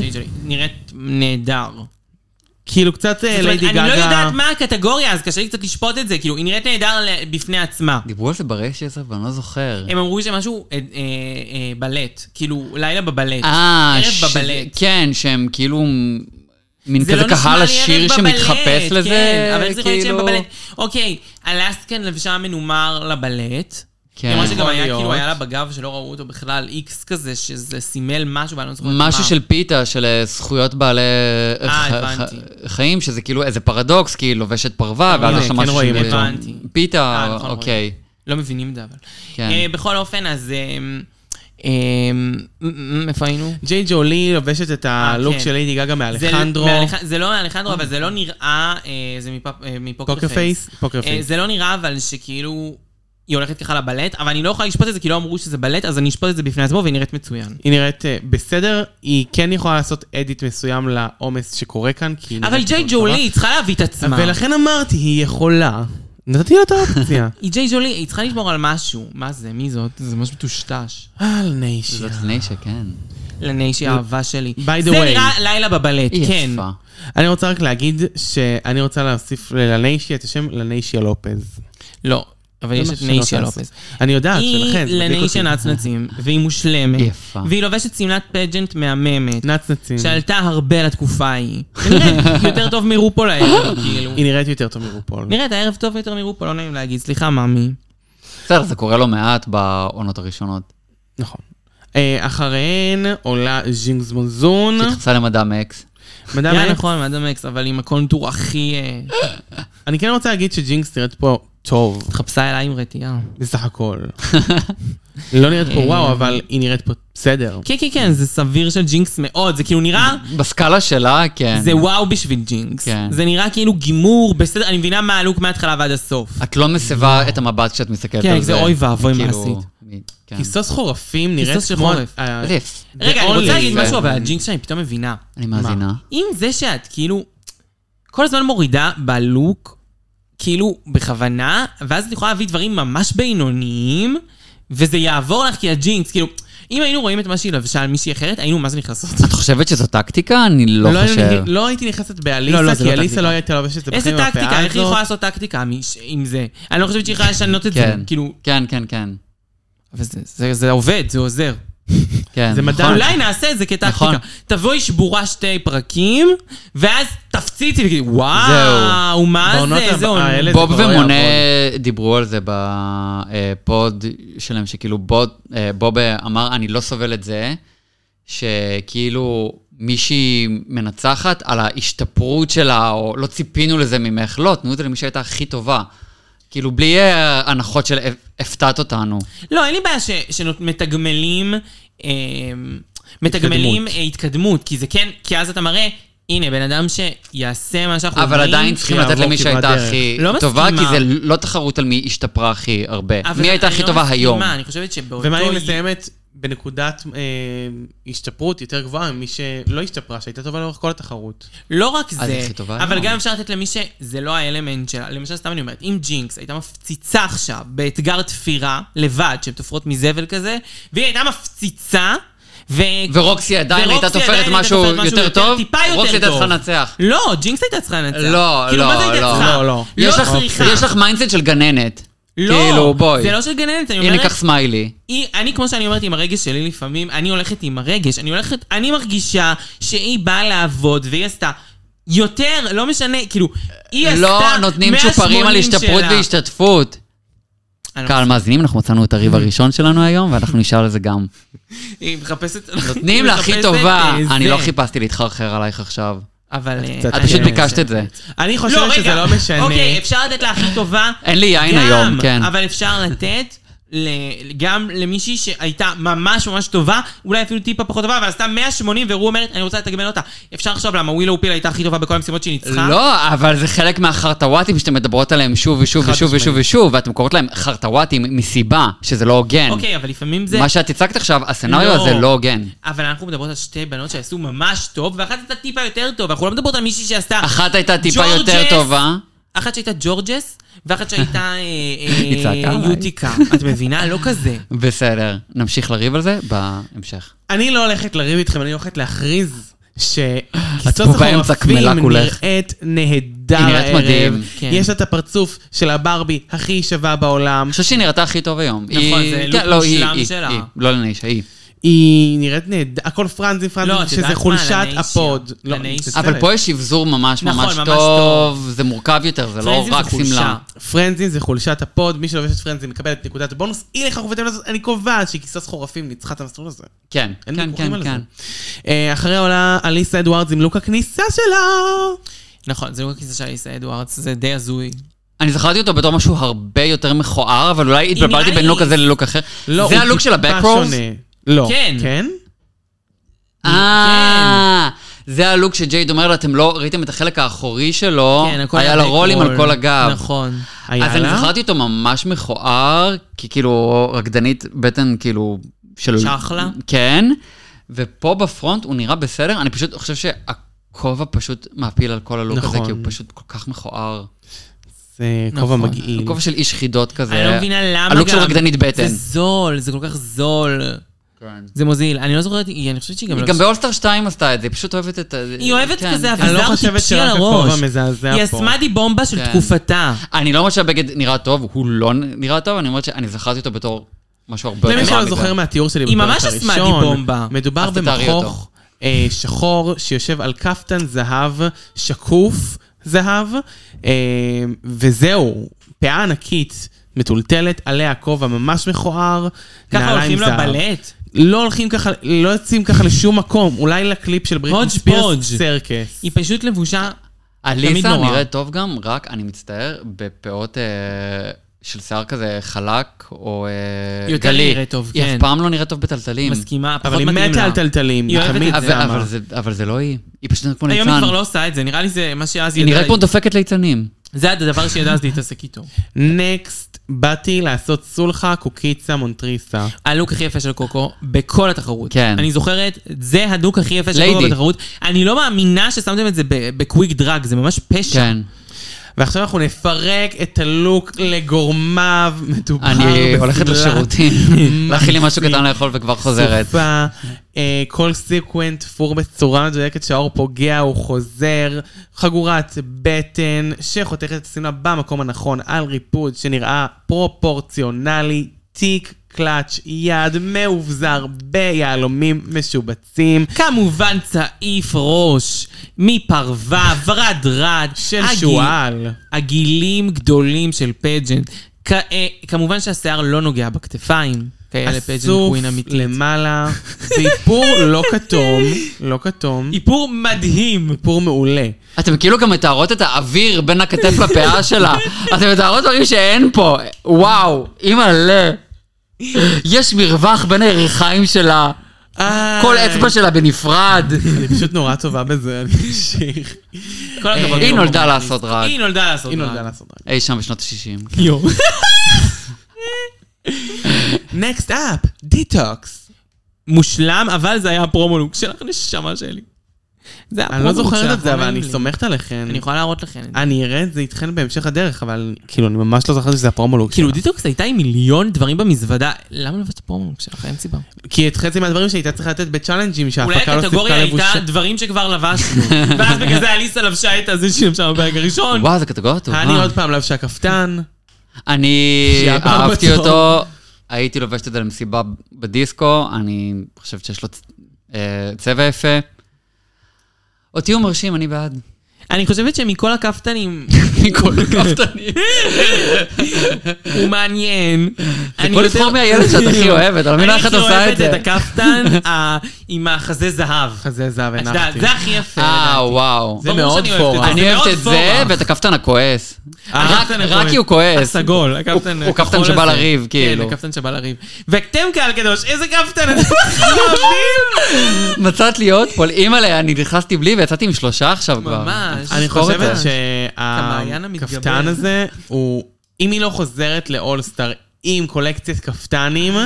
[SPEAKER 2] ג'יי ג'ולי, נראית נהדר.
[SPEAKER 3] כאילו קצת אה,
[SPEAKER 2] זאת אומרת,
[SPEAKER 3] ליידי גגה.
[SPEAKER 2] אני לא יודעת מה הקטגוריה, אז קשה לי קצת לשפוט את זה, כאילו, היא נראית נהדר ל- בפני עצמה.
[SPEAKER 4] דיברו על זה ברשת, אבל אני לא זוכר.
[SPEAKER 2] הם אמרו שמשהו אה, אה, אה, בלט, כאילו, לילה בבלט.
[SPEAKER 4] אה,
[SPEAKER 2] ערב
[SPEAKER 4] ש-
[SPEAKER 2] בבלט.
[SPEAKER 4] כן, שהם כאילו... מ- מין
[SPEAKER 2] זה
[SPEAKER 4] כזה
[SPEAKER 2] לא נשמע
[SPEAKER 4] קהל
[SPEAKER 2] לי
[SPEAKER 4] עשיר
[SPEAKER 2] ערב בבלט,
[SPEAKER 4] שמתחפש לזה,
[SPEAKER 2] כן, אבל איך זה יכול להיות שהם
[SPEAKER 4] כאילו-
[SPEAKER 2] בבלט? אוקיי, אלסקן לבשה מנומר לבלט. היא
[SPEAKER 4] כן.
[SPEAKER 2] אמרה שגם
[SPEAKER 3] יכול
[SPEAKER 2] היה,
[SPEAKER 3] להיות.
[SPEAKER 2] כאילו, היה לה בגב שלא ראו אותו בכלל, איקס כזה, שזה סימל משהו, ואני לא זוכרת מה.
[SPEAKER 4] משהו של פיתה, של אה, זכויות בעלי אה,
[SPEAKER 2] אה,
[SPEAKER 4] ח-
[SPEAKER 2] הבנתי.
[SPEAKER 4] ח- חיים, שזה כאילו איזה פרדוקס, כי היא לובשת פרווה, ואז
[SPEAKER 3] רואה,
[SPEAKER 4] יש לה
[SPEAKER 3] כן
[SPEAKER 4] משהו
[SPEAKER 3] רואים
[SPEAKER 4] של-
[SPEAKER 3] אותו.
[SPEAKER 2] הבנתי. אה,
[SPEAKER 4] פיתה,
[SPEAKER 2] נכון, רואים.
[SPEAKER 4] אוקיי.
[SPEAKER 2] לא מבינים את זה, אבל.
[SPEAKER 4] כן.
[SPEAKER 2] אה, בכל אופן, אז... אמ, אמ, אמ, איפה היינו?
[SPEAKER 3] ג'יי ג'ולי לובשת את הלוק
[SPEAKER 2] כן.
[SPEAKER 3] של ליידי גגה
[SPEAKER 2] זה-
[SPEAKER 3] מאלחנדרו.
[SPEAKER 2] מאלח- זה לא מאלחנדרו, אבל זה לא נראה... אה, זה מפופ- אה, מפוקר
[SPEAKER 3] פוקר
[SPEAKER 2] פייס.
[SPEAKER 3] פייס? פוקר
[SPEAKER 2] אה,
[SPEAKER 3] פייס.
[SPEAKER 2] זה לא נראה אבל שכאילו היא הולכת ככה לבלט, אבל אני לא יכולה לשפוט את זה כי לא אמרו שזה בלט, אז אני אשפוט את זה בפני עצמו והיא נראית מצוין.
[SPEAKER 3] היא נראית אה, בסדר, היא כן יכולה לעשות אדיט מסוים לעומס שקורה כאן, כי היא
[SPEAKER 2] אבל
[SPEAKER 3] נראית
[SPEAKER 2] ג'יי
[SPEAKER 3] מאוד טובה. אה,
[SPEAKER 2] ג'ולי היא צריכה להביא את עצמה.
[SPEAKER 3] ולכן אמרתי, היא יכולה. נתתי לו את האופציה.
[SPEAKER 2] היא ג'יי ג'ולי, היא צריכה לשמור על משהו. מה זה? מי זאת? זה ממש מטושטש.
[SPEAKER 3] אה, ניישיה.
[SPEAKER 4] זאת ניישה, כן.
[SPEAKER 2] לניישי האהבה שלי.
[SPEAKER 3] לא- By the
[SPEAKER 2] זה
[SPEAKER 3] way.
[SPEAKER 2] נראה לילה בבלט,
[SPEAKER 4] היא
[SPEAKER 2] כן.
[SPEAKER 4] יפה.
[SPEAKER 3] אני רוצה רק להגיד שאני רוצה להוסיף לניישיה את השם לניישיה לופז.
[SPEAKER 2] לא, אבל יש
[SPEAKER 3] זה מה
[SPEAKER 2] את
[SPEAKER 3] שאני רוצה
[SPEAKER 2] ניישיה
[SPEAKER 3] לעשות.
[SPEAKER 2] לופס.
[SPEAKER 3] אני יודעת,
[SPEAKER 2] היא
[SPEAKER 3] אה, שלכן, זה מדאיג
[SPEAKER 2] לניישיה
[SPEAKER 3] אותי.
[SPEAKER 2] נצנצים, והיא מושלמת.
[SPEAKER 4] היא יפה.
[SPEAKER 2] והיא לובשת שמלת פג'נט מהממת,
[SPEAKER 3] נצנצים.
[SPEAKER 2] שעלתה הרבה לתקופה ההיא. נראית יותר טוב מרופול הערב, כאילו.
[SPEAKER 3] היא נראית יותר טוב מרופול.
[SPEAKER 2] נראית הערב טוב יותר מרופול, לא נעים להגיד. סליחה, מאמי.
[SPEAKER 4] בסדר, זה קורה לא מעט בעונות הראשונות.
[SPEAKER 3] נכון. אה, אחריהן עולה ז'ינגס מונזון.
[SPEAKER 4] שהתייחסה למדאם אקס.
[SPEAKER 3] מדעם
[SPEAKER 2] היה
[SPEAKER 3] האקס.
[SPEAKER 2] נכון, מאדם אקס, אבל עם הקונטור הכי... אה,
[SPEAKER 3] אני כן רוצה להגיד שג'ינגס נראית פה טוב,
[SPEAKER 2] התחפשה אליי עם רתיעה.
[SPEAKER 3] בסך הכל. לא נראית
[SPEAKER 2] אה.
[SPEAKER 3] פה וואו, אבל היא נראית פה בסדר.
[SPEAKER 2] כן, כן, כן, זה סביר של ג'ינקס מאוד, זה כאילו נראה...
[SPEAKER 4] בסקאלה שלה, כן.
[SPEAKER 2] זה וואו בשביל ג'ינקס.
[SPEAKER 4] כן.
[SPEAKER 2] זה נראה כאילו גימור, בסדר, אני מבינה מה הלוק מההתחלה ועד הסוף.
[SPEAKER 4] את לא מסבה את המבט כשאת מסתכלת
[SPEAKER 2] כן,
[SPEAKER 4] על
[SPEAKER 2] זה
[SPEAKER 4] זה.
[SPEAKER 2] אוי ואבוי
[SPEAKER 4] כאילו,
[SPEAKER 2] מעשית.
[SPEAKER 4] מי- כן.
[SPEAKER 3] כיסוס חורפים נראית
[SPEAKER 2] כיסוס של
[SPEAKER 3] כמו...
[SPEAKER 2] חורף.
[SPEAKER 3] ה-
[SPEAKER 4] איזה יפה.
[SPEAKER 2] רגע, אני
[SPEAKER 3] זה
[SPEAKER 2] רוצה
[SPEAKER 3] only.
[SPEAKER 2] להגיד
[SPEAKER 4] זה-
[SPEAKER 2] משהו, אבל הג'ינקס שאני פתאום מבינה.
[SPEAKER 4] אני מאזינה.
[SPEAKER 2] אם זה שאת כאילו כל הזמן מורידה בלוק, כאילו בכוונה, ואז את יכולה להביא דברים ממש בינוניים, וזה יעבור לך כי הג'ינקס, כאילו, אם היינו רואים את מה שהיא לבשה על מישהי אחרת, היינו מה זה נכנסות.
[SPEAKER 4] את חושבת שזו טקטיקה? אני לא
[SPEAKER 3] לא
[SPEAKER 4] חושב.
[SPEAKER 3] הייתי- לא הייתי נכנסת
[SPEAKER 2] לא, לא,
[SPEAKER 3] באליסה,
[SPEAKER 2] זה
[SPEAKER 3] כי
[SPEAKER 2] לא
[SPEAKER 3] אליסה
[SPEAKER 2] טקטיקה.
[SPEAKER 3] לא הייתה לובשת את זה
[SPEAKER 2] איזה
[SPEAKER 3] בחיים עם
[SPEAKER 2] טקטיקה,
[SPEAKER 3] הפאה
[SPEAKER 2] איך היא
[SPEAKER 3] הזאת.
[SPEAKER 2] יכולה לעשות טקטיקה מש- עם זה? אני לא חושבת שהיא יכולה לשנות את זה,
[SPEAKER 4] כן.
[SPEAKER 2] כאילו,
[SPEAKER 4] כן, כן, כן.
[SPEAKER 2] אבל זה- זה- זה עובד, זה עוזר.
[SPEAKER 4] כן.
[SPEAKER 3] זה
[SPEAKER 4] נכון.
[SPEAKER 3] מדע.
[SPEAKER 2] אולי נעשה את זה כטקטיקה.
[SPEAKER 4] נכון.
[SPEAKER 2] תבואי שבורה שתי פרקים, ואז תפציצי ותגידי, וואו, מה
[SPEAKER 3] בעונות
[SPEAKER 2] זה, איזה
[SPEAKER 3] הבאה
[SPEAKER 2] עונה.
[SPEAKER 3] האלה זה
[SPEAKER 4] בוב
[SPEAKER 3] כבר לא
[SPEAKER 4] ומונה
[SPEAKER 3] יעבוד.
[SPEAKER 4] דיברו על זה בפוד שלהם, שכאילו בוב, אה, בוב אמר, אני לא סובל את זה, שכאילו מישהי מנצחת על ההשתפרות שלה, או לא ציפינו לזה ממך, לא, תנו את זה למי שהייתה הכי טובה. כאילו, בלי אה, הנחות של "הפ- הפתעת אותנו.
[SPEAKER 2] לא, אין לי בעיה ש- שמתגמלים, אה, מתגמלים אה, התקדמות, כי זה כן, כי אז אתה מראה, הנה, בן אדם שיעשה מה שאנחנו אומרים.
[SPEAKER 4] אבל עדיין צריכים לתת
[SPEAKER 3] יעבור
[SPEAKER 4] למי
[SPEAKER 3] כברת
[SPEAKER 4] שהייתה
[SPEAKER 3] דרך.
[SPEAKER 4] הכי
[SPEAKER 2] לא
[SPEAKER 4] טובה, כי
[SPEAKER 2] מסכימה.
[SPEAKER 4] זה לא תחרות על מי השתפרה הכי הרבה.
[SPEAKER 2] אבל
[SPEAKER 4] מי הייתה
[SPEAKER 2] אני
[SPEAKER 4] הכי
[SPEAKER 2] לא
[SPEAKER 4] טובה
[SPEAKER 2] מסכימה,
[SPEAKER 4] היום?
[SPEAKER 2] אני חושבת שבאותו...
[SPEAKER 3] ומה היא
[SPEAKER 2] יום-
[SPEAKER 3] מסיימת בנקודת אה, השתפרות יותר גבוהה ממי שלא השתפרה, שהייתה טובה לאורך כל התחרות.
[SPEAKER 2] לא רק זה,
[SPEAKER 4] היא הכי טובה
[SPEAKER 2] אבל
[SPEAKER 4] היום.
[SPEAKER 2] גם אפשר לתת למי שזה לא האלמנט שלה. למשל, סתם אני אומרת, אם ג'ינקס הייתה מפציצה עכשיו באתגר תפירה, לבד, שהן תופרות מזבל כזה, והיא הייתה מפציצה, ו...
[SPEAKER 4] ורוקסי עדיין
[SPEAKER 2] ורוקסי
[SPEAKER 4] הייתה תופרת
[SPEAKER 2] עדיין
[SPEAKER 4] משהו
[SPEAKER 2] הייתה תופרת
[SPEAKER 4] יותר טוב,
[SPEAKER 2] טיפה יותר
[SPEAKER 4] רוקסי הייתה
[SPEAKER 2] טוב.
[SPEAKER 4] צריכה לנצח.
[SPEAKER 2] לא, ג'ינקס הייתה צריכה לנצח.
[SPEAKER 4] לא,
[SPEAKER 2] כאילו, מה זה
[SPEAKER 4] לא,
[SPEAKER 2] הייתה
[SPEAKER 4] לא.
[SPEAKER 2] צריכה?
[SPEAKER 3] לא, לא.
[SPEAKER 2] לא
[SPEAKER 4] יש לך-
[SPEAKER 2] צריכה.
[SPEAKER 4] יש לך מיינדסט של גננת.
[SPEAKER 2] לא,
[SPEAKER 4] כאילו, בואי.
[SPEAKER 2] זה לא של גננת, אני
[SPEAKER 4] הנה,
[SPEAKER 2] אומרת...
[SPEAKER 4] ניקח סמיילי.
[SPEAKER 2] היא, אני, כמו שאני אומרת עם הרגש שלי לפעמים, אני הולכת עם הרגש. אני הולכת, אני מרגישה שהיא באה לעבוד והיא עשתה יותר, לא משנה, כאילו, היא עשתה 180
[SPEAKER 4] לא נותנים צ'ופרים על השתפרות
[SPEAKER 2] שלה.
[SPEAKER 4] והשתתפות.
[SPEAKER 2] אני לא-
[SPEAKER 4] קהל מאזינים, אנחנו מצאנו את הריב הראשון שלנו היום, ואנחנו נשאר על זה גם.
[SPEAKER 2] היא מחפשת...
[SPEAKER 4] נותנים
[SPEAKER 2] היא
[SPEAKER 4] לה הכי
[SPEAKER 2] מחפשת,
[SPEAKER 4] טובה.
[SPEAKER 2] אה,
[SPEAKER 4] אני
[SPEAKER 2] זה.
[SPEAKER 4] לא חיפשתי להתחרחר עלייך עכשיו.
[SPEAKER 2] אבל... אה,
[SPEAKER 3] קצת
[SPEAKER 2] אני
[SPEAKER 4] את פשוט
[SPEAKER 3] כן,
[SPEAKER 2] חושבת-
[SPEAKER 4] ביקשת את זה.
[SPEAKER 3] אני
[SPEAKER 2] לא,
[SPEAKER 3] חושבת שזה
[SPEAKER 2] רגע,
[SPEAKER 3] לא משנה.
[SPEAKER 2] אוקיי, אפשר לתת לה הכי טובה.
[SPEAKER 4] אין לי יין
[SPEAKER 2] גם,
[SPEAKER 4] היום, כן.
[SPEAKER 2] אבל אפשר לתת ל- גם למישהי שהייתה ממש ממש טובה, אולי אפילו טיפה פחות טובה, אבל עשתה 180 והוא אומרת, אני רוצה לתגמל אותה. אפשר לחשוב למה ווילו פיל הייתה הכי טובה בכל המשימות שהיא ניצחה?
[SPEAKER 4] לא, אבל זה חלק מהחרטוואטים שאתם מדברות עליהם שוב ושוב
[SPEAKER 3] חד
[SPEAKER 4] ושוב ושוב
[SPEAKER 3] משמעית.
[SPEAKER 4] ושוב, ואתם קוראות להם חרטוואטים מסיבה שזה לא הוגן.
[SPEAKER 2] אוקיי, אבל לפעמים זה...
[SPEAKER 4] מה שאת הצגת עכשיו, הסצנריו
[SPEAKER 2] לא.
[SPEAKER 4] הזה לא הוגן.
[SPEAKER 2] אבל אנחנו מדברות על שתי בנות שעשו ממש טוב, ואחת הייתה טיפה יותר טוב, אנחנו לא מדברות על מישהי שעשתה...
[SPEAKER 4] אחת הייתה טיפה
[SPEAKER 2] ג'ורג'ס.
[SPEAKER 4] יותר טובה.
[SPEAKER 2] אחת שהייתה ג'ורג'ס, ואחת שהייתה אה, אה,
[SPEAKER 4] היא צעקה עליי.
[SPEAKER 2] יוטיקה. את מבינה? לא כזה.
[SPEAKER 4] בסדר, נמשיך לריב על זה בהמשך.
[SPEAKER 3] אני לא הולכת לריב איתכם, אני הולכת להכריז
[SPEAKER 4] פה
[SPEAKER 3] שכיסוס
[SPEAKER 4] באמצע, קמלה
[SPEAKER 3] החורפים
[SPEAKER 4] כולך.
[SPEAKER 3] נראית נהדר
[SPEAKER 4] היא נראית מדהים,
[SPEAKER 3] הערב.
[SPEAKER 2] כן.
[SPEAKER 3] יש לה את הפרצוף של הברבי הכי שווה בעולם.
[SPEAKER 4] אני חושב שהיא נראתה הכי טוב היום. נכון,
[SPEAKER 2] זה לוק
[SPEAKER 4] לא, היא-
[SPEAKER 2] מושלם
[SPEAKER 4] היא-
[SPEAKER 2] שלה.
[SPEAKER 4] היא, לא לנישה, היא.
[SPEAKER 3] היא נראה נהדר, הכל פרנזי
[SPEAKER 2] לא, את
[SPEAKER 3] פרנזי,
[SPEAKER 2] יודעת
[SPEAKER 3] שזה
[SPEAKER 2] מה?
[SPEAKER 3] חולשת
[SPEAKER 2] לניישיה.
[SPEAKER 3] הפוד. לא,
[SPEAKER 2] לניישיה.
[SPEAKER 3] זה
[SPEAKER 4] אבל
[SPEAKER 3] סרט.
[SPEAKER 4] פה יש אבזור ממש
[SPEAKER 2] נכון,
[SPEAKER 4] ממש
[SPEAKER 2] ממש
[SPEAKER 4] טוב, זה מורכב יותר, זה לא
[SPEAKER 2] פרנזי זה
[SPEAKER 4] רק
[SPEAKER 2] חולשה.
[SPEAKER 4] שמלה.
[SPEAKER 3] פרנזין זה חולשת הפוד, מי שלובש את פרנזין מקבל את נקודת הבונוס. הנה איך אנחנו הזאת, אני קובעת שכיסוס חורפים ניצחה את המסלול הזה.
[SPEAKER 4] כן,
[SPEAKER 3] אין
[SPEAKER 4] כן,
[SPEAKER 3] ויכוחים
[SPEAKER 4] כן,
[SPEAKER 3] על
[SPEAKER 4] כן.
[SPEAKER 3] זה. אה, אחריה עולה אליסה אדוארדס עם לוק הכניסה שלה.
[SPEAKER 2] נכון, זה לא הכיסא של אליסה אדוארדס, זה די הזוי.
[SPEAKER 4] אני זכרתי אותו בתור משהו הרבה יותר מכוער, אבל אולי
[SPEAKER 2] נראה
[SPEAKER 4] התבלבלתי
[SPEAKER 2] לי-
[SPEAKER 4] בין לוק כזה ללוק אחר.
[SPEAKER 3] לא,
[SPEAKER 4] זה
[SPEAKER 3] הוא
[SPEAKER 4] הלוק של
[SPEAKER 3] טיפה
[SPEAKER 4] ה-Backrows?
[SPEAKER 3] שונה. לא.
[SPEAKER 2] כן.
[SPEAKER 3] כן?
[SPEAKER 4] אה, זה הלוק שג'ייד אומר לה, אתם לא ראיתם את החלק האחורי שלו,
[SPEAKER 2] כן, הכל
[SPEAKER 4] לא, היה לה
[SPEAKER 2] בק
[SPEAKER 4] רולים
[SPEAKER 2] רול.
[SPEAKER 4] על כל הגב.
[SPEAKER 2] נכון.
[SPEAKER 3] היה
[SPEAKER 4] אז אני
[SPEAKER 3] לה?
[SPEAKER 4] זכרתי אותו ממש מכוער, כי כאילו רקדנית בטן כאילו של...
[SPEAKER 2] שחלה?
[SPEAKER 4] כן. ופה בפרונט הוא נראה בסדר, אני פשוט חושב שהכובע פשוט מעפיל על כל הלוק הזה,
[SPEAKER 3] נכון.
[SPEAKER 4] כי הוא פשוט כל כך מכוער.
[SPEAKER 3] זה אה, כובע
[SPEAKER 2] נכון.
[SPEAKER 3] מגעיל.
[SPEAKER 4] כובע של איש חידות כזה.
[SPEAKER 2] אני לא מבינה למה גם.
[SPEAKER 4] אה, הלוק של רקדנית בטן.
[SPEAKER 2] זה זול, זה כל כך זול.
[SPEAKER 4] כן.
[SPEAKER 2] זה מוזיל. אני לא זוכרת, היא- אני חושבת שהיא גם...
[SPEAKER 4] היא
[SPEAKER 2] לא-
[SPEAKER 4] גם באולסטר 2 עשתה את זה, היא פשוט אוהבת את ה...
[SPEAKER 2] היא אוהבת
[SPEAKER 4] כן,
[SPEAKER 2] כזה
[SPEAKER 4] כן.
[SPEAKER 3] אני לא
[SPEAKER 2] אביזר
[SPEAKER 3] חושבת
[SPEAKER 2] טיפשי על
[SPEAKER 3] שרק הכובע
[SPEAKER 2] הראש.
[SPEAKER 3] מזעזע
[SPEAKER 2] היא
[SPEAKER 3] פה.
[SPEAKER 2] אסמדי בומבה של
[SPEAKER 4] כן.
[SPEAKER 2] תקופתה.
[SPEAKER 4] אני לא אומרת שהבגד נראה טוב, הוא לא נראה טוב, אני אומרת שאני זכרתי אותו בתור משהו הרבה יותר
[SPEAKER 3] למי
[SPEAKER 4] רע
[SPEAKER 3] שלא
[SPEAKER 4] מזה.
[SPEAKER 3] לא זוכר מהתיאור שלי
[SPEAKER 2] היא
[SPEAKER 3] בפרק
[SPEAKER 2] ממש עשמה
[SPEAKER 3] הראשון,
[SPEAKER 2] דיבומבה.
[SPEAKER 3] מדובר
[SPEAKER 4] אז תתארי
[SPEAKER 3] במכוך אה, שחור שיושב על כפתן זהב, שקוף זהב, אה, וזהו, פאה ענקית. מטולטלת, עליה כובע ממש מכוער,
[SPEAKER 2] ככה הולכים
[SPEAKER 3] נעליים זהב.
[SPEAKER 2] לבלט.
[SPEAKER 3] לא הולכים ככה, לא יוצאים ככה לשום מקום, אולי לקליפ של בריטני
[SPEAKER 2] הודג' פודג'.
[SPEAKER 3] ספירס סרקס.
[SPEAKER 2] היא פשוט לבושה... תמיד
[SPEAKER 4] אליסה
[SPEAKER 2] נורא.
[SPEAKER 4] נראית טוב גם, רק, אני מצטער, בפאות אה, של שיער כזה חלק או אה,
[SPEAKER 2] יותר
[SPEAKER 4] גלי.
[SPEAKER 2] נראית טוב,
[SPEAKER 4] היא
[SPEAKER 2] כן.
[SPEAKER 4] אף פעם לא נראית טוב בטלטלים.
[SPEAKER 2] מסכימה,
[SPEAKER 3] אבל
[SPEAKER 2] פחות
[SPEAKER 3] היא
[SPEAKER 2] מתאים
[SPEAKER 3] מתה
[SPEAKER 2] לה.
[SPEAKER 3] על טלטלים,
[SPEAKER 2] היא אוהבת
[SPEAKER 3] תמיד
[SPEAKER 2] את
[SPEAKER 4] אבל-
[SPEAKER 3] זה
[SPEAKER 4] אבל
[SPEAKER 3] אמר.
[SPEAKER 4] זה- אבל זה לא היא. היא פשוט נראית כמו ליצן.
[SPEAKER 2] היום היא כבר לא עושה את זה, נראה לי זה מה שאז
[SPEAKER 4] היא
[SPEAKER 2] ידעה-
[SPEAKER 4] נראית כמו דופקת ליצנים.
[SPEAKER 2] זה הדבר שהיא ידעה אז להתעסק איתו.
[SPEAKER 3] נקסט, באתי לעשות סולחה, קוקיצה, מונטריסה.
[SPEAKER 2] הלוק הכי יפה של קוקו בכל התחרות.
[SPEAKER 4] כן.
[SPEAKER 2] אני זוכרת, זה הדוק הכי יפה של
[SPEAKER 4] ליידי.
[SPEAKER 2] קוקו בתחרות. אני לא מאמינה ששמתם את זה ב- בקוויק דרג, זה ממש פשע.
[SPEAKER 4] כן.
[SPEAKER 3] ועכשיו אנחנו נפרק את הלוק לגורמיו, מדובר
[SPEAKER 4] אני הולכת לשירותים, להכין לי משהו קטן לאכול וכבר חוזרת.
[SPEAKER 3] סופה, אה, כל סיקוונט תפור בצורה מדויקת שהאור פוגע, הוא חוזר, חגורת בטן שחותכת את הסמלה במקום הנכון על ריפוד שנראה פרופורציונלי, תיק, קלאץ', יד מאובזר ביהלומים משובצים.
[SPEAKER 2] כמובן צעיף ראש, מפרווה, ורד רד.
[SPEAKER 3] של
[SPEAKER 2] הגיל-
[SPEAKER 3] שועל.
[SPEAKER 2] עגילים גדולים של פג'נט. כ- אה, כמובן שהשיער לא נוגע בכתפיים. כאלה פג'נט
[SPEAKER 3] אסוף
[SPEAKER 2] קווין אמיתית.
[SPEAKER 3] למעלה, זה איפור לא כתום, לא כתום,
[SPEAKER 2] איפור מדהים.
[SPEAKER 3] איפור מעולה.
[SPEAKER 4] אתם כאילו גם מתארות את האוויר בין הכתף לפאה שלה. אתם מתארות דברים שאין פה. וואו, אימא'לה. יש מרווח בין הירכיים שלה, כל
[SPEAKER 2] אה.
[SPEAKER 4] אצבע שלה בנפרד.
[SPEAKER 3] אה, אני פשוט נורא טובה בזה, אני אמשיך.
[SPEAKER 2] כל הכבוד.
[SPEAKER 4] אה,
[SPEAKER 3] אה,
[SPEAKER 4] היא
[SPEAKER 2] קוקו.
[SPEAKER 4] נולדה לעשות רעד.
[SPEAKER 2] היא נולדה לעשות
[SPEAKER 3] היא נולדה
[SPEAKER 2] רעד.
[SPEAKER 3] לעשות רק.
[SPEAKER 4] אי שם בשנות ה-60.
[SPEAKER 2] יואו.
[SPEAKER 3] Next up, דיטוקס.
[SPEAKER 2] מושלם, אבל זה היה הפרומולוג שלך, נשמה שלי. זה
[SPEAKER 3] אני לא
[SPEAKER 2] הפרומולוג
[SPEAKER 3] זוכרת
[SPEAKER 2] שלך,
[SPEAKER 3] את זה, אבל
[SPEAKER 2] אומרים
[SPEAKER 3] אני
[SPEAKER 2] לי.
[SPEAKER 3] סומכת עליכן.
[SPEAKER 2] אוקיי. אני יכולה להראות לכם את זה.
[SPEAKER 3] אני אראה את זה איתכן בהמשך הדרך, אבל כאילו, אני ממש לא זוכרת שזה הפרומולוג
[SPEAKER 2] כאילו,
[SPEAKER 3] שלך.
[SPEAKER 2] דיטוקס הייתה עם מיליון דברים במזוודה, למה לא לבצע פרומולוג שלך? אין סיבה.
[SPEAKER 3] כי את חצי מהדברים שהייתה צריכה לתת בצ'אלנג'ים,
[SPEAKER 2] אולי
[SPEAKER 3] שההפקה לא
[SPEAKER 2] הקטגוריה
[SPEAKER 3] סיפקה
[SPEAKER 2] הייתה
[SPEAKER 3] לבושה.
[SPEAKER 2] דברים שכבר לבשנו, ואז בגלל זה אליסה לבשה את הזה שהיא לבשה בפרק הראשון.
[SPEAKER 4] וואו, זו קטגוריה
[SPEAKER 3] אני
[SPEAKER 4] טובה.
[SPEAKER 3] עוד פעם לבשה קפטן.
[SPEAKER 4] אני
[SPEAKER 3] שהיא הבאה
[SPEAKER 4] אהבתי
[SPEAKER 3] בתור.
[SPEAKER 4] אותו, הייתי לובשת את זה למסיבה בדיסקו, אני חושבת שיש לו צ- אה, צבע יפה. אותי הוא מרשים, אני בעד.
[SPEAKER 2] אני חושבת שמכל הכפתנים
[SPEAKER 4] מכל הכפתנים.
[SPEAKER 2] הוא מעניין. אני
[SPEAKER 4] יכול
[SPEAKER 2] יותר-
[SPEAKER 4] לבחור מהילד שאת הכי אוהבת, על מילה
[SPEAKER 2] אני
[SPEAKER 4] אחת
[SPEAKER 2] הכי
[SPEAKER 4] עושה
[SPEAKER 2] אוהבת
[SPEAKER 4] את זה.
[SPEAKER 2] את הכפתן ה- עם החזה זהב.
[SPEAKER 3] חזה זהב
[SPEAKER 2] את יודעת,
[SPEAKER 3] הנחתי.
[SPEAKER 2] זה הכי יפה.
[SPEAKER 4] אה,
[SPEAKER 2] לדעתי.
[SPEAKER 4] וואו.
[SPEAKER 3] זה
[SPEAKER 2] ברור
[SPEAKER 3] מאוד
[SPEAKER 2] שאני אוהבת את
[SPEAKER 3] פורה.
[SPEAKER 2] זה,
[SPEAKER 4] אני
[SPEAKER 2] זה
[SPEAKER 4] אוהבת
[SPEAKER 2] מאוד
[SPEAKER 4] את זה
[SPEAKER 2] פורה.
[SPEAKER 4] ואת הכפתן הכועס. רק
[SPEAKER 2] הכפתן
[SPEAKER 4] רק
[SPEAKER 2] הכועס.
[SPEAKER 4] כי הוא כועס.
[SPEAKER 2] הסגול, הקפטן
[SPEAKER 4] הוא- הוא כפתן
[SPEAKER 2] הכחול
[SPEAKER 4] שבא
[SPEAKER 2] הזה.
[SPEAKER 4] לריב, כאילו.
[SPEAKER 2] כן, הקפטן שבא לריב. ואתם קהל קדוש, איזה קפטן, אתם חייבים!
[SPEAKER 4] מצאת לי עוד פה, אימא'לה, אני נכנסתי בלי ויצאתי עם שלושה עכשיו כבר.
[SPEAKER 2] ממש.
[SPEAKER 3] אני
[SPEAKER 4] תזכור את
[SPEAKER 3] חושבת
[SPEAKER 4] זה.
[SPEAKER 2] כמעיין המתגבר.
[SPEAKER 3] שהכפתן הזה, הוא, אם היא לא חוזרת לאולסטאר עם קולקציית כפתנים,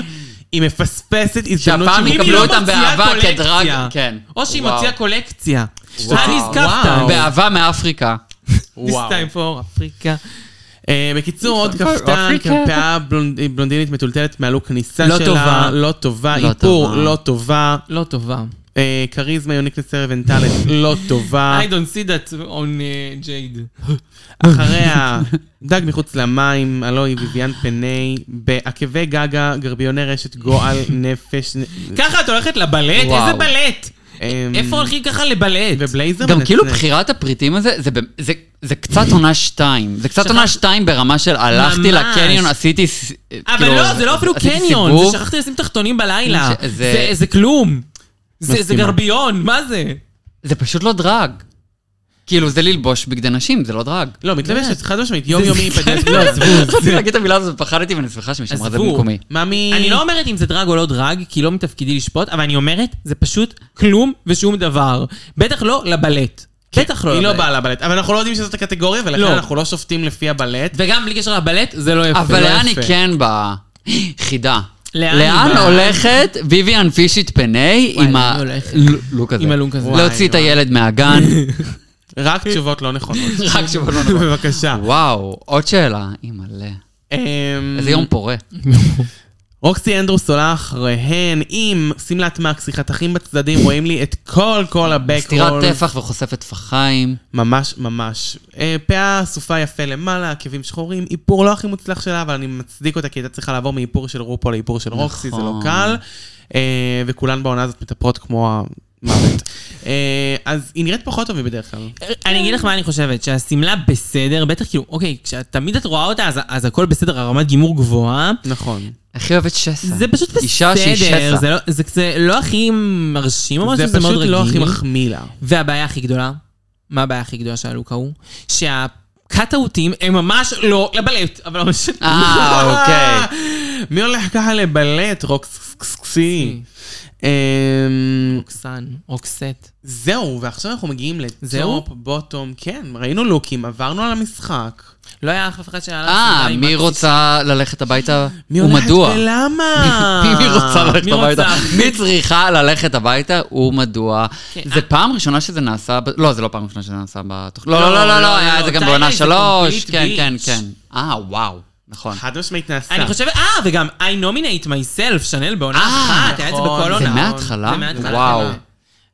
[SPEAKER 3] היא מפספסת הזדמנות
[SPEAKER 4] שהפעם
[SPEAKER 3] שהיא-
[SPEAKER 2] אם היא
[SPEAKER 4] יקבלו
[SPEAKER 2] לא
[SPEAKER 4] אותם
[SPEAKER 2] מוציאה
[SPEAKER 4] באהבה
[SPEAKER 2] קולקציה.
[SPEAKER 4] כדרג, כן.
[SPEAKER 2] או שהיא
[SPEAKER 4] וואו.
[SPEAKER 2] מוציאה קולקציה.
[SPEAKER 4] וואו.
[SPEAKER 2] אני
[SPEAKER 3] וואו.
[SPEAKER 2] הזכרת.
[SPEAKER 4] באהבה מאפריקה.
[SPEAKER 2] This
[SPEAKER 3] וואו.
[SPEAKER 2] time for אפריקה.
[SPEAKER 3] אה, בקיצור, עוד כפתן, כפאה בלונד- בלונדינית מטולטלת מעלו כניסה
[SPEAKER 2] לא
[SPEAKER 3] שלה.
[SPEAKER 2] טובה.
[SPEAKER 3] לא טובה.
[SPEAKER 4] לא
[SPEAKER 3] איפור,
[SPEAKER 4] טובה.
[SPEAKER 3] לא טובה.
[SPEAKER 2] לא טובה.
[SPEAKER 3] אה, כריזמה, יוניק לסרוונטלת, לא טובה.
[SPEAKER 2] I don't see that on uh, Jade.
[SPEAKER 3] אחריה, דג מחוץ למים, הלוא היא ויויאן פני, בעקבי גגה, גרביוני רשת גועל נפש.
[SPEAKER 2] ככה את הולכת לבלט?
[SPEAKER 4] וואו.
[SPEAKER 2] איזה בלט?
[SPEAKER 3] אמ,
[SPEAKER 2] אה, איפה הולכים ככה לבלט?
[SPEAKER 3] ובלייזר
[SPEAKER 4] גם כאילו
[SPEAKER 3] מנצנץ.
[SPEAKER 4] בחירת הפריטים הזה, זה במ- זה- זה קצת עונה שתיים. זה קצת
[SPEAKER 2] שכח-
[SPEAKER 4] עונה שתיים ברמה של הלכתי
[SPEAKER 2] ממש.
[SPEAKER 4] לקניון, עשיתי... ס-
[SPEAKER 2] אבל
[SPEAKER 4] כאילו,
[SPEAKER 2] לא, זה לא אפילו
[SPEAKER 4] עשיתי
[SPEAKER 2] קניון,
[SPEAKER 4] סיבוב.
[SPEAKER 2] זה שכחתי לשים תחתונים בלילה.
[SPEAKER 4] זה-
[SPEAKER 2] זה- זה כלום. זה זה
[SPEAKER 3] מסכימה.
[SPEAKER 2] גרביון, מה זה?
[SPEAKER 4] זה פשוט לא דרג. כאילו, זה ללבוש בגדי נשים, זה לא דרג.
[SPEAKER 3] לא, מתלבשת,
[SPEAKER 2] אה.
[SPEAKER 3] חד משמעית, יום יומי, פגש, לא, עזבו.
[SPEAKER 4] רציתי להגיד את המילה הזאת ופחדתי ואני שמחה שמישהו אמר את זה
[SPEAKER 2] עזבו.
[SPEAKER 4] במקומי.
[SPEAKER 3] ממי...
[SPEAKER 2] אני לא אומרת אם זה דרג או לא דרג, כי לא מתפקידי לשפוט, אבל אני אומרת, זה פשוט כלום ושום דבר. בטח לא לבלט. בטח לא
[SPEAKER 3] היא לא
[SPEAKER 2] לבלט.
[SPEAKER 3] באה לבלט, אבל אנחנו לא יודעים שזאת הקטגוריה, ולכן
[SPEAKER 2] לא.
[SPEAKER 3] אנחנו לא שופטים לפי הבלט.
[SPEAKER 2] וגם בלי קשר לבלט, זה לא יפה.
[SPEAKER 4] אבל
[SPEAKER 2] לא
[SPEAKER 4] לאן
[SPEAKER 2] יפה.
[SPEAKER 4] היא כן באה? חידה.
[SPEAKER 2] לאן
[SPEAKER 4] לאן
[SPEAKER 2] היא באה?
[SPEAKER 4] הולכת ויויאן פישיט פני
[SPEAKER 2] וואי,
[SPEAKER 4] עם
[SPEAKER 2] לאן היא הולכת?
[SPEAKER 4] הלוק הזה?
[SPEAKER 2] עם הלוק הזה.
[SPEAKER 4] להוציא את
[SPEAKER 3] וואי,
[SPEAKER 4] הילד מהגן.
[SPEAKER 3] רק תשובות לא נכונות.
[SPEAKER 4] רק תשובות לא נכונות.
[SPEAKER 3] בבקשה.
[SPEAKER 4] וואו, עוד שאלה. אימא'לה.
[SPEAKER 3] אמ,
[SPEAKER 4] איזה יום פורה.
[SPEAKER 2] Mm.
[SPEAKER 3] רוקסי אנדרוס עולה אחריהן עם שמלת מקסי, חתכים בצדדים, רואים לי את כל כל
[SPEAKER 4] סטירת
[SPEAKER 3] הבקרול.
[SPEAKER 4] טפח וחושפת טפחיים.
[SPEAKER 3] ממש ממש. אה, פאה אסופה יפה למעלה, עקבים שחורים, איפור לא הכי מוצלח שלה, אבל אני מצדיק אותה כי הייתה צריכה לעבור מאיפור של רופו לאיפור של רוקסי, זה לא
[SPEAKER 4] נכון.
[SPEAKER 3] קל. אה, וכולן בעונה הזאת מתאפרות כמו המוות. אה, אז היא נראית פחות טוב מבדרך כלל.
[SPEAKER 2] אני אגיד לך מה אני חושבת, שהשמלה בסדר, בטח כאילו, אוקיי, כשתמיד את רואה אותה, אז, אז הכל בסדר, הרמת גימור גבוהה.
[SPEAKER 3] נכון.
[SPEAKER 4] הכי אוהבת שסע.
[SPEAKER 2] זה פשוט
[SPEAKER 4] אישה שהיא
[SPEAKER 2] בסדר,
[SPEAKER 4] שסע.
[SPEAKER 2] זה לא, זה, זה לא הכי מרשים או משהו,
[SPEAKER 3] זה
[SPEAKER 2] זה מאוד
[SPEAKER 3] פשוט
[SPEAKER 2] רגיל.
[SPEAKER 3] לא הכי מחמיא לה.
[SPEAKER 2] והבעיה הכי גדולה, מה הבעיה הכי גדולה של הלוק ההוא? שהקאטאוטים הם ממש לא לבלט, אבל לא משנה.
[SPEAKER 4] אה, אוקיי.
[SPEAKER 3] מי הולך ככה לבלט, רוקסי? אמ,
[SPEAKER 2] רוקסן, רוקסט.
[SPEAKER 3] זהו, ועכשיו אנחנו מגיעים
[SPEAKER 2] זהו?
[SPEAKER 3] לטופ, בוטום, כן, ראינו לוקים, עברנו על המשחק.
[SPEAKER 2] לא היה אף אחד שהיה לה שמלה
[SPEAKER 4] אה,
[SPEAKER 2] עם
[SPEAKER 4] מי
[SPEAKER 2] בת-
[SPEAKER 4] רוצה ללכת הביתה
[SPEAKER 3] מי הולכת
[SPEAKER 4] ומדוע?
[SPEAKER 3] ולמה?
[SPEAKER 4] מי רוצה ללכת
[SPEAKER 2] מי
[SPEAKER 4] הביתה?
[SPEAKER 2] רוצה?
[SPEAKER 4] מי צריכה ללכת הביתה ומדוע?
[SPEAKER 2] כן,
[SPEAKER 4] זה פעם ראשונה שזה נעשה, ב- לא, זה לא פעם ראשונה שזה נעשה בתוכנית. לא, לא, לא, לא, לא, היה את זה גם
[SPEAKER 2] טיילר
[SPEAKER 4] בעונה
[SPEAKER 2] זה
[SPEAKER 4] שלוש.
[SPEAKER 2] complete
[SPEAKER 4] כן,
[SPEAKER 2] bitch.
[SPEAKER 4] כן, כן. אה, וואו, נכון.
[SPEAKER 3] חד משמעית נעשה.
[SPEAKER 2] אני חושבת, אה, וגם I nominate myself, שנל בעונה
[SPEAKER 4] אה,
[SPEAKER 2] אחת, היה את זה
[SPEAKER 3] נכון.
[SPEAKER 2] בכל
[SPEAKER 3] לא
[SPEAKER 4] זה
[SPEAKER 2] עונה.
[SPEAKER 4] מההתחלה?
[SPEAKER 2] זה מההתחלה. כן.
[SPEAKER 4] וואו.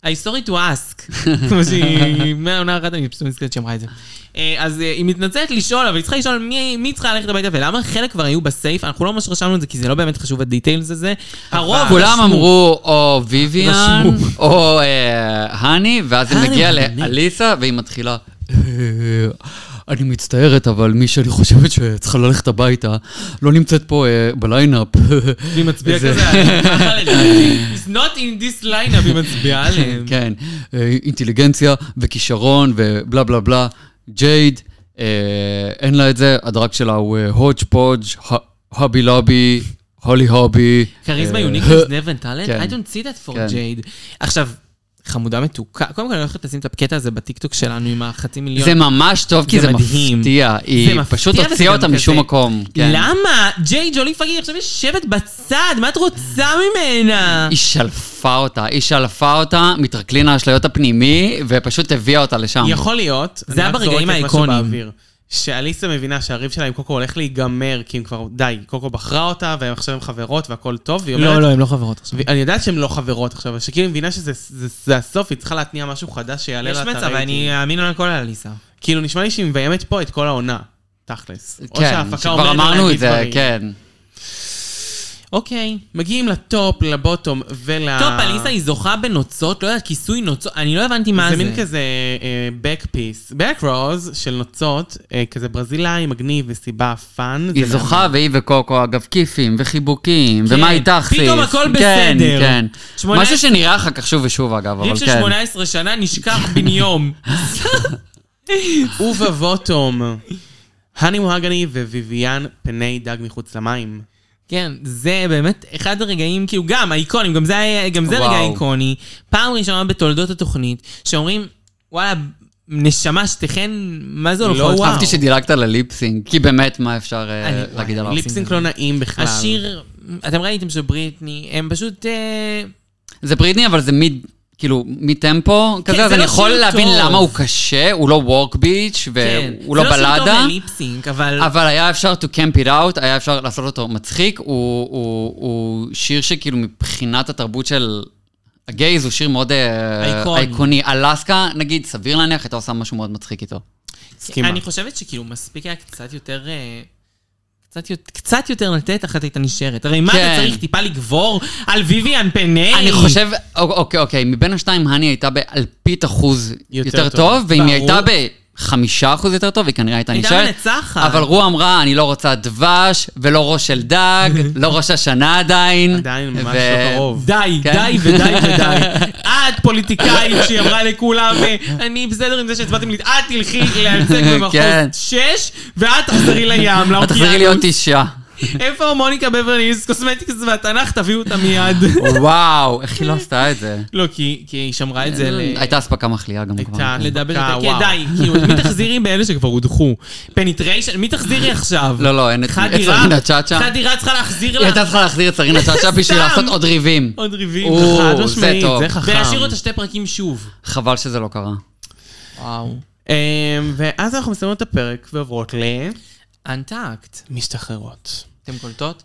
[SPEAKER 2] I sorry to ask. כמו שהיא, מהעונה אחת אני פשוט נזכרת שאמרה את זה. אה, אז אה, היא מתנצלת לשאול, אבל היא צריכה לשאול מי מי צריכה ללכת הביתה ולמה חלק כבר היו בסייף, אנחנו לא ממש רשמנו את זה כי זה לא באמת חשוב הדיטיילס הזה. הרוב
[SPEAKER 4] אה, כולם
[SPEAKER 2] רשמו.
[SPEAKER 4] אמרו או ויויאן,
[SPEAKER 2] רשמו.
[SPEAKER 4] או אה, האני, ואז זה
[SPEAKER 2] האני,
[SPEAKER 4] מגיע
[SPEAKER 2] באמת.
[SPEAKER 4] לאליסה, והיא מתחילה, "אה, אני מצטערת, אבל מי שאני חושבת שצריכה ללכת הביתה, לא נמצאת פה אה, בליינאפ.
[SPEAKER 2] והיא מצביעה
[SPEAKER 4] זה-
[SPEAKER 2] כזה, "אני ככה לדעתי, It's not in this lineup, היא מצביעה עליהם.
[SPEAKER 4] כן, אה, אינטליגנציה וכישרון ובלה בלה בלה. ג'ייד, אה, אין לה את זה, הדרג שלה הוא אה, הודג' פודג', ה- הובי לובי, הולי הובי.
[SPEAKER 2] כריזמה
[SPEAKER 4] אה,
[SPEAKER 2] יוניקנס נבן טאלנט?
[SPEAKER 4] כן.
[SPEAKER 2] I don't see that for
[SPEAKER 4] כן.
[SPEAKER 2] Jade. עכשיו, חמודה מתוקה. קודם כל אני הולכת לשים את הקטע הזה בטיקטוק שלנו עם החצי מיליון.
[SPEAKER 4] זה ממש טוב, כי
[SPEAKER 2] זה
[SPEAKER 4] זה,
[SPEAKER 2] מדהים.
[SPEAKER 4] מפתיע. היא
[SPEAKER 2] מפתיע
[SPEAKER 4] פשוט
[SPEAKER 2] וזה
[SPEAKER 4] הוציאה
[SPEAKER 2] גם
[SPEAKER 4] אותה
[SPEAKER 2] כזה-
[SPEAKER 4] משום מקום. כן.
[SPEAKER 2] למה? ג'יי ג'ולי פאגי עכשיו יושבת בצד, מה את רוצה ממנה?
[SPEAKER 4] היא שלפה אותה, היא שלפה אותה מטרקלין האשליות הפנימי, ופשוט הביאה אותה לשם.
[SPEAKER 3] יכול להיות, אני
[SPEAKER 2] היה
[SPEAKER 3] רק
[SPEAKER 2] ברגעים
[SPEAKER 3] זורק את משהו
[SPEAKER 2] האיקונים.
[SPEAKER 3] באוויר, שאליסה מבינה שהריב שלה עם קוקו הולך להיגמר, כי הם כבר, די, קוקו בחרה אותה, והם עכשיו הם חברות והכל טוב, והיא אומרת...
[SPEAKER 2] לא, לא, הן לא חברות עכשיו.
[SPEAKER 3] אני יודעת שהן לא חברות עכשיו, אבל שכאילו היא מבינה שזה זה- זה הסוף, היא צריכה להתניע משהו חדש שיעלה
[SPEAKER 2] יש
[SPEAKER 3] לה את
[SPEAKER 2] מצב,
[SPEAKER 3] הרייטינג.
[SPEAKER 2] אני אאמין לו על כל אליסה.
[SPEAKER 3] כאילו, נשמע לי שהיא מביימת פה את כל העונה, תכלס. או
[SPEAKER 4] כן,
[SPEAKER 3] שההפקה אומרת
[SPEAKER 4] שכבר
[SPEAKER 3] לה
[SPEAKER 4] אמרנו
[SPEAKER 3] להגיד
[SPEAKER 4] את זה,
[SPEAKER 3] דברים.
[SPEAKER 4] כן.
[SPEAKER 2] אוקיי.
[SPEAKER 3] מגיעים לטופ, לבוטום ול...
[SPEAKER 2] טוב, אליסה היא זוכה בנוצות, לא יודעת, כיסוי נוצות, אני לא הבנתי מה
[SPEAKER 3] זה
[SPEAKER 2] זה.
[SPEAKER 3] מין כזה אה, back piece, back rows של נוצות, אה, כזה ברזילאי, מגניב וסיבה פאן.
[SPEAKER 4] היא זוכה, והיא וקוקו, אגב, כיפים וחיבוקים,
[SPEAKER 2] כן,
[SPEAKER 4] ומה איתך, סיס?
[SPEAKER 2] פתאום הכל
[SPEAKER 4] כן,
[SPEAKER 2] בסדר.
[SPEAKER 4] כן.
[SPEAKER 2] שמונה-
[SPEAKER 4] משהו שנראה אחר כך שוב ושוב, אגב,
[SPEAKER 2] ריב
[SPEAKER 4] אבל
[SPEAKER 2] של
[SPEAKER 4] כן.
[SPEAKER 2] 18 שנה נשכח בן יום.
[SPEAKER 3] ובבוטום, הני מוהגני וויביאן פני דג מחוץ למים.
[SPEAKER 2] כן, זה באמת אחד הרגעים, כאילו גם האיקונים, גם זה, היה- גם זה רגע
[SPEAKER 4] וואו.
[SPEAKER 2] איקוני. פעם ראשונה בתולדות התוכנית, שאומרים, וואלה, נשמה, שתיכן, מה זה הולכות?
[SPEAKER 3] וואו.
[SPEAKER 4] אהבתי לא שדילגת לליפסינג, כי באמת, מה אפשר אה,
[SPEAKER 2] אני-
[SPEAKER 4] להגיד
[SPEAKER 2] וואי,
[SPEAKER 4] עליו?
[SPEAKER 3] ליפסינק לא נעים בכלל.
[SPEAKER 2] השיר, אתם ראיתם שבריטני, הם פשוט... אה,
[SPEAKER 4] זה בריטני, אבל זה מיד, כאילו, מטמפו כזה, אז
[SPEAKER 2] זה
[SPEAKER 4] אני
[SPEAKER 2] לא
[SPEAKER 4] יכול
[SPEAKER 2] שיר
[SPEAKER 4] להבין
[SPEAKER 2] טוב.
[SPEAKER 4] למה הוא קשה, הוא לא וורק ביץ'
[SPEAKER 2] כן.
[SPEAKER 4] והוא לא
[SPEAKER 2] זה לא שיר
[SPEAKER 4] בלדה.
[SPEAKER 2] טוב לליפסינק, אבל...
[SPEAKER 4] אבל היה אפשר to camp it out, היה אפשר לעשות אותו מצחיק. הוא, הוא, הוא שיר שכאילו מבחינת התרבות של הגייז, הוא שיר מאוד אה,
[SPEAKER 2] אייקוני.
[SPEAKER 4] אייקוני. אלסקה, נגיד, סביר להניח, הייתה עושה משהו מאוד מצחיק איתו.
[SPEAKER 3] מסכימה.
[SPEAKER 2] אני חושבת שכאילו מספיק היה קצת יותר... אה, קצת יותר- קצת יותר לתת, אחת הייתה נשארת. הרי מה
[SPEAKER 4] כן.
[SPEAKER 2] אתה צריך טיפה לגבור על ויויאן פני?
[SPEAKER 4] אני חושב, אוק- אוקיי, אוקיי, מבין השתיים, הני הייתה באלפית אחוז
[SPEAKER 3] יותר
[SPEAKER 4] יותר,
[SPEAKER 3] טוב.
[SPEAKER 4] טוב, ואם היא
[SPEAKER 2] ברור.
[SPEAKER 4] הייתה בחמישה אחוז יותר טוב, היא כנראה הייתה
[SPEAKER 2] הייתה
[SPEAKER 4] נשארת.
[SPEAKER 2] מנצחת.
[SPEAKER 4] אבל רו אמרה, אני לא רוצה דבש, ולא ראש של דג, לא ראש השנה עדיין.
[SPEAKER 3] עדיין ממש
[SPEAKER 4] ו-
[SPEAKER 3] לא קרוב.
[SPEAKER 2] די,
[SPEAKER 4] כן.
[SPEAKER 2] די ודי ודי. את פוליטיקאית שהיא אמרה לכולם, "אה, אני בסדר עם זה שהצבעתם לי, את תלכי לייצג במחוז
[SPEAKER 4] כן.
[SPEAKER 2] 6, ואת תחזרי לים,
[SPEAKER 4] את תחזרי להיות
[SPEAKER 2] לאוקיינוס.
[SPEAKER 4] אישה.
[SPEAKER 2] איפה מוניקה בברליס, קוסמטיקס והתנ"ך, תביאו אותה מיד.
[SPEAKER 4] וואו, איך היא לא עשתה את זה?
[SPEAKER 2] לא, כי כי היא שמרה את זה ל...
[SPEAKER 4] לא, הייתה אספקה מחליאה גם כבר.
[SPEAKER 3] הייתה
[SPEAKER 2] לדבר
[SPEAKER 3] אה,
[SPEAKER 2] יותר, כן
[SPEAKER 3] וואו.
[SPEAKER 2] די, כאילו, את מי תחזירי באלה שכבר הודחו? פניטריישן, מי תחזירי עכשיו?
[SPEAKER 4] לא, לא, אין את את
[SPEAKER 2] חדירה,
[SPEAKER 4] סרינה צ'אצ'ה.
[SPEAKER 2] חדירה צריכה להחזיר
[SPEAKER 4] היא
[SPEAKER 2] לה
[SPEAKER 4] הייתה צריכה להחזיר את סרינה צ'אצ'ה בשביל
[SPEAKER 2] סתם.
[SPEAKER 4] לעשות עוד ריבים.
[SPEAKER 2] עוד ריבים,
[SPEAKER 4] או,
[SPEAKER 2] חד
[SPEAKER 3] חד
[SPEAKER 4] זה
[SPEAKER 3] משמעית,
[SPEAKER 4] טוב.
[SPEAKER 3] זה חכם.
[SPEAKER 2] ולהשאיר אותה שתי פרקים שוב.
[SPEAKER 4] חבל שזה לא קרה.
[SPEAKER 2] וואו.
[SPEAKER 3] אמ, ואז אנחנו מסיימים את הפרק ועוברות
[SPEAKER 2] אנטקט.
[SPEAKER 3] למשתחררות.
[SPEAKER 2] אתם קולטות?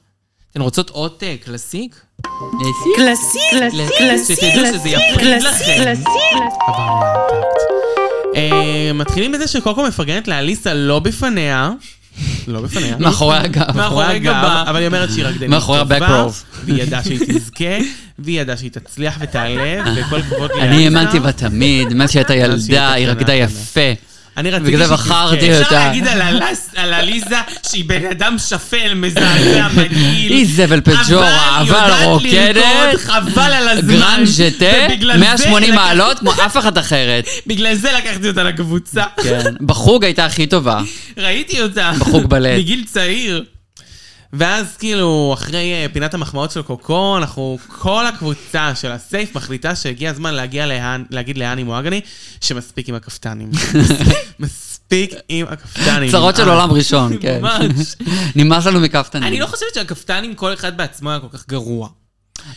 [SPEAKER 2] אתן רוצות עוד אה, קלאסיק?
[SPEAKER 1] Classique, classique, classique,
[SPEAKER 2] שתדעו שזה יפריד לכם.
[SPEAKER 3] עברנו לאנטקט. אה, מתחילים בזה שקוקו מפרגנת לאליסה לא בפניה. לא בפניה.
[SPEAKER 4] מאחורי הגב.
[SPEAKER 3] מאחורי
[SPEAKER 2] מאחורי
[SPEAKER 3] הגב,
[SPEAKER 2] גבה.
[SPEAKER 3] אבל היא אומרת שהיא רקדנית
[SPEAKER 4] מאחורי
[SPEAKER 3] טובה,
[SPEAKER 4] ה-back
[SPEAKER 3] והיא ידעה שהיא תזכה, והיא ידעה שהיא תצליח ותעלה, וכל הכבוד לאליסה.
[SPEAKER 4] אני האמנתי בה תמיד, מאז שהייתה ילדה,
[SPEAKER 3] לא, שהיא
[SPEAKER 4] היא
[SPEAKER 3] הייתה
[SPEAKER 4] רקדה
[SPEAKER 3] קטנה.
[SPEAKER 4] יפה.
[SPEAKER 3] אני רציתי
[SPEAKER 4] בגלל
[SPEAKER 3] שהיא
[SPEAKER 4] זה בחרתי
[SPEAKER 3] תזכה.
[SPEAKER 4] אותה.
[SPEAKER 3] אפשר להגיד על הלס- על עליזה שהיא בן אדם שפל, מזעזע, מגעיל.
[SPEAKER 4] היא זבל פג'ורה,
[SPEAKER 3] כאילו, היא
[SPEAKER 4] אבל
[SPEAKER 3] יודעת לרקוד,
[SPEAKER 4] רוקדת.
[SPEAKER 3] חבל על הזמן.
[SPEAKER 4] גרנד ז'טה,
[SPEAKER 3] ובגלל זה
[SPEAKER 4] 180
[SPEAKER 3] לקח-
[SPEAKER 4] מעלות, כמו אף אחת אחרת.
[SPEAKER 3] בגלל זה לקחתי אותה לקבוצה.
[SPEAKER 4] כן. בחוג הייתה הכי טובה.
[SPEAKER 3] ראיתי אותה.
[SPEAKER 4] בחוג בלט.
[SPEAKER 3] מגיל צעיר. ואז כאילו, אחרי אה, פינת המחמאות של קוקו, אנחנו, כל הקבוצה של הסייף מחליטה שהגיע הזמן להגיע להן, להגיד להני מואגני, שמספיק עם הכפתנים. מספיק עם הכפתנים.
[SPEAKER 4] צרות של
[SPEAKER 3] אה,
[SPEAKER 4] עולם ראשון, כן.
[SPEAKER 3] ממש.
[SPEAKER 4] נמאס לנו מכפתנים.
[SPEAKER 2] אני לא חושבת שהכפתנים כל אחד בעצמו היה כל כך גרוע.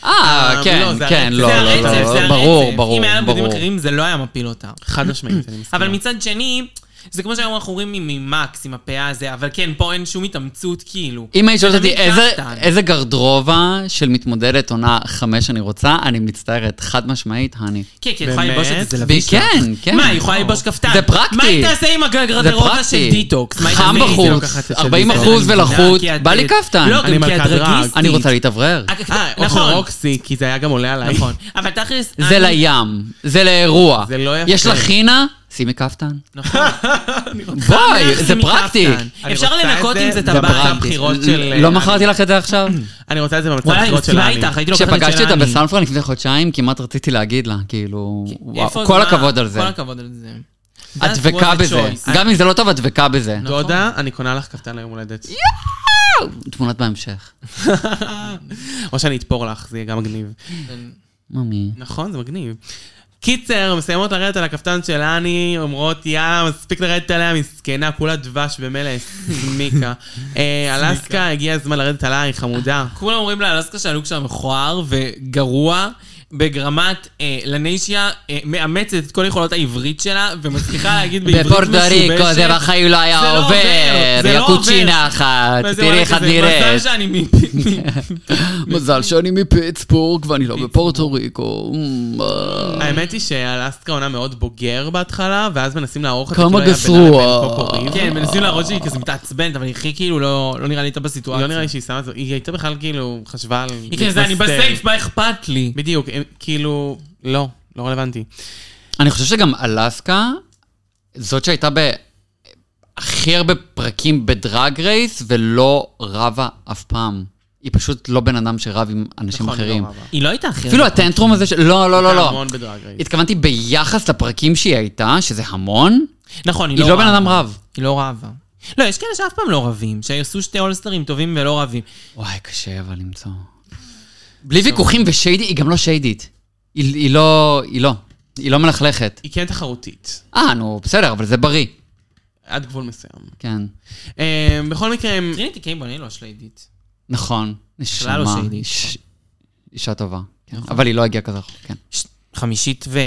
[SPEAKER 4] אה, כן,
[SPEAKER 3] לא, זה
[SPEAKER 4] כן,
[SPEAKER 3] הרצף,
[SPEAKER 4] לא,
[SPEAKER 3] זה
[SPEAKER 4] לא,
[SPEAKER 3] הרצף, זה
[SPEAKER 4] לא,
[SPEAKER 3] הרצף.
[SPEAKER 4] ברור, ברור,
[SPEAKER 2] אם היה לנו בגדים
[SPEAKER 4] ברור.
[SPEAKER 2] אחרים זה לא היה מפיל אותם.
[SPEAKER 3] חד משמעית, אני מסכים.
[SPEAKER 2] אבל מצד שני, זה כמו שהיום אנחנו רואים ממקס עם הפאה הזה, אבל כן, פה אין שום התאמצות כאילו.
[SPEAKER 4] אם היית שואלת אותי
[SPEAKER 2] תמיד
[SPEAKER 4] איזה-
[SPEAKER 2] קפטן.
[SPEAKER 4] איזה גרדרובה של מתמודדת עונה חמש אני רוצה, אני מצטערת, חד משמעית, הני.
[SPEAKER 2] כן, כי את יכולה ללבוש את
[SPEAKER 3] באמת?
[SPEAKER 2] זה, זה לבוש לך.
[SPEAKER 4] כן, כן.
[SPEAKER 2] מה, היא יכולה ללבוש כפתן?
[SPEAKER 4] זה פרקטי.
[SPEAKER 2] מה היא תעשה עם
[SPEAKER 4] זה
[SPEAKER 2] הגרדרובה של
[SPEAKER 4] פרקטי.
[SPEAKER 2] דיטוקס? מה היא
[SPEAKER 4] חם
[SPEAKER 2] תעשה עם זה?
[SPEAKER 4] בחוץ,
[SPEAKER 3] לוקחת את
[SPEAKER 4] 40
[SPEAKER 3] של
[SPEAKER 4] אחוז
[SPEAKER 3] דיזל, אני
[SPEAKER 4] ולחות,
[SPEAKER 2] כי את-
[SPEAKER 4] בא לי כפתן.
[SPEAKER 2] לא,
[SPEAKER 3] אני
[SPEAKER 2] גם כי את
[SPEAKER 3] מלכת דרג.
[SPEAKER 2] דרגיסטית.
[SPEAKER 4] אני רוצה להתאוורר.
[SPEAKER 3] אה, או של
[SPEAKER 2] נכון,
[SPEAKER 3] רוקסי, כי זה היה גם עולה עליי.
[SPEAKER 2] נכון. אבל תכלס...
[SPEAKER 4] זה
[SPEAKER 2] אני-
[SPEAKER 4] לים, זה לאירוע.
[SPEAKER 3] זה לא יפה.
[SPEAKER 4] יש לך חינה? שימי כפתן.
[SPEAKER 2] נכון.
[SPEAKER 4] בואי, זה
[SPEAKER 2] שימי
[SPEAKER 4] פרקטי.
[SPEAKER 2] כפתן.
[SPEAKER 3] אני
[SPEAKER 2] אפשר
[SPEAKER 3] רוצה
[SPEAKER 2] לנקות
[SPEAKER 3] את
[SPEAKER 2] עם
[SPEAKER 3] זה
[SPEAKER 2] זה את הבעיה.
[SPEAKER 4] פרקטי.
[SPEAKER 3] הבחירות של-
[SPEAKER 2] אה,
[SPEAKER 4] לא מכרתי לך את זה עכשיו?
[SPEAKER 3] אני רוצה את זה במצב
[SPEAKER 2] וואלה, אני
[SPEAKER 3] הבחירות של
[SPEAKER 2] מסכימה
[SPEAKER 3] האני.
[SPEAKER 2] איתך, נכון. הייתי לוקחת את
[SPEAKER 4] כשפגשתי אותה
[SPEAKER 2] שלנו.
[SPEAKER 4] בסן פרן לפני חודשיים, כמעט רציתי להגיד לה, כאילו, וואו,
[SPEAKER 2] איפה-
[SPEAKER 4] כל
[SPEAKER 2] מה-
[SPEAKER 4] הכבוד על זה.
[SPEAKER 2] כל הכבוד על זה.
[SPEAKER 4] את
[SPEAKER 2] That
[SPEAKER 4] דבקה
[SPEAKER 2] was a
[SPEAKER 4] בזה.
[SPEAKER 2] choice.
[SPEAKER 4] גם אם זה לא טוב, את דבקה בזה.
[SPEAKER 3] דודה, אני קונה לך כפתן ליום הולדת.
[SPEAKER 4] תמונות בהמשך.
[SPEAKER 3] או שאני אתפור לך, זה יהיה גם מגניב.
[SPEAKER 4] ממי.
[SPEAKER 3] נכון, זה מגניב. קיצר, מסיימות לרדת על הכפתן של אני, אומרות, יא, מספיק לרדת עליה, מסכנה, כולה דבש ומלא, סמיקה. אה, אלסקה, הגיע הזמן לרדת עלייך, חמודה.
[SPEAKER 2] כולם אומרים לאלסקה שהלוק שלה מכוער וגרוע. ברמת אה, לניישיה אה, מאמצת את כל יכולות העברית שלה ומצליחה להגיד בעברית משובשת.
[SPEAKER 4] בפורטו ריקו זה בחיים לא
[SPEAKER 2] זה
[SPEAKER 4] היה
[SPEAKER 2] לא
[SPEAKER 4] עובר,
[SPEAKER 2] עובר, זה
[SPEAKER 4] יא
[SPEAKER 2] לא
[SPEAKER 4] קוצ'ינה אחת,
[SPEAKER 2] וזה
[SPEAKER 4] תראי
[SPEAKER 2] וואלה
[SPEAKER 4] איך את
[SPEAKER 2] כזה,
[SPEAKER 4] נראית.
[SPEAKER 2] מזל שאני מפיפי.
[SPEAKER 4] מזל שאני מפיטסבורג ואני לא בפורטו ריקו. אמ, אה.
[SPEAKER 3] האמת היא שאלסקה עונה מאוד בוגר בהתחלה, ואז מנסים לערוך את
[SPEAKER 4] כמה
[SPEAKER 3] כאילו היה
[SPEAKER 4] גסרו,
[SPEAKER 3] בינה לבין
[SPEAKER 4] אה.
[SPEAKER 3] קוקו ריב.
[SPEAKER 2] כן, מנסים להראות שהיא כזה מתעצבנת, אבל היא הכי כאילו לא לא נראה לי הייתה בסיטואציה.
[SPEAKER 3] לא נראה לי שהיא שמה את זה, היא הייתה בכלל כאילו, חשבה על...
[SPEAKER 2] היא כזה, אני
[SPEAKER 3] להתבסטר.
[SPEAKER 2] בסייף, מה אכפת לי?
[SPEAKER 3] בדיוק, הם- כאילו, לא, לא רלוונטי.
[SPEAKER 4] אני חושב שגם אלסקה, זאת שהייתה ב... הכי הרבה פרקים בדרג רייס, ולא רבה אף פעם. היא פשוט לא בן אדם שרב עם אנשים
[SPEAKER 3] נכון, היא לא
[SPEAKER 4] אחרים.
[SPEAKER 3] רבה.
[SPEAKER 2] היא לא הייתה הכי...
[SPEAKER 4] אפילו הטנטרום הזה של... לא, לא, לא,
[SPEAKER 3] הייתה
[SPEAKER 4] לא.
[SPEAKER 3] המון בדרג רייס.
[SPEAKER 4] התכוונתי ביחס לפרקים שהיא הייתה, שזה המון.
[SPEAKER 2] נכון,
[SPEAKER 4] היא לא בן אדם רב.
[SPEAKER 2] היא לא רבה. לא, יש כאלה שאף פעם לא רבים, שעשו שתי אולסטרים טובים ולא רבים.
[SPEAKER 4] וואי, קשה אבל למצוא. בלי ויכוחים ושיידי, היא גם לא שיידית. היא היא לא... היא לא. היא לא מלכלכת.
[SPEAKER 3] היא כן תחרותית,
[SPEAKER 4] אה, נו, בסדר, אבל זה בריא.
[SPEAKER 3] עד גבול מסוים.
[SPEAKER 4] כן.
[SPEAKER 3] אה, בכל מקרה, הם-
[SPEAKER 2] טריניטי קייבון היא לא שלהידית.
[SPEAKER 4] נכון.
[SPEAKER 2] לא
[SPEAKER 4] נשמה.
[SPEAKER 2] שיידית.
[SPEAKER 4] ש- אישה טובה. כן. אבל היא לא הגיעה כזה רחוק, כן.
[SPEAKER 2] ש- חמישית ו...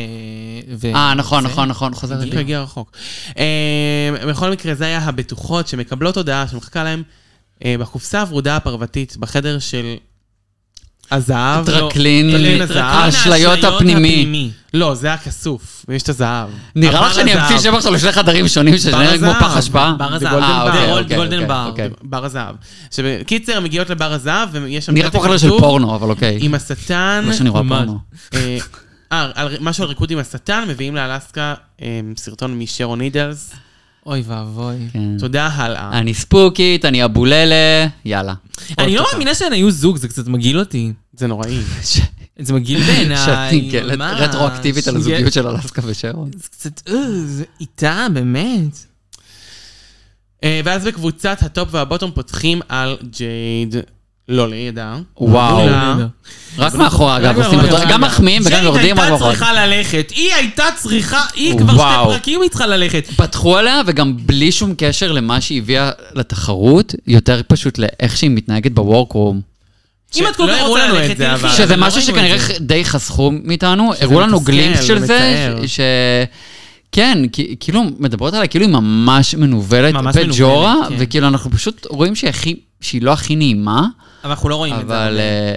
[SPEAKER 2] ו-
[SPEAKER 4] אה, נכון,
[SPEAKER 2] זה.
[SPEAKER 4] נכון, נכון, חוזרת
[SPEAKER 3] בדיוק
[SPEAKER 4] לי.
[SPEAKER 3] הגיע רחוק. אה, בכל מקרה, זה היה הבטוחות שמקבלות הודעה שמחכה להם אה, בקופסה הוורודה הפרוותית, בחדר של הזהב. לא,
[SPEAKER 4] טרקלין,
[SPEAKER 3] טרקלין
[SPEAKER 2] זה רק
[SPEAKER 3] הזהב.
[SPEAKER 4] האשליות
[SPEAKER 2] האשליות
[SPEAKER 4] הפנימי.
[SPEAKER 3] לא, זה הכסוף, ויש את הזהב.
[SPEAKER 4] נראה
[SPEAKER 3] הבר
[SPEAKER 4] לך שאני
[SPEAKER 3] הזהב.
[SPEAKER 4] אמציא שם עכשיו לשני חדרים שונים שזה
[SPEAKER 3] בר
[SPEAKER 4] נראה כמו
[SPEAKER 3] הזהב.
[SPEAKER 4] פח אשפה?
[SPEAKER 2] בר הזהב.
[SPEAKER 4] אה,
[SPEAKER 2] גולדן
[SPEAKER 4] אוקיי,
[SPEAKER 2] בר.
[SPEAKER 4] אוקיי,
[SPEAKER 2] גולדן
[SPEAKER 4] אוקיי,
[SPEAKER 2] בר.
[SPEAKER 4] אוקיי.
[SPEAKER 3] בר הזהב. שבקיצר, הן מגיעות לבר הזהב, ויש שם
[SPEAKER 4] נראה
[SPEAKER 3] פתק
[SPEAKER 4] כמו חדר של
[SPEAKER 3] כתוב,
[SPEAKER 4] פורנו, אבל אוקיי.
[SPEAKER 3] עם השטן.
[SPEAKER 4] מה שאני רואה
[SPEAKER 2] ממש.
[SPEAKER 4] פורנו.
[SPEAKER 3] אה, אה, על- משהו על ריקוד עם השטן, מביאים לאלסקה אה, סרטון משרון נידלס.
[SPEAKER 2] אוי ואבוי.
[SPEAKER 4] כן.
[SPEAKER 3] תודה, הלאה.
[SPEAKER 4] אני ספוקית, אני אבוללה, יאללה.
[SPEAKER 2] אני לא
[SPEAKER 3] תודה.
[SPEAKER 2] מאמינה שהן היו זוג, זה קצת מגעיל אותי.
[SPEAKER 3] זה נוראי.
[SPEAKER 2] זה מגעיל בעיניי.
[SPEAKER 4] שטינקלת
[SPEAKER 2] ממש.
[SPEAKER 4] כן, רטרואקטיבית על
[SPEAKER 2] זה-
[SPEAKER 4] הזוגיות של אלסקה ושרון.
[SPEAKER 2] זה קצת... אה, זה איתה, באמת.
[SPEAKER 3] אה, ואז בקבוצת הטופ והבוטום פותחים על ג'ייד. לא לידע.
[SPEAKER 4] וואו.
[SPEAKER 3] אה.
[SPEAKER 4] רק מאחורה, אגב,
[SPEAKER 3] מאחורה,
[SPEAKER 4] עושים אותו,
[SPEAKER 3] רגע.
[SPEAKER 4] גם מחמיאים וגם
[SPEAKER 2] ג'ייד
[SPEAKER 4] יורדים רק
[SPEAKER 2] הייתה
[SPEAKER 4] מאחורה.
[SPEAKER 2] צריכה ללכת, היא הייתה צריכה, היא כבר
[SPEAKER 4] וואו.
[SPEAKER 2] שתי פרקים היא צריכה ללכת.
[SPEAKER 4] פתחו עליה, וגם בלי שום קשר למה שהיא הביאה לתחרות, יותר פשוט לאיך שהיא מתנהגת בוורקרום.
[SPEAKER 2] אם את כל
[SPEAKER 3] שלא
[SPEAKER 2] כך
[SPEAKER 3] הראו
[SPEAKER 2] רוצה
[SPEAKER 3] לנו את
[SPEAKER 2] ללכת,
[SPEAKER 3] זה,
[SPEAKER 2] תלכי.
[SPEAKER 3] אבל-
[SPEAKER 4] שזה
[SPEAKER 3] אבל לא
[SPEAKER 4] משהו
[SPEAKER 3] ראינו
[SPEAKER 4] שכנראה
[SPEAKER 3] את
[SPEAKER 4] די חסכו מאיתנו, הראו לנו
[SPEAKER 3] מתסכל
[SPEAKER 4] גלימפס של זה,
[SPEAKER 3] ומצער.
[SPEAKER 4] ש- כן, כי- כאילו מדברות עליה, כאילו היא ממש מנוולת,
[SPEAKER 2] ממש
[SPEAKER 4] פג'ורה,
[SPEAKER 2] מנוולת, כן.
[SPEAKER 4] וכאילו אנחנו פשוט רואים שהיא הכי- שהיא לא הכי נעימה,
[SPEAKER 2] אבל אנחנו לא רואים את זה.
[SPEAKER 4] אבל אה,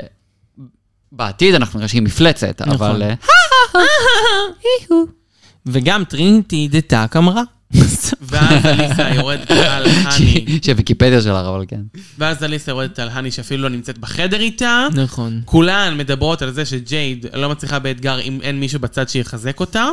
[SPEAKER 4] בעתיד אנחנו נראה שהיא מפלצת,
[SPEAKER 2] נכון.
[SPEAKER 4] אבל... אה,
[SPEAKER 2] וגם טריניטי דה טאק אמרה.
[SPEAKER 3] ואז אליסה יורדת על האני.
[SPEAKER 4] שהיא- שהוויקיפדיה שלה, אבל כן.
[SPEAKER 3] ואז אליסה יורדת על האני שאפילו לא נמצאת בחדר איתה.
[SPEAKER 2] נכון.
[SPEAKER 3] כולן מדברות על זה שג'ייד לא מצליחה באתגר אם אין מישהו בצד שיחזק אותה,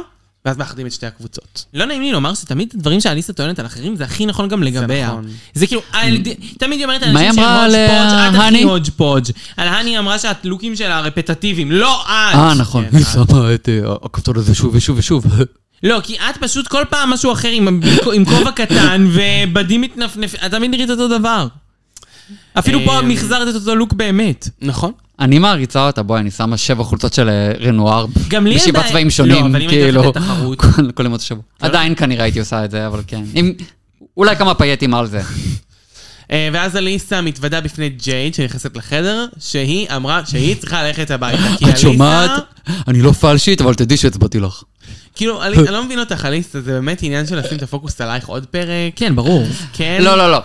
[SPEAKER 3] ואז מאחדים את שתי הקבוצות.
[SPEAKER 2] לא נעים לי לומר שתמיד הדברים שאליסה טוענת על אחרים, זה הכי נכון גם לגביה.
[SPEAKER 3] נכון.
[SPEAKER 2] זה כאילו, אל- תמיד היא אומרת על
[SPEAKER 4] מה
[SPEAKER 2] אנשים
[SPEAKER 4] היא
[SPEAKER 2] שהם הודג'
[SPEAKER 4] אמרה על,
[SPEAKER 2] פודג',
[SPEAKER 4] אה,
[SPEAKER 2] את הכי
[SPEAKER 4] הני?
[SPEAKER 2] הודג' פודג'. על האני אמרה שהלוקים שלה הרפטטיביים, לא את.
[SPEAKER 4] אה, נכון.
[SPEAKER 3] כן,
[SPEAKER 4] היא שמה את אה, הכפתור הזה שוב ושוב ושוב.
[SPEAKER 2] לא, כי את פשוט כל פעם משהו אחר עם- עם כובע קטן, ובדים מתנפנף, את תמיד נראית אותו דבר. אפילו
[SPEAKER 4] אה,
[SPEAKER 2] פה
[SPEAKER 3] אמ,
[SPEAKER 2] מחזרת את אותו לוק באמת.
[SPEAKER 3] נכון.
[SPEAKER 4] אני מעריצה אותה, בואי, אני שמה שבע חולצות של אה, רנואר.
[SPEAKER 2] גם לי
[SPEAKER 4] בשבעה
[SPEAKER 2] עדיין-
[SPEAKER 4] צבעים
[SPEAKER 2] לא,
[SPEAKER 4] שונים,
[SPEAKER 2] אבל אם הייתי
[SPEAKER 4] כאילו.
[SPEAKER 2] הולכת לתחרות-
[SPEAKER 4] כל- כל ימות השבוע.
[SPEAKER 2] כן.
[SPEAKER 4] עדיין כנראה הייתי עושה את זה, אבל כן. עם- אולי כמה פייטים על זה.
[SPEAKER 3] אה, ואז אליסה מתוודה בפני ג'ייד, שנכנסת לחדר, שהיא אמרה שהיא צריכה ללכת הביתה. כי
[SPEAKER 4] את
[SPEAKER 3] אליסה-
[SPEAKER 4] שומעת? אני לא פלשית, אבל תדעי שהצבעתי לך.
[SPEAKER 3] כאילו, אלי- אני לא מבין אותך, אליסה, זה באמת עניין של לשים את הפוקוס עלייך עוד פרק.
[SPEAKER 2] כן, ברור.
[SPEAKER 3] כן.
[SPEAKER 4] לא, לא, לא.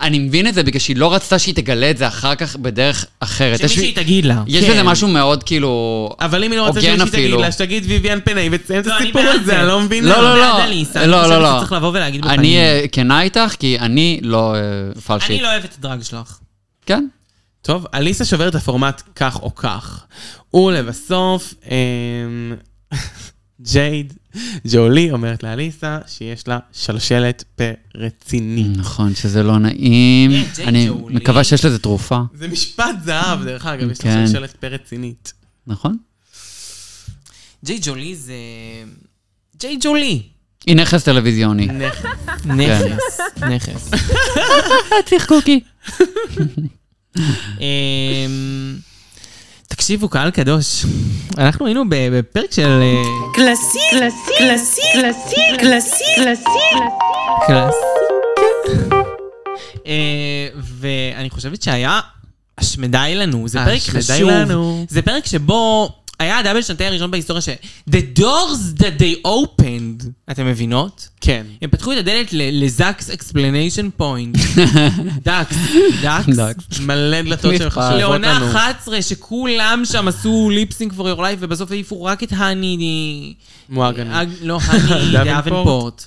[SPEAKER 4] אני מבין את זה בגלל שהיא לא רצתה שהיא תגלה את זה אחר כך בדרך אחרת. יש לי-
[SPEAKER 2] שמישהי כן. תגיד לה.
[SPEAKER 4] יש בזה משהו מאוד כאילו...
[SPEAKER 3] אבל אם היא לא רוצה
[SPEAKER 4] הוגן
[SPEAKER 3] שמישהי תגיד
[SPEAKER 4] אפילו.
[SPEAKER 3] לה, שתגיד ויויאן פנאי ותסיים את
[SPEAKER 2] לא, אני
[SPEAKER 3] הסיפור
[SPEAKER 2] בעד זה.
[SPEAKER 3] הזה, אני לא מבין.
[SPEAKER 4] לא,
[SPEAKER 3] למה.
[SPEAKER 4] לא,
[SPEAKER 2] בעד
[SPEAKER 4] לא.
[SPEAKER 2] אליסה,
[SPEAKER 4] לא,
[SPEAKER 2] אני
[SPEAKER 4] לא,
[SPEAKER 2] חושבת
[SPEAKER 4] לא.
[SPEAKER 2] שצריך לבוא ולהגיד בפנים.
[SPEAKER 4] אני אה, כנה איתך, כי אני לא אה,
[SPEAKER 2] אני
[SPEAKER 4] פלשית.
[SPEAKER 2] לא אוהבת את הדרג שלך.
[SPEAKER 4] כן?
[SPEAKER 3] טוב, אליסה שובר את הפורמט כך או כך. ולבסוף, אמ, ג'ייד, ג'ולי אומרת לאליסה שיש לה שלשלת פה רצינית.
[SPEAKER 4] נכון, שזה לא נעים.
[SPEAKER 2] אה, ג'יי
[SPEAKER 4] אני
[SPEAKER 2] ג'ולי.
[SPEAKER 4] מקווה שיש לזה תרופה,
[SPEAKER 3] זה משפט זהב, דרך אגב, יש לה
[SPEAKER 4] כן.
[SPEAKER 3] שלשלת פה רצינית.
[SPEAKER 4] נכון?
[SPEAKER 2] ג'יי ג'ולי זה... ג'יי ג'ולי.
[SPEAKER 4] היא נכס טלוויזיוני.
[SPEAKER 3] נכס.
[SPEAKER 2] נכס, נכס.
[SPEAKER 4] צחקוקי.
[SPEAKER 2] אמ, תקשיבו, קהל קדוש, אנחנו היינו ב- בפרק של... אה,
[SPEAKER 1] Classique, classique, classique, classique, classique, classique.
[SPEAKER 2] קלאסיקה.
[SPEAKER 3] כן.
[SPEAKER 2] אה, ואני חושבת שהיה השמדי לנו, זה פרק
[SPEAKER 3] השמדי
[SPEAKER 2] חשוב.
[SPEAKER 3] לנו.
[SPEAKER 2] זה פרק שבו היה הדאבל שנתי הראשון בהיסטוריה ש... The doors that they opened, אתם מבינות?
[SPEAKER 3] כן.
[SPEAKER 2] הם פתחו את הדלת ל- לזאקס אקספלניישן פוינט. דאקס, דאקס.
[SPEAKER 4] דאקס.
[SPEAKER 3] מלא דלתות
[SPEAKER 4] מי
[SPEAKER 3] שהן
[SPEAKER 4] אכפת?
[SPEAKER 3] חשובות
[SPEAKER 2] לעונה
[SPEAKER 3] לנו.
[SPEAKER 2] 11, שכולם שם עשו ליפסינג פור יור לייף, ובסוף העיפו רק את האני...
[SPEAKER 3] מואגני.
[SPEAKER 2] אה, לא, האני
[SPEAKER 3] דאבנפורט.
[SPEAKER 2] דאבנפורט.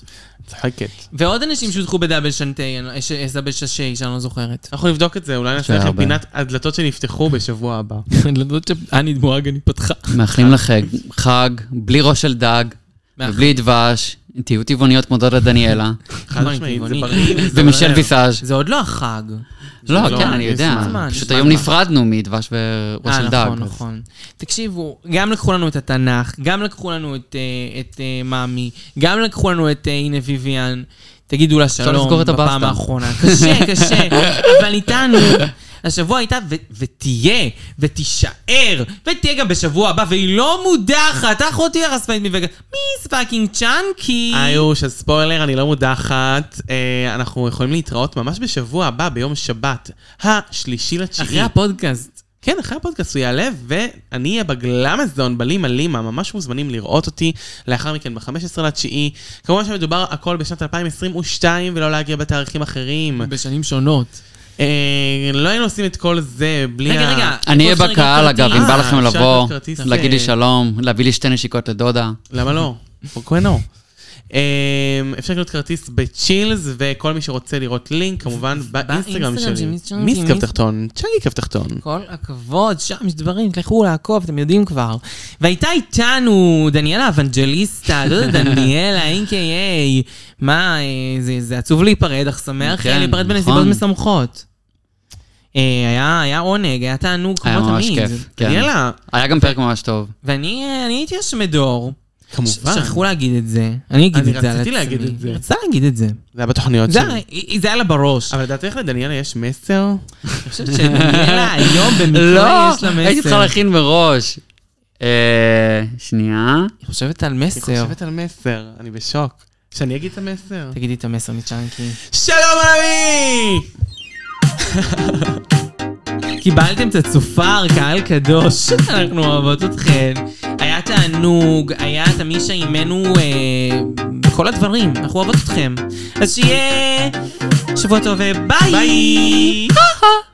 [SPEAKER 3] צחקת.
[SPEAKER 2] ועוד אנשים שהודחו בדאבל שנטי, אני- לא- אה, ש- דאבל ששי, שאני לא זוכרת.
[SPEAKER 3] אנחנו נבדוק את זה, אולי נעשה
[SPEAKER 4] זה
[SPEAKER 3] לכם
[SPEAKER 4] הרבה.
[SPEAKER 3] פינת הדלתות שנפתחו בשבוע הבא.
[SPEAKER 2] אני לא יודעת שאני מואגני פתחה.
[SPEAKER 4] מאחלים לך חג, בלי ראש של דג, ובלי דבש, תהיו טבעוניות כמו דודה דניאלה,
[SPEAKER 3] חד משמעית, זה
[SPEAKER 2] טבעוני.
[SPEAKER 3] בריא. וזה
[SPEAKER 4] ומישל
[SPEAKER 3] עולה.
[SPEAKER 4] ויסאז'.
[SPEAKER 2] זה לא עוד לא החג.
[SPEAKER 3] לא,
[SPEAKER 4] לא, כן, אני
[SPEAKER 3] יש
[SPEAKER 4] יודע.
[SPEAKER 2] זמן, יש
[SPEAKER 4] פשוט
[SPEAKER 2] זמן.
[SPEAKER 4] היום נפרדנו מדבש וראש
[SPEAKER 2] אה,
[SPEAKER 4] של דג.
[SPEAKER 2] נכון, נכון. תקשיבו, גם לקחו לנו את התנ"ך, גם לקחו לנו את, אה, את אה, מאמי, גם לקחו לנו את אה, הנה ויויאן. תגידו לה
[SPEAKER 4] לסגור
[SPEAKER 2] שלום
[SPEAKER 4] את
[SPEAKER 2] בפעם
[SPEAKER 4] הבסטה.
[SPEAKER 2] האחרונה. קשה, קשה, אבל איתנו. השבוע הייתה, ו- ותהיה, ותישאר, ותהיה גם בשבוע הבא, והיא לא מודחת, אחותי הרספנית מווגה. מיס פאקינג צ'אנקי.
[SPEAKER 3] איוש, אז ספוילר, אני לא מודחת. אה, אנחנו יכולים להתראות ממש בשבוע הבא, ביום שבת, השלישי לתשיעי.
[SPEAKER 2] אחרי הפודקאסט.
[SPEAKER 3] כן, אחרי הפודקאסט הוא יעלה, ואני אהיה בגלאמזון, בלימה לימה, ממש מוזמנים לראות אותי. לאחר מכן, ב-15 לתשיעי. כמובן שמדובר הכל בשנת 2022, ולא להגיע בתאריכים אחרים.
[SPEAKER 2] בשנים שונות.
[SPEAKER 3] אה, לא היינו עושים את כל זה בלי
[SPEAKER 2] רגע, רגע.
[SPEAKER 4] אני אהיה
[SPEAKER 2] איפה אפשר
[SPEAKER 4] בקהל,
[SPEAKER 2] לקנות
[SPEAKER 4] אגב, אם בא
[SPEAKER 3] כרטיס?
[SPEAKER 4] לכם
[SPEAKER 3] אה, אפשר
[SPEAKER 4] לבוא,
[SPEAKER 3] לקנות כרטיס,
[SPEAKER 4] להגיד לי
[SPEAKER 2] כן.
[SPEAKER 3] אה,
[SPEAKER 4] שלום, להביא לי שתי נשיקות לדודה.
[SPEAKER 3] למה לא? כהנו. אפשר לקנות כרטיס בצ'ילס, וכל מי שרוצה לראות לינק, כמובן, באינסטגרם
[SPEAKER 2] באינסטגרם
[SPEAKER 3] שלי.
[SPEAKER 2] של מיס צ'אנקי,
[SPEAKER 3] מיס קו
[SPEAKER 2] מיס-
[SPEAKER 3] תחתון, צ'אנקי קו תחתון.
[SPEAKER 2] כל הכבוד, שם יש דברים, תלכו לעקוב, אתם יודעים כבר. והייתה איתנו דניאלה אבנג'ליסטה, לא יודע, דניאלה, A.K.A. מה, אה, זה, זה עצוב להיפרד, אך שמח
[SPEAKER 4] כן,
[SPEAKER 2] יהיה להיפרד
[SPEAKER 4] נכון.
[SPEAKER 2] בנסיבות משמחות. אה, היה, היה עונג, היה תענוג
[SPEAKER 4] היה
[SPEAKER 2] כמו
[SPEAKER 4] ממש
[SPEAKER 2] תמיד.
[SPEAKER 4] כיף. כן.
[SPEAKER 3] דניאלה,
[SPEAKER 4] היה גם פרק ממש טוב.
[SPEAKER 2] ואני אה, אני הייתי השמדור.
[SPEAKER 3] כמובן.
[SPEAKER 2] שכחו להגיד את זה. אני אגיד
[SPEAKER 3] אני
[SPEAKER 2] את זה על עצמי.
[SPEAKER 3] רציתי להגיד את זה.
[SPEAKER 2] רצה להגיד את זה.
[SPEAKER 3] זה היה בתוכניות
[SPEAKER 2] זה
[SPEAKER 3] שלי.
[SPEAKER 2] היה- זה היה לה בראש.
[SPEAKER 3] אבל לדעתך לדניאלה יש מסר?
[SPEAKER 2] אני חושבת שדניאלה היום במקרה
[SPEAKER 4] לא,
[SPEAKER 2] יש לה מסר.
[SPEAKER 4] הייתי צריכה להכין מראש. אה, שנייה.
[SPEAKER 2] היא חושבת על
[SPEAKER 3] אני
[SPEAKER 2] מסר.
[SPEAKER 3] חושבת על מסר, אני בשוק. שאני אגיד את המסר?
[SPEAKER 2] תגידי את המסר מצ'אנקי.
[SPEAKER 3] שלום עמי!
[SPEAKER 2] קיבלתם את הצופר, קהל קדוש, אנחנו אוהבות אתכן. היה תענוג, היה את המישה עימנו אה, כל הדברים. אה, אנחנו אוהבות אתכם. אז שיהיה שבוע טוב וביי!
[SPEAKER 3] ביי!